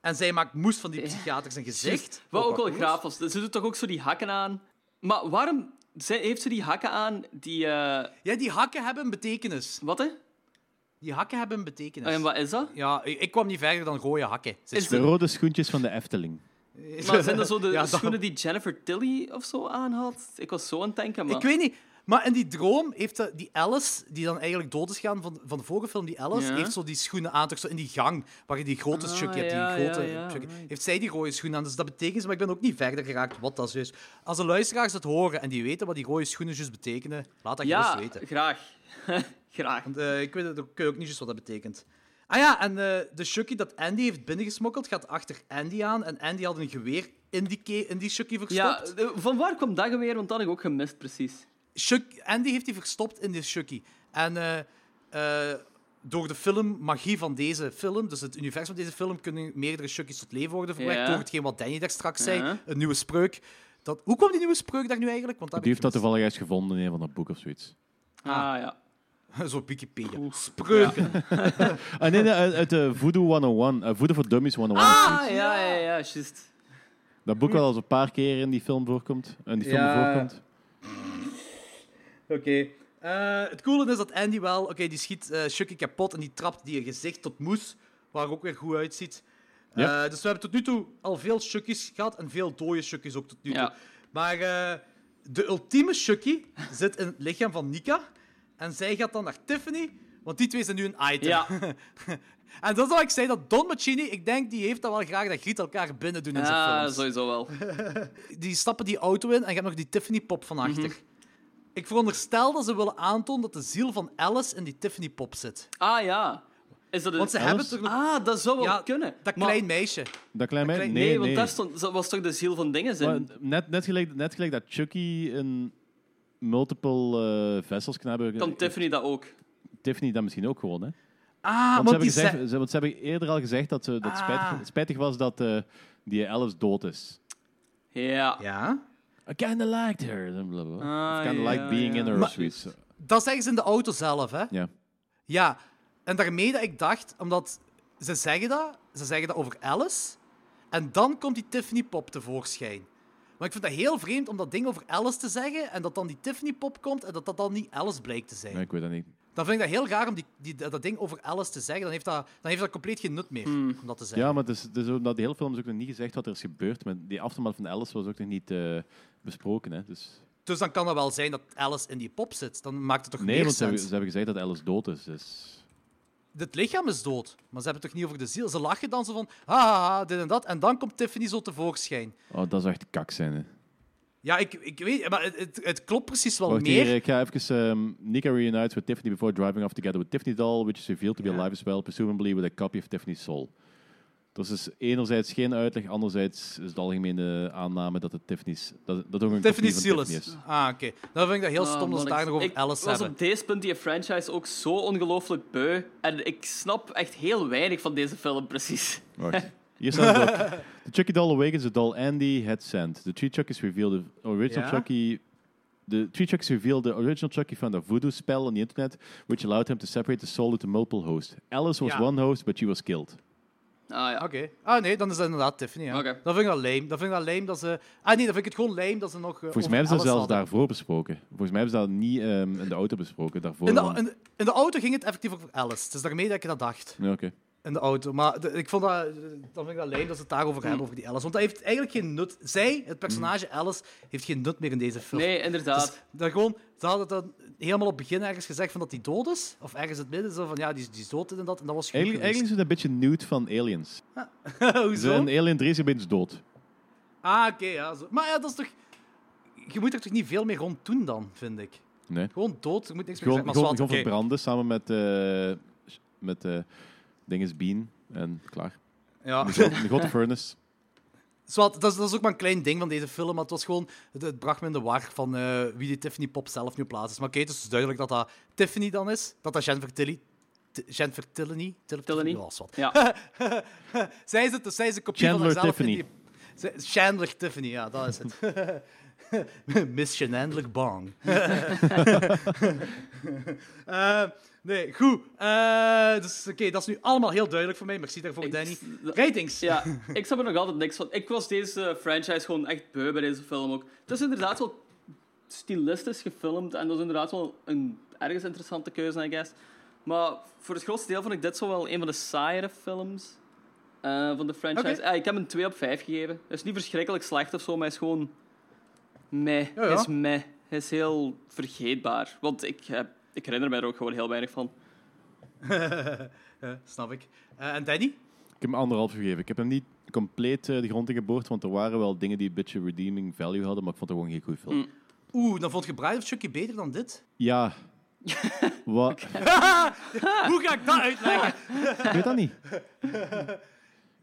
En zij maakt moes van die psychiater zijn gezicht.
Wat ook wel
cool
graaf was. Ze doet toch ook zo die hakken aan. Maar waarom zij- heeft ze die hakken aan die... eh,
is. Ja, die hakken hebben een betekenis.
wat, hè?
Die hakken hebben een betekenis.
En wat is dat?
Ja, ik ik kwam niet verder dan rode hakken. Ze
Oh, Is
De
dat-
rode schoentjes van de Efteling.
maar zijn dat zo de
Ja, dat-
schoenen die Jennifer Tilly of zo aanhad? Ik was zo aan het denken, maar...
Ik weet niet. Maar in die droom heeft de- die Alice, die dan eigenlijk dood is gaan van, van de vorige film, die Alice,
Ja.
heeft zo die schoenen aan, toch zo in die gang, waar je die grote
Ah,
Chucky hebt,
ja,
die grote
ja, ja,
Chucky.
right.
Heeft zij die rode schoenen aan, dus dat betekent, maar ik ben ook niet verder geraakt wat dat is. Als de luisteraars dat horen en die weten wat die rode schoenen juist betekenen, laat dat gerust
Ja,
weten.
graag. graag.
Want eh, ik weet het ook ik weet ook niet juist wat dat betekent. Ah ja, en eh, de Chucky dat Andy heeft binnengesmokkeld, gaat achter Andy aan, en Andy had een geweer in die, ke- in die Chucky
Ja,
verstopt.
eh, van waar kwam dat weer? Want dat had ik ook gemist, precies.
Chuck, Andy heeft die verstopt in de Chucky. En eh, eh, door de film, magie van deze film, dus het universum van deze film, kunnen meerdere Chucky's tot leven worden verwerkt.
Ja.
Door hetgeen wat Danny daar straks zei,
Ja.
een nieuwe spreuk. Dat, hoe kwam die nieuwe spreuk daar nu eigenlijk? Want dat
Die
heb
heeft dat
ik gemist.
toevallig juist gevonden in een van dat boek of zoiets.
Ah, ja.
Zo op Wikipedia.
Oeh.
Spreuken.
Ah, nee, nee, uit, uit eh, Voodoo 101. eh, Voodoo for Dummies 101.
Ah, ja, ja, ja, juist.
Dat boek wel al eens een paar keer in die film voorkomt. eh, In die film
Ja.
voorkomt.
Oké. Eh, het coole is dat Andy wel... Oké, die schiet eh Chucky kapot en die trapt die gezicht tot moes, waar er ook weer goed uitziet. Eh,
Ja.
dus we hebben tot nu toe al veel Chucky's gehad en veel dode Chucky's ook tot nu toe.
Ja.
Maar eh, de ultieme Chucky zit in het lichaam van Nika. En zij gaat dan naar Tiffany, want die twee zijn nu een item.
Ja.
en dat is wat ik zei, dat Don Machini, ik denk, die heeft dat wel graag, dat giet elkaar binnen doen in zijn
Ah,
films
sowieso wel.
die stappen die auto in en je hebt nog die Tiffany-pop van achter. Ik veronderstel dat ze willen aantonen dat de ziel van Alice in die Tiffany-pop zit.
Ah, ja. Is dat een...
Want ze
Alice?
hebben toch nog...
Ah, dat zou wel
Ja,
kunnen.
Dat
Maar-
klein meisje.
Dat klein meisje?
klein-
Nee, nee.
Nee, want daar stond, dat was toch de ziel van dingen
Maar
zijn.
net, net, gelijk, net gelijk dat Chucky een multiple eh, vessels kan hebben.
Kan Tiffany dat ook?
Tiffany dat misschien ook gewoon, hè?
Ah,
Want,
want
ze,
die
hebben gezegd,
ze-
ze, want ze hebben eerder al gezegd dat, ze, dat het
Ah.
spijtig, het spijtig was dat eh, die Alice dood is.
Ja.
Ja?
I kinda liked her. Blah, blah, blah.
Ah,
kinda
ja,
liked being
ja.
in her
Maar-
of zoiets.
Dat zeggen ze in de auto zelf, hè?
Ja.
Ja. En daarmee dat ik dacht, omdat ze zeggen dat, ze zeggen dat over Alice, en dan komt die Tiffany-pop tevoorschijn. Maar ik vind dat heel vreemd om dat ding over Alice te zeggen en dat dan die Tiffany-pop komt en dat dat dan niet Alice blijkt te zijn.
Nee, ik weet dat niet.
Dan vind ik dat heel raar om die, die, dat dat ding over Alice te zeggen. Dan heeft dat, dan heeft dat compleet geen nut meer
Hmm.
om dat te zeggen.
Ja, maar het is, het is ook, dat de hele film is ook nog niet gezegd wat er is gebeurd. Maar die aftermath van Alice was ook nog niet eh, besproken, hè? Dus...
Dus dan kan dat wel zijn dat Alice in die pop zit. Dan maakt het toch
Nee,
meer
want ze hebben,
sens.
ze hebben gezegd dat Alice dood is. Dus...
Het lichaam is dood, maar ze hebben het toch niet over de ziel. Ze lachen dan zo van, ha, ha, ha, dit en dat. En dan komt Tiffany zo tevoorschijn.
Oh, dat is echt kak zijn. Hè.
Ja, ik, ik weet, maar het, het, het klopt precies wel
Wacht
meer.
hier, ik ga even ehm Nika reunites with Tiffany before driving off together with Tiffany doll, which is revealed to be
Ja.
alive as well, presumably with a copy of Tiffany's soul. Dus is enerzijds geen uitleg, anderzijds is de algemene aanname dat het Tiffany's dat, dat ook een kopie
Tiffany's
van
ziel
Tiffany
is. Ah, oké. Dan vind ik dat heel
Ah,
stom dat ze
man,
daar
ik-
nog over
ik
Alice
was
hebben.
op deze punt die franchise ook zo ongelooflijk beu. En ik snap echt heel weinig van deze film, precies.
Wacht. Hier staat het ook. The Chucky doll awakens the doll Andy had sent. The three Chucky's reveal the original
Ja?
Chucky. The three Chucky's reveal the original Chucky found a voodoo spell on the internet, which allowed him to separate the soul into multiple hosts. Alice was
Ja.
one host, but she was killed.
Ah ja.
Oké. Ah, nee, dan is dat inderdaad Tiffany, ja.
Oké.
Dan vind ik dat lame. Dan vind ik dat lame dat ze... Ah, nee, dan vind ik het gewoon lame dat ze nog eh,
Volgens
over
mij hebben ze
Alice
dat zelfs
hadden.
daarvoor besproken. Volgens mij hebben ze dat niet ehm, in de auto besproken. Daarvoor.
In de,
want-
in, in de auto ging het effectief over Alice. Het is daarmee dat ik dat dacht.
Ja, oké.
in de auto. Maar de- ik vond dat, eh, dan vind ik dat lijn dat ze het daarover
Mm.
hebben, over die Alice. Want dat heeft eigenlijk geen nut. Zij, het personage Alice, heeft geen nut meer in deze film.
Nee, inderdaad.
Dus dat gewoon, ze hadden dan helemaal op het begin ergens gezegd van dat hij dood is. Of ergens in het midden. Zo van ja, die, die is dood en dat. En dat was goed
Eigenlijk, eigenlijk is het een beetje nude van Aliens.
geweest.
Ze
Hoezo?
in Alien 3 zijn opeens dood.
Ah, oké. ja, zo. maar ja, dat is toch... Je moet er toch niet veel meer rond doen dan, vind ik.
Nee.
Gewoon dood, er moet niks meer
Gewoon,
zijn.
gewoon, gewoon
Maar zwart, oké.
verbranden samen met, eh met eh dinges Bean. En klaar.
Ja.
Een grote- Een grote furnace.
Zwart, dat, is, dat is ook maar een klein ding van deze film, maar het was gewoon... Het, het bracht me in de war van eh, wie die Tiffany Pop zelf nu plaatst is. Maar oké, het is dus duidelijk dat dat Tiffany dan is. Dat dat Jennifer Tilly... T- Jennifer Tilly? Tilly?
Tilly.
Ja, Oh, zwart.
Ja.
zij is het, dus zij is een kopie
Chandler
van haarzelf. in
Tiffany.
die- Zij- Chandler Tiffany, ja, dat is het. Miss Chandler Bong. Eh, nee, goed. Eh, dus oké, dat is nu allemaal heel duidelijk voor mij. Merci daarvoor,
Ik-
Danny. Ratings.
ja, ik snap er nog altijd niks van. Ik was deze franchise gewoon echt beu bij deze film ook. Het is inderdaad wel stilistisch gefilmd en dat is inderdaad wel een ergens interessante keuze, I guess. Maar voor het grootste deel vond ik dit zo wel een van de saaiere films eh, van de franchise.
Oké.
Eh, ik heb hem 2 op 5 gegeven. Hij is niet verschrikkelijk slecht of zo, maar hij is gewoon meh.
ja.
Hij is meh. Hij is heel vergeetbaar. Want ik, heb, ik herinner me er ook gewoon heel weinig van.
Eh, snap ik. Eh, en Danny?
Ik heb hem anderhalf gegeven. Ik heb hem niet compleet eh, de grond in geboord, want er waren wel dingen die een beetje redeeming value hadden, maar ik vond het gewoon geen goede
Mm.
film.
Oeh, dan vond je Bride of Chucky beter dan dit?
Ja. Wat?
Ah.
Hoe ga ik dat uitleggen?
Ik weet dat niet.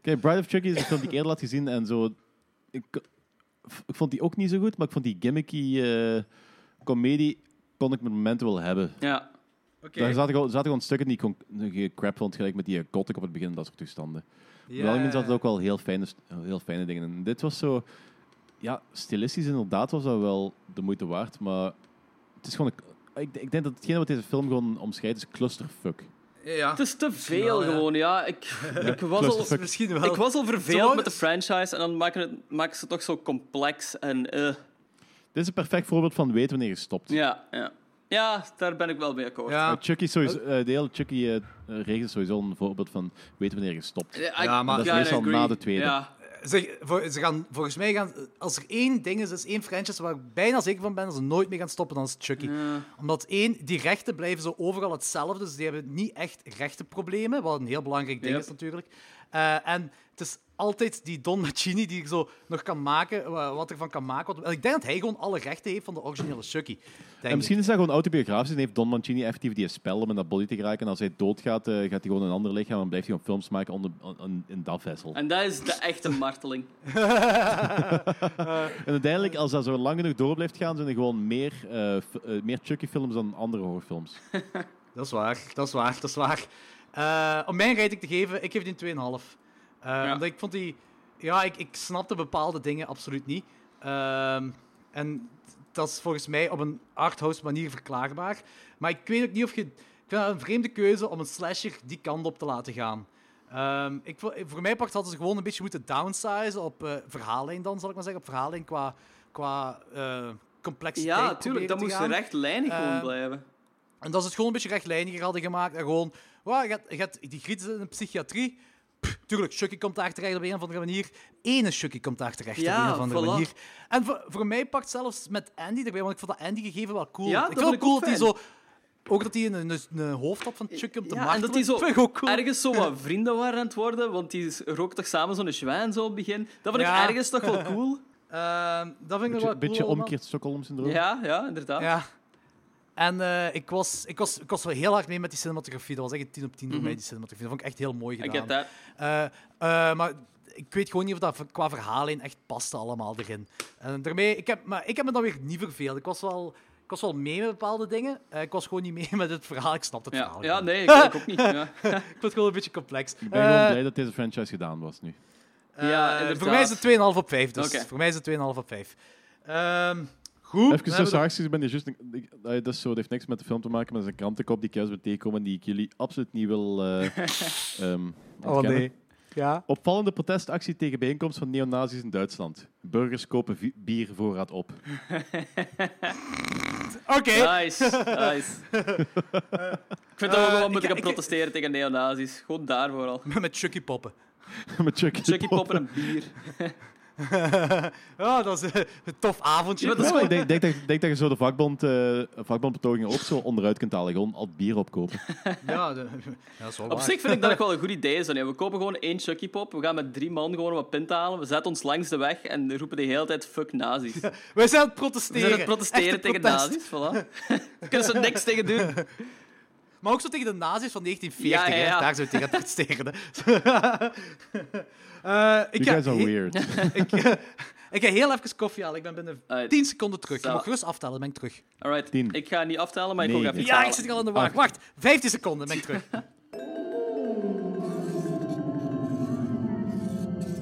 Kijk, Bride of Chucky is een film die ik eerder had gezien en zo... Ik, ik vond die ook niet zo goed, maar ik vond die gimmicky eh comedie kon ik met momenten wel hebben.
Ja.
Oké.
Daar zaten gewoon, zaten gewoon stukken die ik kon- die ik crap vond, gelijk met die eh, gothic op het begin en dat soort toestanden.
Ja,
Op
ja,
dat zat
ja.
ook wel heel fijne, st- heel fijne dingen. En dit was zo... Ja, stilistisch inderdaad was dat wel de moeite waard, maar het is gewoon... Een, ik, ik denk dat hetgene wat deze film gewoon omscheidt is clusterfuck.
Ja.
Het is te veel
wel, ja.
gewoon, ja. Ik, ik was al...
clusterfuck.
Misschien wel.
Ik was al
Zolang
verveeld met de
het-
franchise en dan maken, het, maken ze het toch zo complex en eh,
Dit is een perfect voorbeeld van weten wanneer je stopt.
ja, ja. Ja, daar ben ik wel mee akkoord.
Ja.
Maar Chucky is sowieso,
Oh.
eh, de hele Chucky-regel is sowieso een voorbeeld van weten wanneer je stopt.
Eh, I-
Ja, maar-
Dat is
gotta
meestal
agree.
na de tweede.
Ja.
Zeg, voor, ze gaan, volgens mij gaan... Als er één ding is, is één franchise waar ik bijna zeker van ben dat ze nooit meer gaan stoppen, dan is het Chucky. Omdat één, die rechten blijven zo overal hetzelfde, dus die hebben niet echt rechtenproblemen, wat een heel belangrijk ding
Yep.
is natuurlijk. Eh, en het is altijd die Don Mancini die zo nog kan maken, wa- wat ervan kan maken. Wat, ik denk dat hij gewoon alle rechten heeft van de originele Chucky. denk
En
ik.
misschien is dat gewoon autobiografisch en heeft Don Mancini effectief die spel om in dat body te geraken. En als hij doodgaat, eh, gaat hij gewoon een ander lichaam en blijft hij gewoon films maken onder, on- on- in dat vessel.
En dat is de echte marteling.
En uiteindelijk, als dat zo lang genoeg door blijft gaan, zijn er gewoon meer, eh, f- eh, meer Chucky-films dan andere horrorfilms.
Dat is waar, dat is waar, dat is waar. Eh, om mijn rating te geven, ik geef die een 2,5. Eh, Omdat ik vond die... Ja, ik, ik snapte bepaalde dingen absoluut niet. Ehm, en dat is volgens mij op een arthouse manier verklaarbaar. Maar ik weet ook niet of je... Ik vind dat een vreemde keuze om een slasher die kant op te laten gaan. Ehm, ik, vo- voor mijn part hadden ze gewoon een beetje moeten downsizen op eh, verhaallijn dan, zal ik maar zeggen. Op verhaallijn qua, qua eh, complexiteit
Ja, tuurlijk, dat
proberen
moest
te gaan.
rechtlijnig gewoon
Eh,
blijven.
En dat ze het gewoon een beetje rechtlijniger hadden gemaakt. En gewoon, wauw, je, hebt, je hebt die grieten in de psychiatrie. Pff, tuurlijk, Chucky komt daar terecht op een of andere manier. Ene Chucky komt daar terecht op
Ja,
een of andere
voilà.
manier. En voor, voor mij pakt zelfs met Andy erbij, want ik vond dat Andy gegeven wel cool.
Ja,
ik
dat
vond
vond ik
het cool
ook
dat hij zo... Ook dat hij een, een, een hoofd had van Chucky op de
Ja, en dat die zo
vind ik ook cool.
ergens zo wat vrienden waren aan het worden, want die rookten toch samen zo'n zwijn zo op het begin. Dat vond
Ja.
ik ergens toch wel cool.
Ehm, dat vind ik nog wel
Beetje,
cool
beetje
allemaal.
omkeerd Stockholm-syndroom.
Ja, ja, inderdaad.
Ja. En eh, ik, was, ik, was, ik was wel heel hard mee met die cinematografie. Dat was echt een 10 op 10
Mhm.
voor mij, die cinematografie. Dat vond ik echt heel mooi
I
gedaan.
get that.
Eh, eh, maar ik weet gewoon niet of dat v- qua verhaal in echt paste allemaal erin. En daarmee, ik heb, maar ik heb me dan weer niet verveeld. Ik was wel, ik was wel mee met bepaalde dingen. Eh, ik was gewoon niet mee met het verhaal. Ik snapte het
Ja,
verhaal
ja
gewoon.
nee, ik, ik ook niet. Ja.
Ik vond het gewoon een beetje complex. Eh,
Ik ben gewoon blij dat deze franchise gedaan was nu.
Ja, inderdaad.
voor mij is het 2,5 op 5. Dus
Oké.
voor mij is het 2,5 op 5. Ehm, goed.
Even
dan
zo
hebben we-
sarcastisch, ik ben hier juist... een- ik- eh, Dat is zo, dat heeft niks met de film te maken, maar dat is een krantenkop die ik juist ben tegengekomen en die ik jullie absoluut niet wil eh ehm,
Oh
ontkennen.
nee. Ja.
Opvallende protestactie tegen bijeenkomst van neonazis in Duitsland. Burgers kopen vi- biervoorraad op.
goed. Oké.
Nice, nice. ik vind dat we
Eh,
gewoon
ik-
moeten gaan
ik-
protesteren tegen neonazis. Gewoon daarvoor al.
Met Chucky poppen.
Met E. Chucky,
Chucky poppen en bier.
ja, dat is eh, een tof avondje.
Ja, maar
Ja, maar ik denk, denk, dat- denk dat je zo de vakbond, eh vakbondbetogingen ook zo onderuit kunt halen. Gewoon al het bier opkopen.
Ja, de- ja, dat is wel
Op
waar.
zich vind ik dat ook wel een goed idee is. hè. We kopen gewoon één Chucky Pop, we gaan met drie man gewoon wat pinten halen, we zetten ons langs de weg en roepen de hele tijd fuck nazis. We
Wij zijn aan het protesteren.
zijn aan het protesteren
Echte
tegen
protest.
nazis, voilà. Daar kunnen ze niks tegen doen.
Maar ook zo tegen de nazi's van
Ja,
1940.
ja,
hè.
ja.
Daar zou je tegen protesteren. hè. Eh, ik,
You guys
ga,
are
he-
weird.
ik, ik ga heel even koffie halen. Ik ben binnen
Alright.
10 seconden terug. Je
Zo.
mag gerust aftellen, dan ben ik terug.
Alright,
Tien.
ik ga niet aftellen, maar ik ook
Negen.
even iets
Ja, ik
halen.
zit hier al in de wacht. Wacht, 15 seconden, ben ik terug.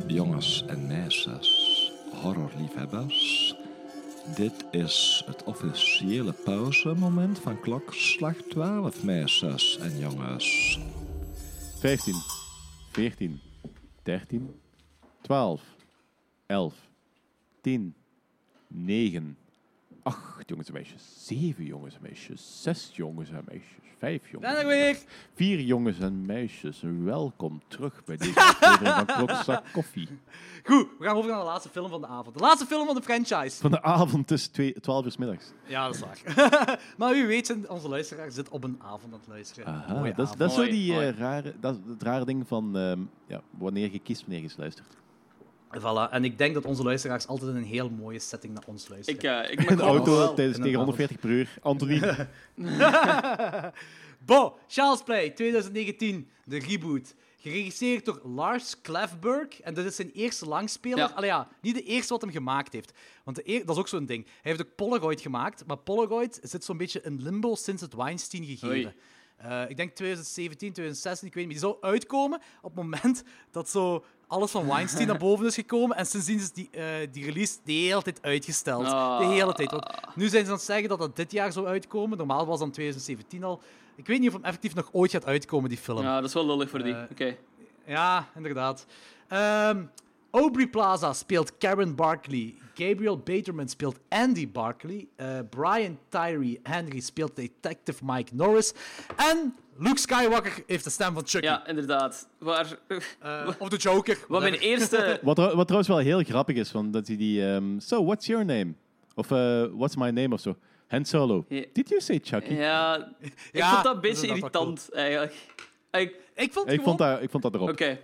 Jongens en meisjes, horrorliefhebbers. Dit is het officiële pauzemoment van klokslag 12, meisjes en jongens.
15, 14, 13, 12, 11, 10, 9, 8 jongens en meisjes, 7 jongens en meisjes, 6 jongens en meisjes, 5 jongens en
Ben er weer.
Vier jongens en meisjes, welkom terug bij deze aflevering van Klokzak Koffie.
Goed, we gaan over naar de laatste film van de avond. De laatste film van de franchise.
Van de avond tussen twee- 12 uur 's middags.
Ja, dat is waar. maar wie weet, zijn onze luisteraars zit op een avond aan het luisteren.
Aha,
Mooie
dat, is-
avond.
dat is zo
Mooi,
die eh,
mooi.
rare, dat, is het rare ding van ehm, ja, wanneer je kiest, wanneer je luistert.
Voilà, en ik denk dat onze luisteraars altijd in een heel mooie setting naar ons luisteren.
Ik, eh, ik
Een
mag
auto
wel.
tijdens
In een
tegen 140 per uur. Anthony,
Bo, Charles Play, 2019, de reboot. Geregisseerd door Lars Klefberg. En dat is zijn eerste langspeler.
Ja.
Allee ja, niet de eerste wat hem gemaakt heeft. Want de eer- dat is ook zo'n ding. Hij heeft ook Polaroid gemaakt. Maar Polaroid zit zo'n beetje in limbo sinds het Weinstein gegeven.
Oei.
Eh, ik denk 2017, 2016, ik weet niet. Die zou uitkomen op het moment dat zo alles van Weinstein naar boven is gekomen. En sindsdien is die, eh, die release de hele tijd uitgesteld.
Ah.
De hele tijd. Want nu zijn ze aan het zeggen dat dat dit jaar zou uitkomen. Normaal was dat in 2017 al. Ik weet niet of hem effectief nog ooit gaat uitkomen, die film. Ja,
Ja, dat is wel lullig voor die.
Eh,
Oké.
inderdaad. Ehm, Aubrey Plaza speelt Karen Barkley. Gabriel Baterman speelt Andy Barkley. Eh, Brian Tyree Henry speelt Detective Mike Norris. En Luke Skywalker heeft de stem van Chucky.
Ja, inderdaad. Waar,
Eh, of de Joker.
wat mijn
whatever.
eerste...
wat, trou- wat trouwens wel heel grappig is, want dat hij die... ehm, so, what's your name? Of eh, what's my name of zo. Han Solo.
Ja.
Did you say Chucky?
Ja, ik
Ja,
vond dat een
dat is
beetje
inderdaad wel
irritant, eigenlijk. Ik-
Ik vond,
Ik
gewoon-
vond, dat, ik vond dat erop.
Oké.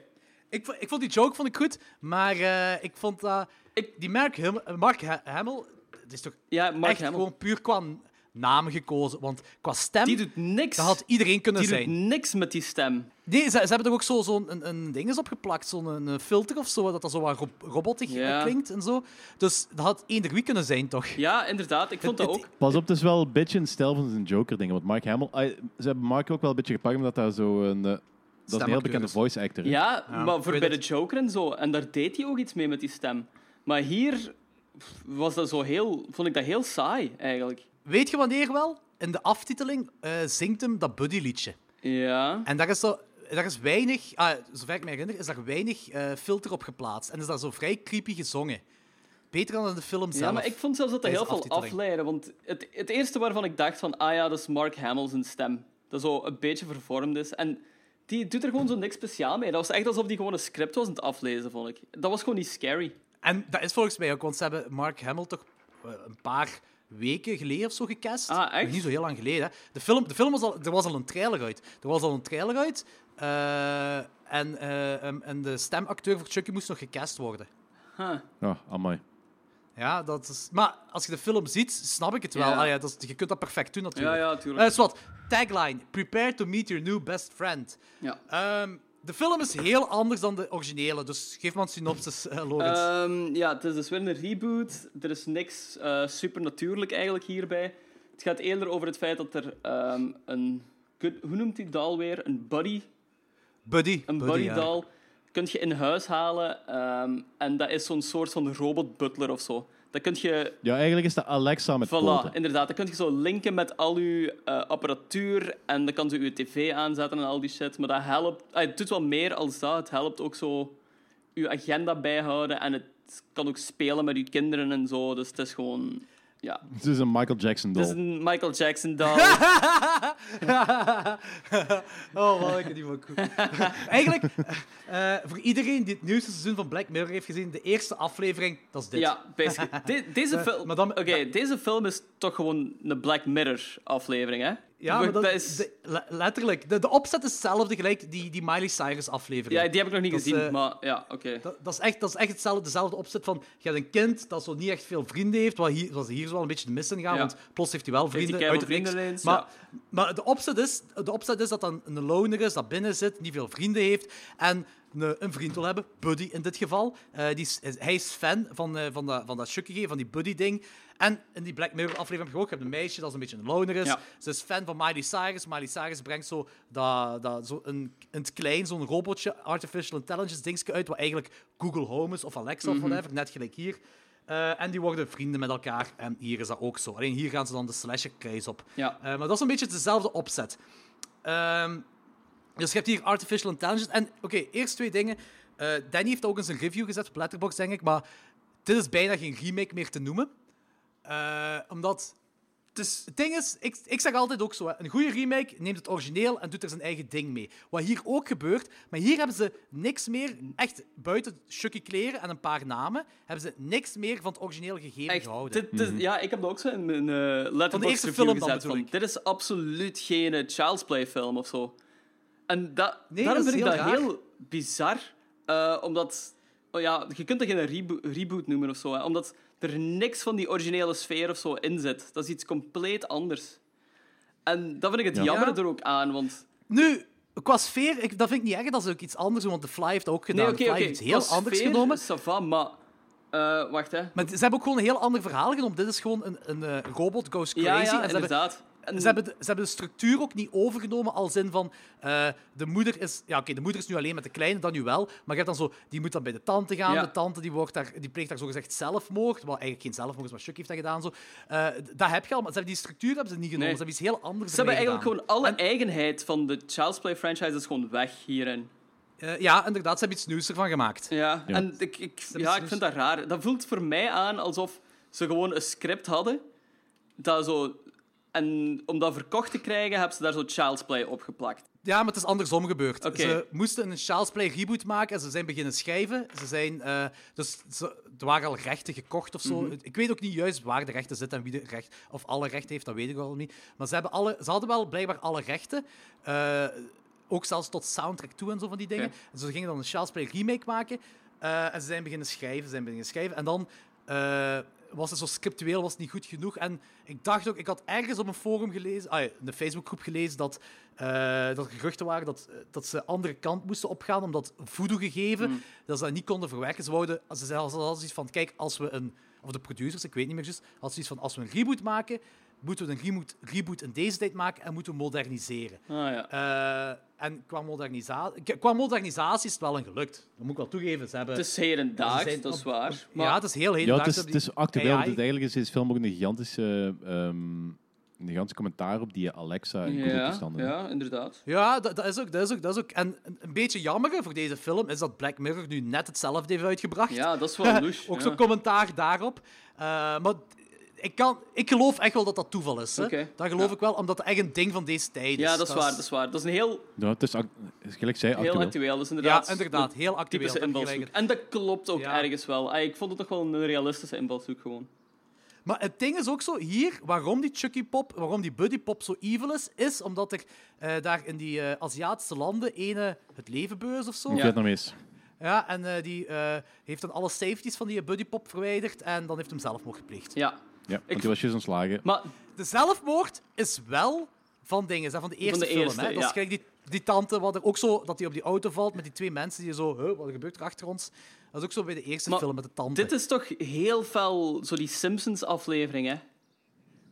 ik, vo- ik vond die joke vond ik goed, maar eh, ik vond dat...
Ik-
die Mark, Hum- eh, Mark Ha- Hamill, het is toch
Ja, Mark
echt
Hamill.
gewoon puur qua naam gekozen. Want qua stem,
Die doet niks.
dat had iedereen kunnen
Die doet
zijn.
niks met die stem.
Nee, ze, ze hebben er ook zo- zo'n een, een ding is opgeplakt, zo'n een, een filter of zo, dat dat zo wat rob- robotig eh,
Ja.
klinkt en zo. Dus dat had eender wie kunnen zijn, toch?
Ja, inderdaad. Ik vond dat
het-
ook.
Pas op, het is wel een beetje een stijl van zijn Joker-dingen. Want Mark Hamill... ah, ze hebben Mark ook wel een beetje gepakt, omdat daar zo een... eh, dat is een heel
Stemacteur
bekende
is.
voice actor. hè?
Ja, maar voor
weet
bij de
het.
Joker en zo. En daar deed hij ook iets mee met die stem. Maar hier was dat zo heel, vond ik dat heel saai, eigenlijk.
Weet je wanneer wel? In de aftiteling eh, zingt hem dat buddyliedje.
Ja.
En daar is, zo, daar is weinig, ah, zover ik me herinner, is daar weinig eh, filter op geplaatst. En is daar zo vrij creepy gezongen. Beter dan in de film zelf.
Ja, maar ik vond zelfs dat dat heel
tijdens
veel
de aftiteling.
afleidde. Want het, het eerste waarvan ik dacht van, ah ja, dat is Mark Hamill zijn stem. Dat zo een beetje vervormd is. En die doet er gewoon zo niks speciaal mee. Dat was echt alsof die gewoon een script was aan het aflezen, vond ik. Dat was gewoon niet scary.
En dat is volgens mij ook, want ze hebben Mark Hamill toch eh, een paar weken geleden of zo gecast.
Ah, echt?
Nog Niet zo heel lang geleden. Hè. De film, de film was al, er was al een trailer uit. Er was al een trailer uit. eh, en, eh, em, en de stemacteur voor Chucky moest nog gecast worden.
Oh, amai.
Ja, dat is... Maar als je de film ziet, snap ik het wel.
Ja.
Ah, ja, dat is, je kunt dat perfect doen natuurlijk.
Ja, ja, tuurlijk.
Eh, is wat. Tagline. Prepare to meet your new best friend.
Ja.
Ehm, de film is heel anders dan de originele, dus geef me een synopsis, eh, Lorenz.
Ehm, ja, het is dus weer een reboot. Er is niks eh, supernatuurlijk eigenlijk hierbij. Het gaat eerder over het feit dat er ehm, een... good- Hoe noemt die dal weer? Een buddy
buddy.
Een
buddy, ja.
buddy-doll kun je in huis halen. ehm, en dat is zo'n soort van robot-butler of zo. Dat kun je...
Ja, eigenlijk is dat Alexa met
Voilà,
poten.
inderdaad. Dat kun je zo linken met al uw eh, apparatuur. En dan kan ze uw tv aanzetten en al die shit. Maar dat helpt... ah, het doet wel meer als dat. Het helpt ook zo uw agenda bijhouden. En het kan ook spelen met uw kinderen en zo. Dus het is gewoon... Ja.
Het is een Michael Jackson
Het is
doll.
een Michael Jackson doll.
oh, wat ik die van cool. Eigenlijk, eh, voor iedereen die het nieuwste seizoen van Black Mirror heeft gezien, de eerste aflevering, dat is dit.
ja, basically. De- deze, film,
Eh, maar dan-
oké, deze film is toch gewoon een Black Mirror-aflevering, hè?
Ja, maar
dat,
dat,
is,
de- le- letterlijk. De, de opzet is hetzelfde, gelijk die, die Miley Cyrus aflevering.
ja, die heb ik nog niet
dat,
gezien,
eh,
maar ja, oké.
Dat, dat is echt, dat is echt hetzelfde, dezelfde opzet van... Je hebt een kind dat zo niet echt veel vrienden heeft, wat hier, wat hier zo wel een beetje de mis in gaat,
Ja.
want plots heeft hij wel
die
vrienden,
keihard
uit het niks.
vrienden ineens,
Maar, maar de, opzet is, de opzet is dat dan een loner is, dat binnen zit, niet veel vrienden heeft, en een, een vriend wil hebben, Buddy in dit geval. Eh, die is, is- hij is fan van, eh, van, dat, van dat Chucky, van die Buddy-ding. En in die Black Mirror aflevering heb je ook je hebt een meisje dat een beetje een loner is.
Ja.
Ze is fan van Miley Cyrus. Miley Cyrus brengt zo, dat, dat, zo een, in het klein zo'n robotje, artificial intelligence dingetje uit, wat eigenlijk Google Home is of Alexa of whatever, net gelijk hier. Eh, en die worden vrienden met elkaar. En hier is dat ook zo. Alleen hier gaan ze dan de slasher kruis op.
Ja.
Eh, maar dat is een beetje dezelfde opzet. Ehm, dus je hebt hier artificial intelligence. En oké, eerst twee dingen. Eh, Danny heeft ook eens een review gezet op Letterboxd, denk ik. Maar dit is bijna geen remake meer te noemen. Eh, omdat dus,
het is,
het ding is, ik, ik zeg altijd ook zo: hè, een goede remake neemt het origineel en doet er zijn eigen ding mee. Wat hier ook gebeurt, maar hier hebben ze niks meer, echt buiten Chucky kleren en een paar namen, hebben ze niks meer van het origineel gegeven
echt,
gehouden.
dit, dit- ja, ik heb dat ook zo in mijn eh letterboxd
eerste
review
film dan,
gezet. Van,
bedoel
dit is absoluut geen eh, Child's Play film of zo. En dat,
Nee,
daarom
dat is
vind ik
heel
dat
raar.
heel bizar. eh, omdat, oh ja, je kunt dat geen rebo- reboot noemen of zo. Hè, omdat er niks van die originele sfeer of zo in zit. Dat is iets compleet anders. En dat vind ik het jammer
Ja.
er ook aan, want...
Nu, qua sfeer, ik, dat vind ik niet erg, dat is ook iets anders, want The Fly heeft dat ook gedaan.
Nee,
De
oké,
Fly
oké.
heeft iets heel
qua
anders
sfeer,
genomen.
ça va, maar... eh, wacht, hè.
Maar ze hebben ook gewoon een heel ander verhaal genomen. Dit is gewoon een, een eh, robot goes crazy.
Ja,
en ze
ja,
hebben-
inderdaad. En-
Ze hebben, de, ze hebben de structuur ook niet overgenomen, als in van eh, de moeder is. Ja, oké, de moeder is nu alleen met de kleine, dan nu wel. Maar je hebt dan zo, die moet dan bij de tante gaan.
Ja.
De tante die, wordt daar, die pleegt daar zogezegd zelfmoord. Wel eigenlijk geen zelfmoord, is, maar Chucky heeft dat gedaan. Zo. Eh, d- dat heb je al, maar ze hebben die structuur hebben ze niet genomen.
Nee.
Ze hebben iets heel anders
Ze hebben
ermee
eigenlijk
gedaan.
gewoon alle eigenheid van de Child's Play franchise is gewoon weg hierin.
Eh, ja, inderdaad, ze hebben iets nieuws ervan gemaakt.
Ja, en ik, ik, ja, ik
dus-
vind dat raar. Dat voelt voor mij aan alsof ze gewoon een script hadden. Dat zo, en om dat verkocht te krijgen, hebben ze daar zo Child's Play opgeplakt.
Ja, maar het is andersom gebeurd.
Oké.
Ze moesten een Charles Play reboot maken en ze zijn beginnen schrijven. Ze zijn, eh, dus ze, er waren al rechten gekocht of zo. Ik weet ook niet juist waar de rechten zitten en wie de recht, of alle rechten heeft, dat weet ik wel niet. Maar ze, hebben alle, ze hadden wel blijkbaar alle rechten. eh, ook zelfs tot soundtrack toe en zo van die dingen.
Oké.
En ze gingen dan een Charles Play remake maken. eh, en ze zijn beginnen schrijven, ze zijn beginnen schrijven. En dan eh, was het zo scriptueel, was het niet goed genoeg. En ik dacht ook, ik had ergens op een forum gelezen, ah, ja, in de Facebookgroep gelezen, dat, eh, dat er geruchten waren dat, eh, dat ze andere kant moesten opgaan, omdat voodoo-gegeven, dat ze dat niet konden verwerken. Ze wouden, ze zeiden als iets van, kijk, als we een, of de producers, ik weet niet meer juist, als iets van, als we een reboot maken, moeten we een reboot, reboot in deze tijd maken en moeten we moderniseren.
Ah, ja.
Eh, en qua, modernisa- k- qua modernisatie is het wel een gelukt. Dat moet ik wel toegeven. Ze hebben...
Het is hedendaags,
zijn
dat is
op-
waar. Maar
ja, het is heel
Ja, het
hedendaags.
is,
Ze
het
hebben
is
die
actueel. want
AI.
het is eigenlijk is deze film ook een gigantische, ehm, een gigantische commentaar op die Alexa en
ja,
Google-toestanden.
ja, inderdaad.
Ja, dat, dat, is ook, dat is ook. Dat is ook. En een, een beetje jammer voor deze film is dat Black Mirror nu net hetzelfde heeft uitgebracht.
Ja, dat is wel louche.
ook
ja.
zo'n commentaar daarop. Eh, maar ik, kan, ik geloof echt wel dat dat toeval is. Hè?
Oké.
Dat geloof
Ja.
ik wel, omdat het echt een ding van deze tijd is.
Ja, dat is waar, dat is waar. Dat is een heel,
Ja, Nou, het is, act- is gelijk zij
heel
actueel.
actueel. Dat is inderdaad,
Ja, inderdaad.
de
Heel actueel.
typische
dat heb je
invalshoek.
gelijk.
En dat klopt ook
Ja.
ergens wel. Ah, Ik vond het toch wel een realistische invalshoek gewoon.
Maar het ding is ook zo, hier, waarom die Chucky Pop, waarom die Buddy Pop zo evil is, is omdat er eh, daar in die eh, Aziatische landen ene het leven beus of zo.
Ja.
Vietnamees.
Ja, en eh, die eh, heeft dan alle safeties van die eh, Buddy Pop verwijderd en dan heeft hem zelfmoord gepleegd.
Ja.
Ja, want die was juist ontslagen.
Maar
De zelfmoord is wel van dingen, hè, van de eerste
de
film.
eerste,
hè. Dat is
ja.
kijk, die, die tante, wat er ook zo, dat hij op die auto valt met die twee mensen die zo, huh, wat gebeurt er achter ons? Dat is ook zo bij de eerste
Maar
film met de tante.
Dit is toch heel fel, zo die Simpsons-aflevering, hè?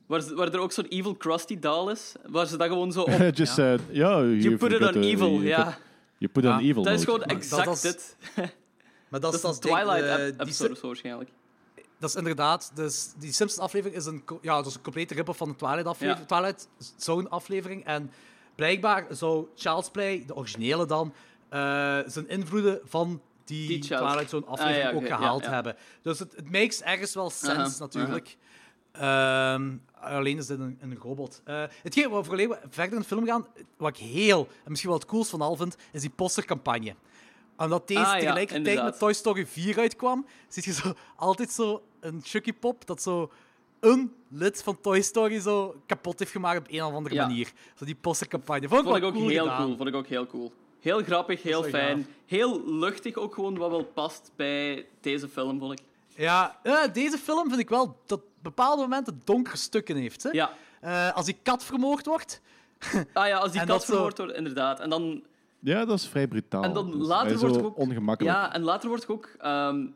Waar, ze- waar er ook zo'n evil Krusty doll is. Waar ze dat gewoon zo op...
Just said, ja, eh,
You put it on evil, ja.
Je put it on
Ja,
evil.
Dat is
mode.
gewoon
dat
exact
is-
dit.
maar dat,
Dat is
dat
een
is denk- eh, die
Twilight-episode
se-
of zo, waarschijnlijk.
Dat is inderdaad, dus die Simpsons-aflevering is een, co- ja, dat is een complete rip-off van de Twilight-aflevering.
Ja.
Twilight Zone-aflevering. En blijkbaar zou Charles Play, de originele dan, eh, zijn invloeden van die,
Die Charles-
Twilight
Ah,
Zone-aflevering
ja, oké,
ook gehaald
ja, ja.
hebben. Dus het, het makes ergens wel sense,
Aha,
natuurlijk. Ehm, alleen is dit een, een robot. Eh hetgeen waar vooraleer we verder in de film gaan, wat ik heel, en misschien wel het coolst van al vind, is die postercampagne. Omdat deze
Ah, ja,
tegelijkertijd met
inderdaad.
Toy Story 4 uitkwam, zie je zo, altijd zo een Chucky Pop dat zo een lid van Toy Story zo kapot heeft gemaakt op een of andere
Ja.
manier. Zo die postercampagne. Vond ik,
Vond ik
wel
ook
cool
heel
gedaan.
cool. Vond ik ook heel cool. Heel grappig, heel
is wel
fijn. Heel luchtig ook gewoon, wat wel past bij deze film, vond ik.
Ja, eh, deze film vind ik wel dat bepaalde momenten donkere stukken heeft. Hè?
Ja.
Eh, als die kat vermoord wordt,
Ah ja, als die
En
kat
dat zo-
vermoord wordt, inderdaad. En dan
Ja, dat is vrij brutaal.
En dan
Dat is
later
vrij
wordt
zo
er ook-
ongemakkelijk.
Ja, en later wordt ik ook ehm,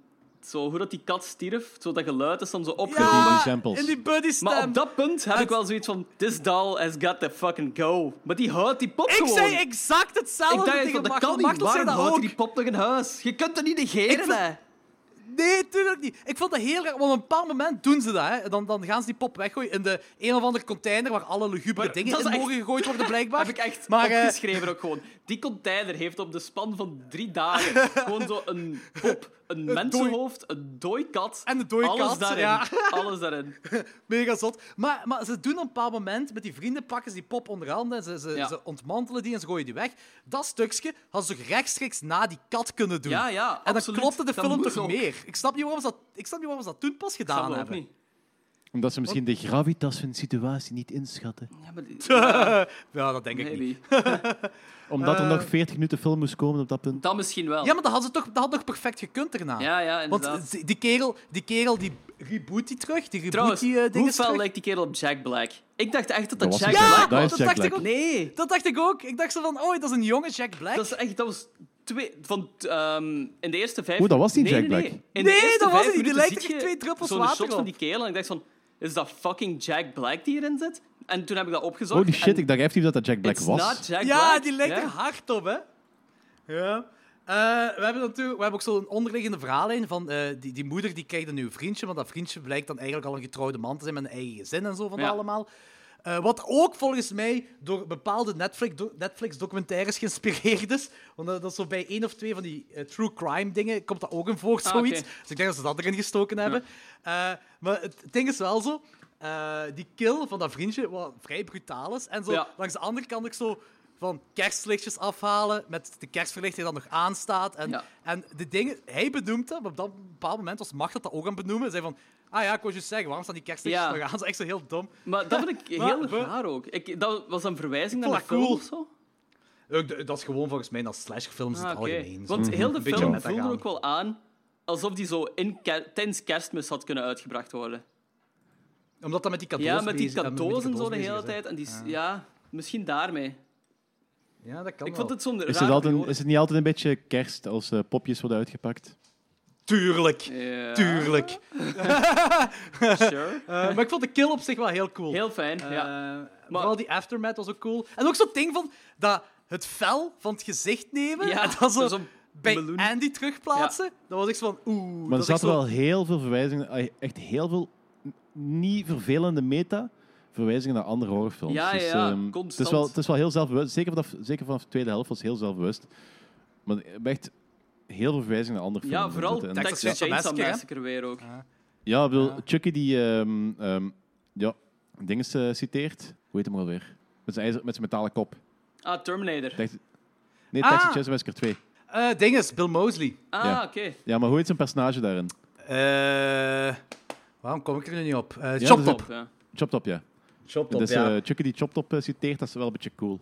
zo hoe dat die kat stierf, zo dat geluid is dan zo opgeroepen.
die
ja,
samples.
in die buddy stem.
Maar op dat punt heb
Het-
ik wel zoiets van: This doll has got the fucking go. Maar die houdt die pop
Ik
gewoon.
zei exact hetzelfde
ik dacht,
tegen
van, dat
Martel.
kan niet.
Martel zei
Waarom
dat
houdt
ook.
die pop nog in huis? Je kunt dat niet negeren,
Ik vind-
hè.
Nee, tuurlijk niet. Ik vond dat heel raar, want op een bepaald moment doen ze dat. Hè. Dan, dan gaan ze die pop weggooien in de een of andere container waar alle lugubere
Maar
dingen
dat
in
is echt-
mogen gegooid worden, blijkbaar.
Heb ik echt
Maar, eh,
opgeschreven ook gewoon. Die container heeft op de span van drie dagen gewoon zo een pop, een mensenhoofd, een dooi kat.
En een dooie
alles
kat,
Daarin,
ja.
Alles daarin.
Mega zot. Maar, maar ze doen op een bepaald moment met die vrienden pakken ze die pop onder handen. en Ze, ze,
Ja.
ze ontmantelen die en ze gooien die weg. Dat stukje hadden ze toch rechtstreeks na die kat kunnen doen.
Ja, ja,
en dan
absoluut.
klopte de
Dat
film
moet
toch
ook.
meer. Ik snap niet waarom ze dat, ik snap niet waarom ze dat toen
Dat
pas gedaan
we ook
hebben.
niet.
Omdat ze misschien de gravitas van de situatie niet inschatten.
Ja, maar die- ja,
Ja, dat denk ik niet.
maybe.
Omdat
Eh.
er nog 40 minuten film moest komen op dat punt.
Dat misschien wel.
Ja, maar dat had, ze toch, dat had nog perfect gekund erna.
Ja, ja,
Want
inderdaad.
ze- die kerel, die kerel die reboot die terug. Die reboot
Trouwens,
die eh, dingen
hoe fel
terug.
lijkt die kerel op Jack Black? Ik dacht echt
Dat
dat
was
dat, Jack
Jack
Ja,
Black
Black.
was.
Dat
dat
is Jack
dacht ik
Black.
ook.
Nee,
Dat dacht ik ook. Ik dacht zo van, oh, dat is een jonge Jack Black.
dat is echt... Dat was twee, van, ehm, in de eerste vijf...
Oeh, dat was niet
nee,
Jack
nee,
Black.
Nee, In de
Nee,
eerste
dat was
vijf
het niet. Die
minuten
lijkt
zie
echt
je
twee druppels
zo'n
water
shot
op.
van die kerel en ik dacht van... Is dat fucking Jack Black die hierin zit? En toen heb ik dat opgezocht.
Holy shit,
en
ik dacht even dat dat Jack Black
it's
was.
not Jack
ja,
Black.
die lijkt
Ja.
er hard op, hè? Ja. Eh, we hebben natuurlijk we hebben ook zo'n onderliggende verhaallijn van eh, die, die moeder die krijgt een nieuw vriendje, want dat vriendje blijkt dan eigenlijk al een getrouwde man te zijn met een eigen gezin en zo van
Ja.
allemaal. Eh, wat ook volgens mij door bepaalde Netflix, do- Netflix-documentaires geïnspireerd is. Want dat, dat is zo bij één of twee van die eh, true crime dingen komt dat ook in voor,
Ah,
zoiets.
oké.
Dus ik denk dat ze dat erin gestoken hebben. Eh, maar het ding is wel zo, eh, die kill van dat vriendje, wat vrij brutaal is. En zo,
Ja.
langs de andere kant ook zo van kerstlichtjes afhalen, met de kerstverlichting die dan nog aanstaat. En,
Ja.
en de dingen, hij benoemt dat, maar op dat bepaald moment was Mag dat dat ook aan benoemen. Zei van, ah ja, ik wou je zeggen, waarom staan die kerstlichtjes
Ja.
nog aan? Dat is echt zo heel dom.
Maar dat vind ik
Maar
heel
we-
raar ook. Ik, dat was een verwijzing
Ik
naar de
vond dat
film
cool.
of zo?
Eh, d- Dat is gewoon volgens mij dat slasherfilms in
Ah,
het
oké.
algemeen. zo. Mhm.
Want heel de
beetje
film
met dat
voelde
gaan.
ook wel aan alsof die zo in ker- tijdens kerstmis had kunnen uitgebracht worden.
Omdat dat met die cadeaus
Ja, met die
bezig- eh, met
cadeaus en zo de
bezig
hele
is, hè.
tijd. En die, s- ja, misschien daarmee.
Ja, dat kan
Ik vond
wel.
het
Is
zo'n raar
het, altijd,
periode.
is het niet altijd een beetje kerst als eh, popjes worden uitgepakt?
Tuurlijk,
Ja,
tuurlijk.
sure.
Eh, maar ik vond de kill op zich wel heel cool.
Heel fijn, ja.
Eh, Vooral die aftermath was ook cool. En ook zo'n ding van dat het vel van het gezicht nemen
Ja,
en dan zo
zo'n
bij
meloen.
Andy terugplaatsen. Dat was echt van oeh.
Maar er
dat is echt
zaten wel
zo-
heel veel verwijzingen, eh, echt heel veel n- niet vervelende meta. Verwijzingen naar andere horrorfilms.
Ja, ja,
dus,
ja,
ehm,
constant.
Het is, wel, het is wel heel zelfbewust. Zeker vanaf, zeker vanaf de tweede helft was het heel zelfbewust. Maar ik heb echt heel veel verwijzingen naar andere films.
Ja, vooral
zitten. En-
Texas
Texas Chainsaw
Chainsaw
Massacre weer ook.
Ja, ik bedoel, Chucky die ehm ehm, ja, dingen eh, citeert. Hoe heet hem alweer? Met zijn, ijzer, met zijn metalen kop.
Ah, Terminator.
Tex- nee,
Ah!
Texas Chainsaw Massacre 2.
Eh, ding is, Bill Mosley.
Ah,
Ja.
oké.
Ja, maar hoe heet zijn personage daarin?
Eh, waarom kom ik er nu niet op? Eh
dat
chopped
is
op.
het.
Ja.
Chopped Up, ja.
Chopped
dus
ja.
eh, Chucky die Chopped Up eh, citeert, dat is wel een beetje cool.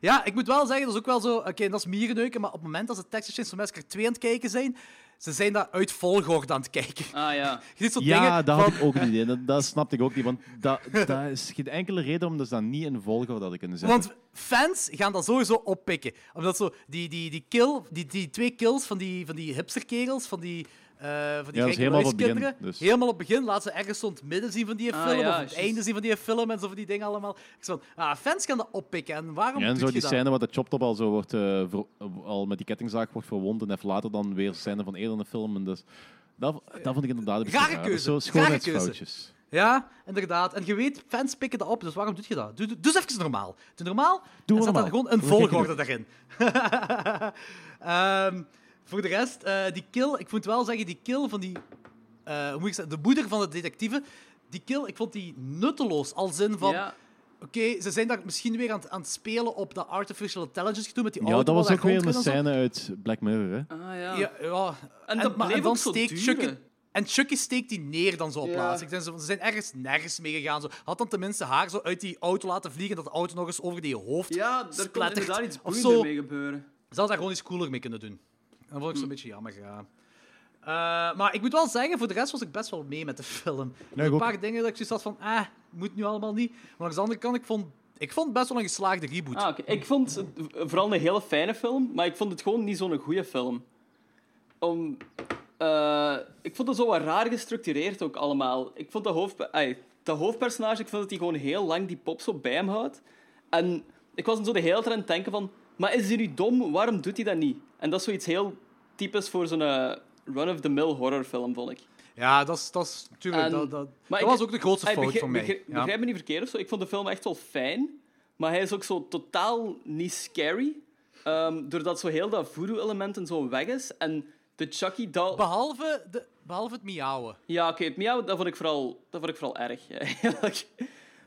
Ja, ik moet wel zeggen, dat is ook wel zo... Oké, dat is mierenneuken, maar op het moment dat ze Texas Chainsaw Massacre 2 aan het kijken zijn, ze zijn daar uit volgorde aan het kijken.
Ah, ja.
Je ziet zo'n
Ja,
dingen
dat
van...
had ik ook niet. idee. Dat, dat snapte ik ook niet. Want dat, dat is geen enkele reden om dus dat niet in volgorde hadden kunnen zetten.
Want fans gaan dat sowieso oppikken. Omdat zo die, die, die, kill, die, die twee kills van die, van die hipsterkerels, van die, eh van die
dat is
gekke
helemaal op het begin,
luiskinderen,
dus.
Helemaal op het begin laten ze ergens zo in het midden zien van die
Ah,
film,
ja,
of op het
juist.
einde zien van die film, en zo van die dingen allemaal. Ik zei van, ah, fans gaan dat oppikken, en waarom
Ja, en
doet
zo
je
die
dat?
scène waar de Chopped Up al, zo wordt, eh, ver- al met die kettingzaak wordt verwond en even later dan weer scène van eerder in de film. En dus, dat, dat vond ik inderdaad een beetje
Rare
raar. Dat is
keuze.
Zo
Rare keuze.
schoonheidsfoutjes.
Ja, inderdaad. En je weet, fans pikken dat op, dus waarom doet je dat? Doe, doe, doe eens even normaal. Doe normaal,
Doe
en zet daar
normaal.
gewoon een
Dan kijk ik
volgorde daarin. Ehm, voor de rest, eh, die kill, ik moet wel zeggen, die kill van die, eh, hoe moet ik zeggen, de moeder van de detectieve, die kill, ik vond die nutteloos. Als zin van,
Ja.
oké, ze zijn daar misschien weer aan, het- aan het spelen op dat artificial intelligence gedoe met die
Ja,
auto.
dat was
waar
ook weer een
rondrijdt en zo.
scène uit Black Mirror. Hè?
Ah, ja.
Ja, ja.
En dat
maar-
bleef
dan
ook zo
steekt
duren.
Chucky- En Chucky steekt die neer dan zo op
Ja.
plaats. Ik denk zo van, ze zijn ergens nergens mee gegaan. Zo. Had dan tenminste haar zo uit die auto laten vliegen, dat de auto nog eens over die hoofd
Ja, daar kon
Splattert.
inderdaad iets
Of
boeiender
zo.
mee gebeuren.
Ze hadden daar gewoon iets cooler mee kunnen doen. Dat vond ik
Mm.
zo'n beetje jammer, ja. Eh, maar ik moet wel zeggen, voor de rest was ik best wel mee met de film. Er
ik
waren een
ook.
paar dingen dat ik zoiets had van, ah, moet nu allemaal niet. Maar langs de andere kant, ik vond, ik vond het best wel een geslaagde reboot.
Ah, oké. Ik vond het vooral een hele fijne film, maar ik vond het gewoon niet zo'n goede film. Om, eh, ik vond het zo wat raar gestructureerd ook allemaal. Ik vond dat, hoofdpe- ai, dat hoofdpersonage, ik vind dat hij gewoon heel lang die pop zo bij hem houdt. En ik was dan zo de hele tijd aan het denken van, maar is hij nu dom? Waarom doet hij dat niet? En dat is zoiets heel typisch voor zo'n eh, run-of-the-mill horrorfilm, vond ik.
Ja, dat is- dat is natuurlijk...
En-
dat dat,
maar
dat
ik-
was ook de grootste
Hij
fout
begrijp-
van mij.
begrijp-
ja.
Begrijp me niet verkeerd of zo. Ik vond de film echt wel fijn, maar hij is ook zo totaal niet scary. ehm, doordat zo heel dat voodoo-element en zo weg is. En de Chucky doll...
Behalve, de, behalve het miauwen.
ja, oké, het miauw, dat vond ik vooral, dat vond ik vooral erg, eigenlijk.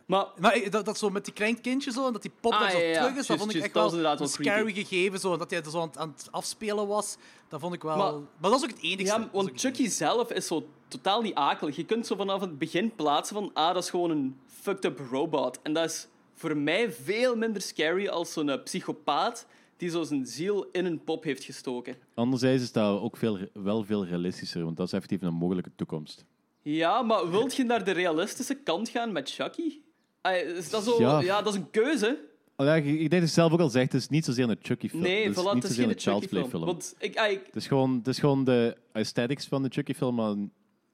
Maar
Maar ik- dat, dat zo met die klein kindje zo, en dat die pop
Ah,
dan zo
ja, ja.
terug is, dat
Juist,
vond ik
juist,
echt
dat was
wel
inderdaad
een
wel creepy.
scary gegeven. Zo, en dat hij er zo aan, het- aan het afspelen was, dat vond ik wel... Maar,
Maar-
dat was ook het enige.
ja, want Chucky zelf is zo totaal niet akelig. Je kunt zo vanaf het begin plaatsen van, ah, dat is gewoon een fucked-up robot. En dat is voor mij veel minder scary als zo'n eh, psychopaat die zo zijn ziel in een pop heeft gestoken.
Anderzijds is dat ook veel, wel veel realistischer, want dat is effectief een mogelijke toekomst.
Ja, maar wilt je naar de realistische kant gaan met Chucky? Ah, is dat zo, ja.
Ja.
dat is een keuze.
Oh ja, ik ik denk dat je zelf ook al zegt, het is niet zozeer een Chucky-film.
Nee,
het is
voilà,
dus niet
het is
zozeer
geen
een Child's Play-film.
Chucky-film. Want ik, ah, ik-
Het, is gewoon, het is gewoon de aesthetics van de Chucky-film, maar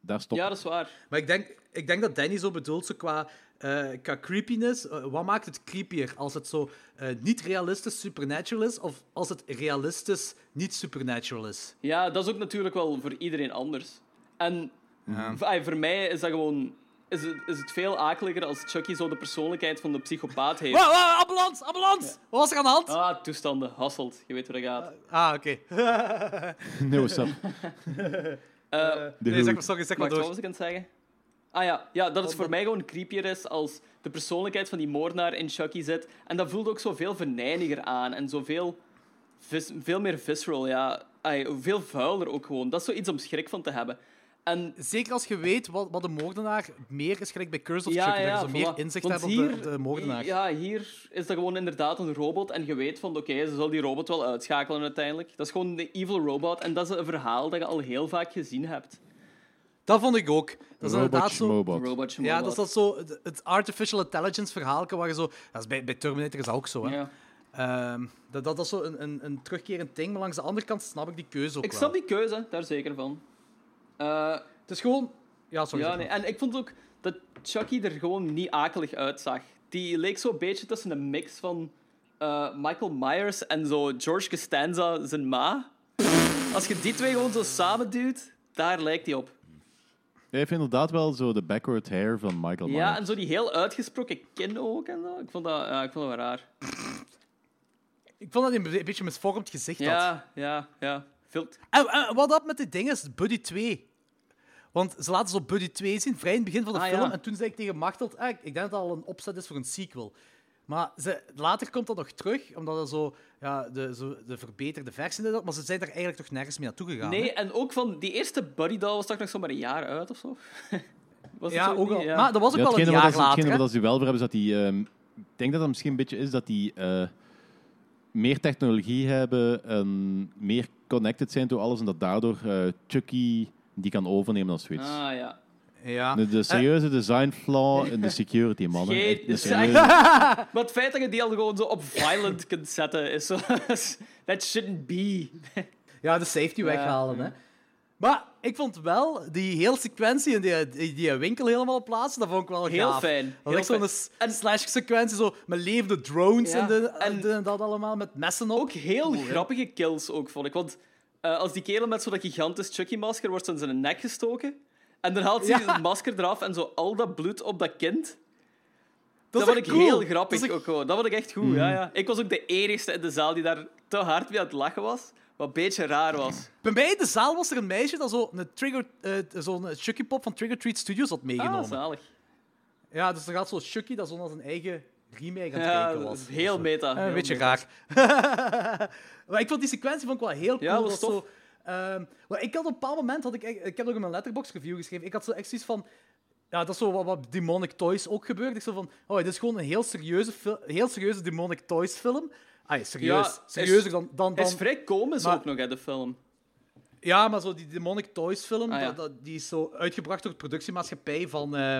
daar stopt
ja,
het.
dat is waar.
Maar ik denk, ik denk dat Danny zo bedoelt, zo qua, eh, qua creepiness. Eh, wat maakt het creepier? Als het zo eh, niet realistisch supernatural is, of als het realistisch niet supernatural is?
Ja, dat is ook natuurlijk wel voor iedereen anders. En v- ah, voor mij is dat gewoon... Is het, is het veel akeliger als Chucky zo de persoonlijkheid van de psychopaat heeft.
Wow, wow, ambulance, ambulance! Wat was er aan de hand?
Ah, toestanden, hasselt. Je weet hoe dat gaat.
Ah, oké.
No, sub.
Eh, nee, zeg maar, sorry,
Wacht,
zeg maar
wat
door. Oh,
was ik aan het zeggen? Ah ja, ja dat het voor mij gewoon creepier is als de persoonlijkheid van die moordenaar in Chucky zit. En dat voelt ook zoveel venijniger aan en zoveel vis, veel meer visceral, ja. Ai, veel vuiler ook gewoon. Dat is zoiets om schrik van te hebben. En
Zeker als je weet wat, wat de moordenaar meer is, gelijk bij Curse of
ja,
Chucky,
ja,
dat je zo
voilà.
meer inzicht
Want
hebt op
hier,
de, op de moordenaar.
Ja, hier is dat gewoon inderdaad een robot en je weet van, oké, ze zal die robot wel uitschakelen uiteindelijk. Dat is gewoon de evil robot en dat is een verhaal dat je al heel vaak gezien hebt.
Dat vond ik ook. Dat is
Robot
inderdaad zo...
Schmobot.
Robot
Ja, dat is dat zo, het- het artificial intelligence verhaal waar je zo... Dat is bij, bij Terminator is dat ook zo, hè.
Ja.
Ehm, dat, dat, dat is zo een, een, een terugkerend ding, maar langs de andere kant snap ik die keuze ook
Ik
wel.
snap die keuze, daar zeker van. Eh,
Het is gewoon... Ja, sorry.
ja,
zeg
nee.
maar.
En ik vond ook dat Chucky er gewoon niet akelig uitzag. Die leek zo'n beetje tussen een mix van eh, Michael Myers en zo George Costanza, zijn ma. Als je die twee gewoon zo samen duwt, daar lijkt hij op.
Hij heeft inderdaad wel zo de backward hair van Michael
Ja,
Myers.
en zo die heel uitgesproken kin ook en zo. Ik vond dat, ja, ik vond dat wel raar.
Ik vond dat hij een be- een beetje misvormd gezicht had.
Ja, ja, ja. Veel t-
En, en wat dat met dit ding is, Buddy 2. Want ze laten zo Buddy 2 zien, vrij in het begin van de
Ah,
film.
ja.
En toen zei ik tegen Machteld, eh, ik denk dat dat al een opzet is voor een sequel. Maar ze, later komt dat nog terug, omdat dat zo, ja, de, zo, de verbeterde versie is. Maar ze zijn er eigenlijk toch nergens mee naartoe gegaan. hè?
Nee, en ook van die eerste Buddy Doll was toch nog zomaar een jaar uit of zo? Was het
Ja,
zo
ook
niet?
al.
Ja.
Maar dat was ook
Ja,
wel een
hetgene
jaar
wat dat-
later.
hetgene
hè?
wat dat ze wel voor hebben, is dat die... ehm, ik denk dat dat misschien een beetje is dat die eh, meer technologie hebben, en meer connected zijn door alles, en dat daardoor eh, Chucky die kan overnemen als zoiets.
Ah ja.
Ja.
De, de serieuze design flaw in de security, mannen.
Geen-
Echt, de
zeg-
serieuze-
Maar het feit dat je die al gewoon zo op violent kunt zetten, is zo... That shouldn't be.
Ja, de safety weghalen.
Mm.
Hè. Maar ik vond wel die hele sequentie in die, die, die winkel helemaal plaatsen, dat vond ik wel
Heel
gaaf.
fijn,
Dat
heel
was
fijn.
echt zo'n slash-sequentie, zo met levende drones
Ja,
en, de,
en-
en, de- en dat allemaal, met messen op.
Ook heel grappige kills, ook, vond ik. Want eh, als die kerel met zo'n gigantisch Chucky-masker wordt zo in zijn nek gestoken, en dan haalt hij
Ja.
het masker eraf en zo al dat bloed op dat kind...
is
Dat, vond
echt
ik
cool.
heel
Dat is
grappig
echt- Mm.
ook gewoon. Dat vond ik echt goed, ja, ja. Ik was ook de enigste in de zaal die daar te hard mee aan het lachen was, wat een beetje raar was.
Bij mij in de zaal was er een meisje dat zo'n trigger, eh, zo'n Chucky Pop van Trigger Treat Studios had
Ah,
meegenomen.
zalig.
Ja, dus er gaat zo Chucky dat zo naar zijn eigen remake aan het
Ja,
kijken
dat
was.
is heel meta.
Eh,
heel
een beetje
meta.
raar. maar ik vond die sequentie vond ik wel heel cool.
Ja, was
dat
tof.
Zo, ehm, maar ik had op een bepaald moment, had ik, echt- ik heb ook in mijn letterbox review geschreven, ik had zo echt zoiets van... Ja, dat is zo wat, wat Demonic Toys ook gebeurt. Ik zo van, oh, dit is gewoon een heel serieuze, fil- heel serieuze Demonic Toys film. Ah, serieus.
Ja, is-
serieuzer dan, dan,
Hij
dan...
is vrij komisch
Maar-
ook nog, hè, de film.
Ja, maar zo die Demonic Toys film,
Ah, ja.
dat, dat- die is zo uitgebracht door de productiemaatschappij van eh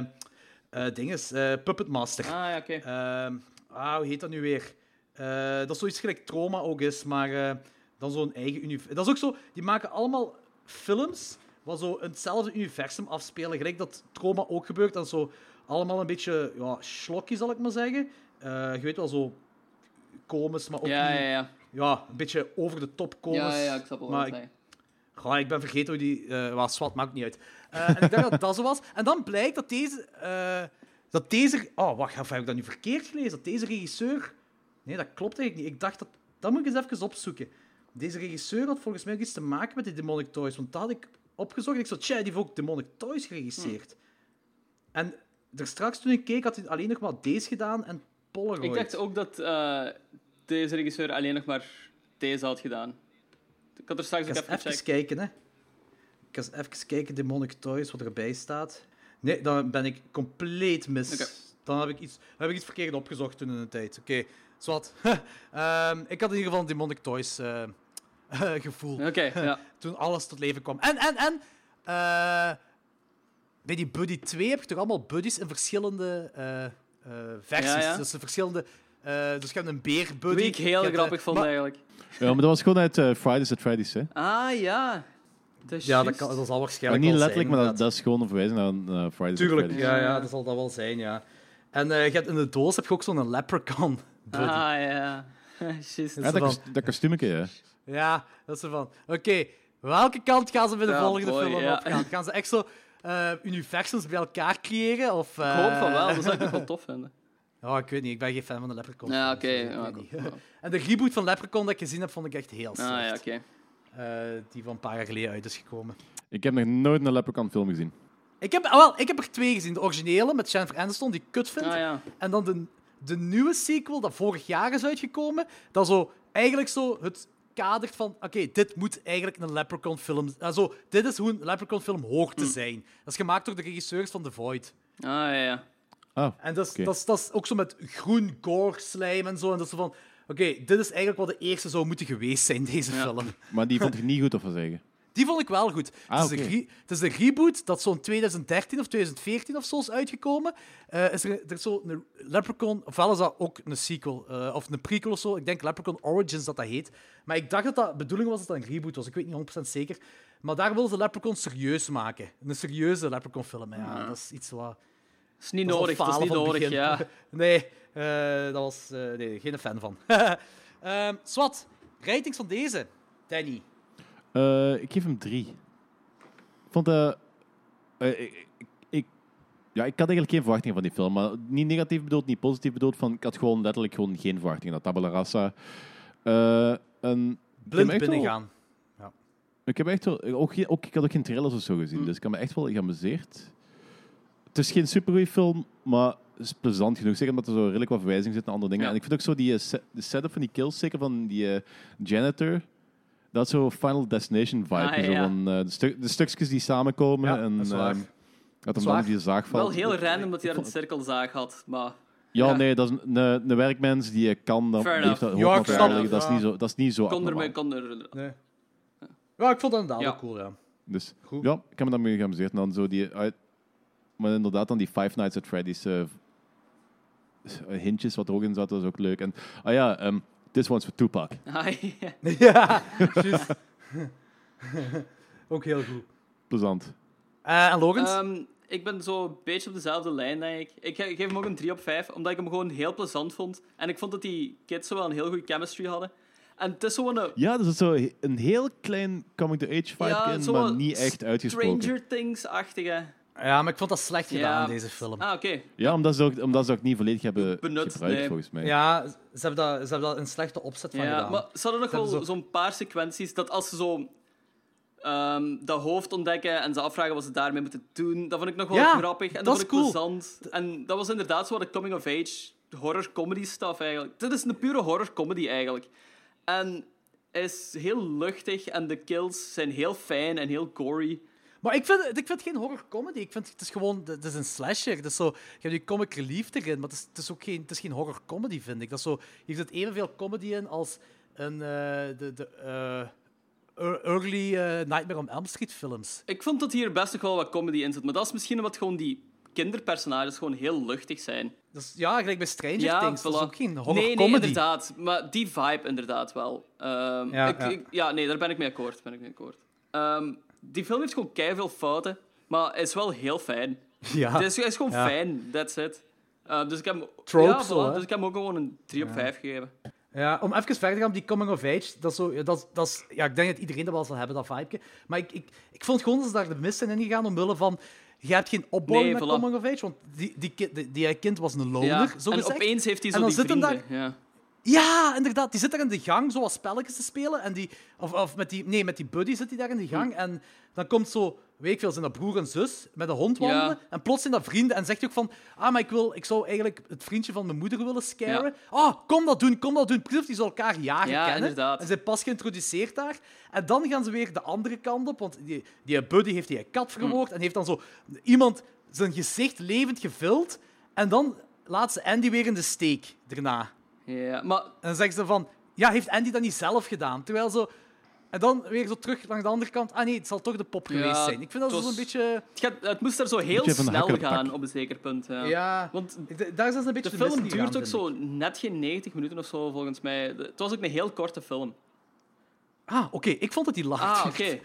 eh, dinges, eh, Puppet Master.
Ah, ja, oké.
Ehm, ah, hoe heet dat nu weer? Eh, dat is zoiets gelijk Trauma ook is, maar eh, dan zo'n eigen universum. Dat is ook zo, die maken allemaal films wat zo in hetzelfde universum afspelen, gelijk dat Trauma ook gebeurt. Dat is zo allemaal een beetje, ja, slokkie zal ik maar zeggen. Eh, je weet wel, zo komisch, maar ook
Ja,
niet-
ja, ja.
ja, een beetje over de top komisch.
Ja, ja, ja, ik snap wel wat
maar
je
ik-
zegt.
Goh, ik ben vergeten hoe die... eh was zwart, maakt niet uit. Eh, en ik dacht dat dat zo was. En dan blijkt dat deze... eh, dat deze... Oh, wacht, heb ik dat nu verkeerd gelezen? Dat deze regisseur... Nee, dat klopt eigenlijk niet. Ik dacht dat... Dat moet ik eens even opzoeken. Deze regisseur had volgens mij ook iets te maken met die Demonic Toys. Want dat had ik opgezocht. Ik zo, tja, die heeft ook Demonic Toys geregisseerd.
Hm.
En er straks toen ik keek, had hij alleen nog maar deze gedaan en Polaroid.
Ik dacht ook dat eh, deze regisseur alleen nog maar deze had gedaan. Ik had er straks ook
Ik
even
ga eens even
gecheckt.
kijken, hè. Ik ga eens even kijken, Demonic Toys, wat erbij staat. Nee, dan ben ik compleet mis.
Oké.
Dan heb ik, iets, heb ik iets verkeerd opgezocht toen in de tijd. Oké, zwart. Ehm, ik had in ieder geval een Demonic Toys eh, gevoel.
Oké, ja.
Toen alles tot leven kwam. En, en, en... eh, bij die Buddy 2 heb je toch allemaal buddies in verschillende eh, eh, versies.
Ja, ja.
Dus de verschillende... eh, dus je hebt een beerbuddy.
Wie ik heel
je hebt, eh,
grappig vond
maar-
eigenlijk.
Ja, maar dat was gewoon uit eh, Fridays at Freddy's. Hè.
Ah ja. Dat is
Ja, dat,
juist.
kan, dat zal waarschijnlijk
Maar niet
wel zijn,
letterlijk, maar dat,
inderdaad.
dat is gewoon een verwijzing naar eh, Fridays at
Tuurlijk,
Freddy's.
ja,
Ja.
ja, dat zal dat wel zijn, ja. En eh, je hebt in de doos heb je ook zo'n leprechaun. buddy.
Ah ja. Juist.
Ja, dat,
Zo van-
kost- dat kostuumetje, hè.
Ja, dat is ervan. Oké, welke kant gaan ze bij de
Ja,
volgende
boy,
film
ja.
op gaan? Gaan ze echt zo eh, universums bij elkaar creëren? Of, eh,
Ik hoop van wel, dus- dat zou ik nog wel tof vinden.
Oh, ik weet niet, ik ben geen fan van de leprechaun.
Ja,
films,
oké.
dus ik
ja,
weet
goed.
niet. En de reboot van leprechaun dat ik gezien heb, vond ik echt heel slecht.
Ah ja, oké.
Eh, die van een paar jaar geleden uit is gekomen.
Ik heb nog nooit een Leprechaun film gezien.
Ik heb, ah, wel, ik heb er twee gezien. De originele met Jennifer Aniston, die ik kut vind.
Ah ja.
En dan de, de nieuwe sequel, dat vorig jaar is uitgekomen, dat zo eigenlijk zo het kadert van, oké, dit moet eigenlijk een Leprechaun film... eh, zo, dit is hoe een Leprechaun film hoort te zijn. Dat is gemaakt door de regisseurs van The Void.
Ah ja, ja.
Ah,
En dat is,
Oké.
dat is, dat is ook zo met groen gore slijm en zo. En dat is zo van, oké, dit is eigenlijk wat de eerste zou moeten geweest zijn, deze
Ja.
film.
maar die vond ik niet goed, of wat zeggen.
Die vond ik wel goed.
Ah,
het, is
oké.
een re- het is een reboot dat zo'n 2013 of 2014 of zo is uitgekomen. Eh, is er, er is zo'n Leprechaun, ofwel is dat ook een sequel eh, of een prequel of zo. Ik denk Leprechaun Origins dat dat heet. Maar ik dacht dat dat bedoeling was dat dat een reboot was. Ik weet niet 100% zeker. Maar daar wilden ze Leprechaun serieus maken. Een serieuze Leprechaun film. Ja, Dat is iets wat...
Dat is niet
Dat
nodig,
was al
dat is
falen
niet
van het
nodig,
begin.
ja.
nee, eh, dat was... eh, nee, geen fan van. Ehm Swat, ratings van deze, Danny.
Eh, ik geef hem drie. Ik vond... eh, eh, ik, ik- ik- ja, ik had eigenlijk geen verwachtingen van die film. Maar niet negatief bedoeld, niet positief bedoeld. Van, ik had gewoon letterlijk gewoon geen verwachtingen. Dat Tabula Rasa... eh, een,
Blind
echt wel-
binnengaan.
ik, heb echt wel, ook, geen- ook, ik had ook geen trailers of zo gezien. Dus ik heb me echt wel geamuseerd. Het is geen supergoeie film, maar is plezant genoeg. Zeker omdat er zo redelijk wat verwijzing zit naar andere dingen.
Ja.
En ik vind ook zo die eh, se- de setup van die kills, zeker van die eh, janitor... Dat is zo Final Destination vibe.
Ah,
zo
ja.
van, eh, de, stuk- de stukjes die samenkomen.
Ja,
en,
dat is waar.
ehm, dat hem
is
dan
waar.
op die zaag valt.
Wel heel random dat hij daar een cirkelzaag had, maar...
Ja,
Ja.
nee, dat is een, een, een werkmens die je kan. Dan, die
Fair
heeft dat
enough.
hoog
Ja, ik
materiaal
snap
liggen.
het.
dat, is niet zo, dat is niet zo
Kon er,
abnormaal.
mee- kon er...
Nee. Ja, ik vond dat inderdaad
Ja.
wel cool, ja.
Dus
Goed.
ja, ik heb me daarmee geamuseerd. En dan zo die uit... Maar inderdaad, dan die Five Nights at Freddy's eh, v- hintjes wat er ook in zat, dat is ook leuk. En, ah ja, ehm This One's for Tupac.
Ah, ja.
Ja, juist. Ook heel goed.
Plezant.
Eh, en Logans?
Ehm, ik ben zo een beetje op dezelfde lijn, denk ik. Ik ge- geef hem ook een 3 op 5, omdat ik hem gewoon heel plezant vond. En ik vond dat die kids zo wel een heel goede chemistry hadden. En het is zo'n een
Ja, dus het is zo he- een heel klein coming-to-age vibe in,
zo
maar
wat
niet echt uitgesproken.
Stranger Things-achtige...
ja, maar ik vond dat slecht gedaan,
Ja.
deze film.
Ah, oké.
Ja, omdat ze, ook, omdat ze ook niet volledig hebben
Benut,
gebruikt,
nee.
volgens mij.
Ja, ze hebben daar ze hebben daar een slechte opzet van
Ja,
gedaan.
maar ze hadden nog
Ze hebben
wel
zo-
zo'n paar sequenties dat als ze zo ehm, dat hoofd ontdekken en ze afvragen wat ze daarmee moeten doen. Dat vond ik nog wel
Ja,
grappig en dat,
dat
vond ik
is cool.
plezant. En dat was inderdaad zo wat de coming-of-age horror-comedy-stuff eigenlijk. Dit is een pure horror-comedy eigenlijk. En hij is heel luchtig en de kills zijn heel fijn en heel gory.
Maar ik vind, ik vind het geen horror comedy. Ik vind het is gewoon het is een slasher. Het is zo, je hebt die comic relief erin, maar het is, het is ook geen, het is geen horror comedy, vind ik. Dat is zo, hier zit evenveel comedy in als een, eh, de, de eh, ear- early eh, Nightmare on Elm Street films.
Ik vond dat hier best nog wel wat comedy in zit, maar dat is misschien omdat gewoon die kinderpersonages gewoon heel luchtig zijn.
Dus, ja, gelijk bij Stranger Things. Dat is
voilà.
ook geen horror
nee, nee,
comedy.
inderdaad. Maar die vibe inderdaad wel. Ehm,
Ja,
ik,
ja.
ik- ja, nee, daar ben ik mee akkoord. Ben ik mee akkoord. Ehm, die film heeft gewoon keihard fouten, maar is wel heel fijn.
Ja.
Het is, hij is gewoon
Ja.
fijn, that's it. Ehm, dus, ik heb, hem-
Trope
ja,
zo, hè?
dus ik heb hem ook gewoon een 3 op 5 gegeven.
Ja, om even verder te gaan op die coming of age. Dat is zo, ja, dat, is- dat is, ja, ik denk dat iedereen dat wel zal hebben, dat vibe. Maar ik, ik, ik vond gewoon dat ze daar de mis zijn ingegaan omwille van... Je hebt geen opbouw
Nee,
met
voilà.
coming of age, want die, die, ki- die, die kind was een loner,
Ja.
zo
en
gezegd.
opeens heeft hij zo
En dan
die
zit hem
vrienden. Ja.
Ja, inderdaad. Die zit daar in de gang zoals spelletjes te spelen. En die, of, of met die... Nee, met die buddy zit hij daar in de gang.
Hm.
En dan komt zo... Weet ik veel, zijn dat broer en zus met een hond
Ja.
wandelen. En plots zijn dat vrienden. En zegt ook van... Ah, maar ik, wil, ik zou eigenlijk het vriendje van mijn moeder willen scaren. Ah, kom dat doen, kom dat doen. Precies of die ze elkaar jagen
Ja,
kennen.
inderdaad.
En ze zijn pas geïntroduceerd daar. En dan gaan ze weer de andere kant op. Want die, die buddy heeft die een kat
Hm.
vermoord. En heeft dan zo iemand zijn gezicht levend gevuld. En dan laat ze Andy weer in de steek daarna.
ja, maar
En dan zeggen ze van, ja, heeft Andy dat niet zelf gedaan? Terwijl zo... En dan weer zo terug langs de andere kant. Ah nee, het zal toch de pop
Ja,
geweest zijn. Ik vind
het
dat zo'n
was-
beetje...
het, gaat, het moest daar zo heel
Beetje van de
snel
hakken op de
gaan
tak.
op een zeker punt. Ja.
Ja,
Want
ik- d- daar zijn ze een beetje
De film
mis gegaan,
duurt ook
vind ik.
zo net geen 90 minuten of zo, volgens mij. De- Het was ook een heel korte film.
Ah, oké. Ik vond dat die lang
Ah,
duurde.
oké.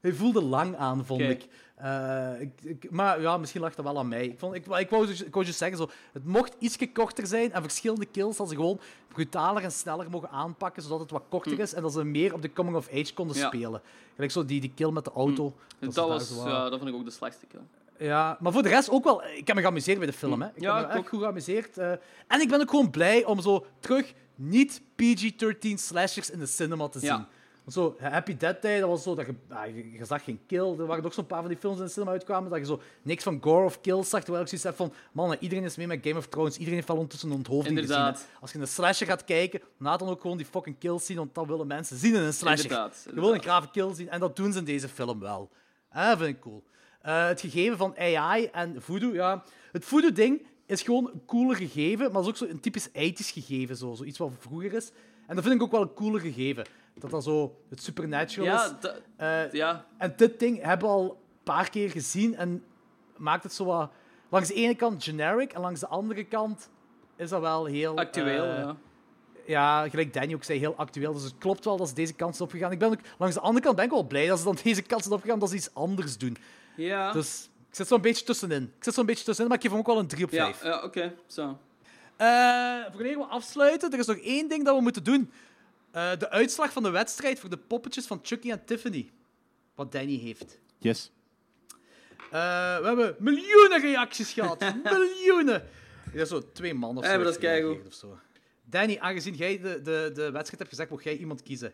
Hij voelde lang aan, vond
Oké.
ik. Eh, ik, ik- Maar ja, misschien lag dat wel aan mij. Ik, vond, ik, ik, wou, dus- ik wou dus zeggen, zo, het mocht ietsje korter zijn en verschillende kills hadden ze gewoon brutaler en sneller mogen aanpakken, zodat het wat korter is en dat ze meer op de coming of age konden
Hm. Ja. Hm.
spelen. Gelijk zo die, die kill met de auto.
Dat,
ze daar
was,
zo wat-
ja, dat vond ik ook de slechtste kill.
Ja, maar voor de rest ook wel. Ik heb me geamuseerd bij de film. Hè. Ik
Hm. Ja,
heb
ik
me echt
ook.
goed geamuseerd. eh. en ik ben ook gewoon blij om zo terug niet PG-13 slashers in de cinema te zien.
Ja.
Want Zo, Happy Dead Day, dat was zo dat je, ah, je, je zag geen kill. Er waren ook zo'n paar van die films in de cinema uitkwamen dat je zo niks van gore of kills zag. Terwijl ik zoiets heb van, man, iedereen is mee met Game of Thrones. Iedereen heeft wel ondertussen een onthoofding
Inderdaad.
gezien. hè. Als je een slasher gaat kijken, laat dan ook gewoon die fucking kills zien, want dat willen mensen zien in een slasher.
Inderdaad,
Je wil een
inderdaad.
grave kill zien en dat doen ze in deze film wel. Ah, dat vind ik cool. Eh, het gegeven van AI en voodoo, ja. Het voodoo-ding is gewoon een cooler gegeven, maar is ook zo een typisch 80s gegeven, zo. zoiets wat vroeger is. En dat vind ik ook wel een cooler gegeven. Dat dat zo het supernatural is.
Ja, dat-
Eh,
ja,
en dit ding hebben we al een paar keer gezien en maakt het zo wat... Langs de ene kant generic en langs de andere kant is dat wel heel...
actueel.
eh,
ja.
ja, gelijk Danny ook zei, heel actueel. Dus het klopt wel dat ze deze kant zijn opgegaan. Ik ben ook, langs de andere kant ben ik wel blij dat ze dan deze kant zijn opgegaan, dat ze iets anders doen.
Ja,
Dus ik zit zo'n beetje tussenin. Ik zit zo'n beetje tussenin, maar ik geef hem ook wel een 3 op
ja,
5.
ja oké. Zo.
Eh, Voordat we afsluiten, er is nog één ding dat we moeten doen. Eh, de uitslag van de wedstrijd voor de poppetjes van Chucky en Tiffany. Wat Danny heeft.
Yes.
Eh, we hebben miljoenen reacties gehad. miljoenen. Dat is zo twee man of zo.
Ja, maar dat is
heeft
keigoed.
gereageerd of zo. Danny, aangezien jij de, de, de wedstrijd hebt gezegd, mocht jij iemand kiezen.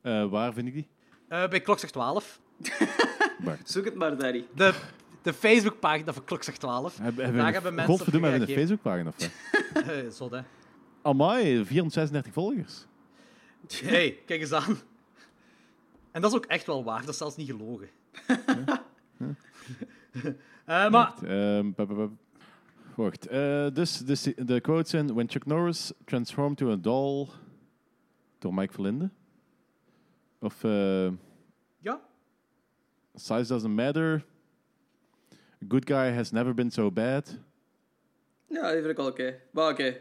Eh, waar vind ik die?
Eh, bij Klokslag 12.
Zoek het maar, Daddy.
De, de Facebookpagina van Klokslag 12.
Hebben,
Daar
hebben
hebben
we een,
mensen op
godverdomme, hebben we een
gereageerd.
Facebookpagina of wat?
Eh, Zot, hè.
Amai, 436 volgers.
hey, kijk eens aan. En dat is ook echt wel waar. Dat is zelfs niet gelogen. Eh, maar
Wacht, ehm, pa- pa- pa- Wacht, eh, dus de si- de quotes zijn... When Chuck Norris transformed to a doll... Door Mike Verlinde. Of... eh,
ja,
Size doesn't matter. Good guy has never been so bad.
Ja, die vind ik wel oké. Maar oké.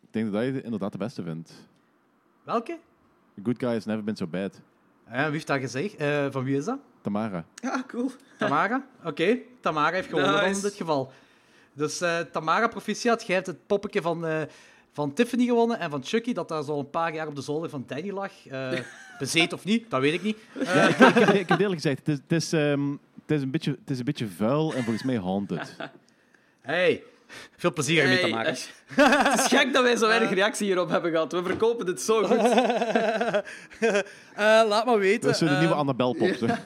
Ik denk dat hij het inderdaad de beste vindt.
welke?
Good guy has never been so bad.
Eh, wie heeft dat gezegd? Eh, van wie is dat?
Tamara.
Ja, cool.
Tamara? Oké, Tamara heeft gewonnen dan
Nice.
in dit geval. Dus eh, Tamara Proficiat, jij hebt het poppetje van, eh, van Tiffany gewonnen en van Chucky, dat daar zo al een paar jaar op de zolder van Danny lag. Eh bezet of niet, dat weet ik niet.
ik, heb, ik heb eerlijk gezegd, het is, het, is, ehm, het, is een beetje, het is een beetje vuil en volgens mij haunted.
Hey, Veel plezier ermee te
Hey,
maken.
Ash. het is gek dat wij zo weinig reactie hierop hebben gehad. We verkopen dit zo goed.
Eh, laat maar weten.
Dat is zo de
eh,
nieuwe Annabel pop. zo.
eh,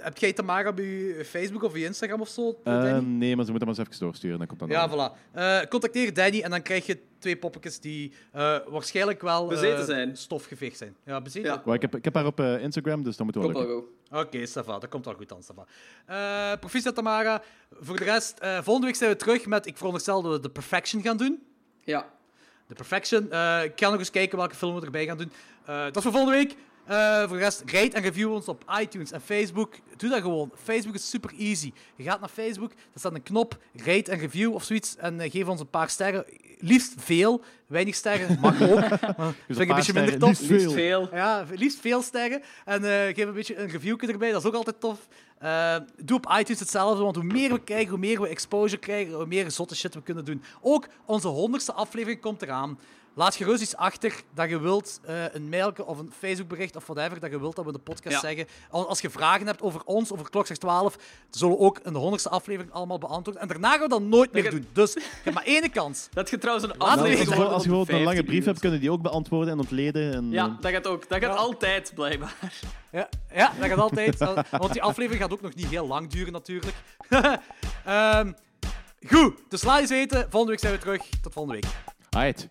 heb jij te maken op je Facebook of je Instagram of zo?
Eh,
Danny?
nee, maar ze moeten maar eens even doorsturen. Dan komt dat
Ja,
wel.
voilà. Eh, contacteer Danny en dan krijg je twee poppetjes die eh, waarschijnlijk wel eh,
Bezeten zijn.
stofgeveegd zijn. Ja, bezeten.
Ja.
Maar ik, heb, ik heb haar op eh, Instagram, dus dat moet wel
Kom maar,
lukken.
go.
Oké, Safa, dat komt al goed dan, Safa. Eh proficiat, Tamara. Voor de rest, eh, volgende week zijn we terug met, ik veronderstel dat we de Perfection gaan doen.
Ja.
De Perfection. Eh, ik ga nog eens kijken welke film we erbij gaan doen. Eh, dat is voor volgende week. Eh, voor de rest, rate en review ons op iTunes en Facebook. Doe dat gewoon. Facebook is super easy. Je gaat naar Facebook, daar staat een knop, rate en review of zoiets. En eh, geef ons een paar sterren. Liefst veel. Weinig sterren, mag ook. Maar vind ik een
paar
beetje minder
sterren,
tof.
liefst
Liefst veel.
Ja, liefst veel sterren. En eh, geef een beetje een reviewje erbij, dat is ook altijd tof. Eh, doe op iTunes hetzelfde, want hoe meer we krijgen, hoe meer we exposure krijgen, hoe meer zotte shit we kunnen doen. Ook onze honderdste aflevering komt eraan. Laat gerust iets achter dat je wilt, eh, een mailje of een Facebookbericht of whatever, dat je wilt dat we in de podcast
Ja.
zeggen. Al- Als je vragen hebt over ons, over Klokslag 12, zullen we ook in de honderdste aflevering allemaal beantwoorden. En daarna gaan we dat nooit meer
Ik heb-
doen. Dus je hebt maar één kans.
Dat je trouwens een
Laat
Nou,
aflevering
als je
Liefst
gewoon- als je
wordt
gewoon een lange
van
brief hebt,
15
kunnen die ook beantwoorden en ontleden. En,
uur. Ja, dat gaat ook. Dat gaat altijd, blijkbaar.
Ja, ja, dat gaat altijd. Want die aflevering gaat ook nog niet heel lang duren, natuurlijk. Ehm, goed, dus
eh,
laat eens weten. Volgende week zijn we terug. Tot volgende week.
Alright.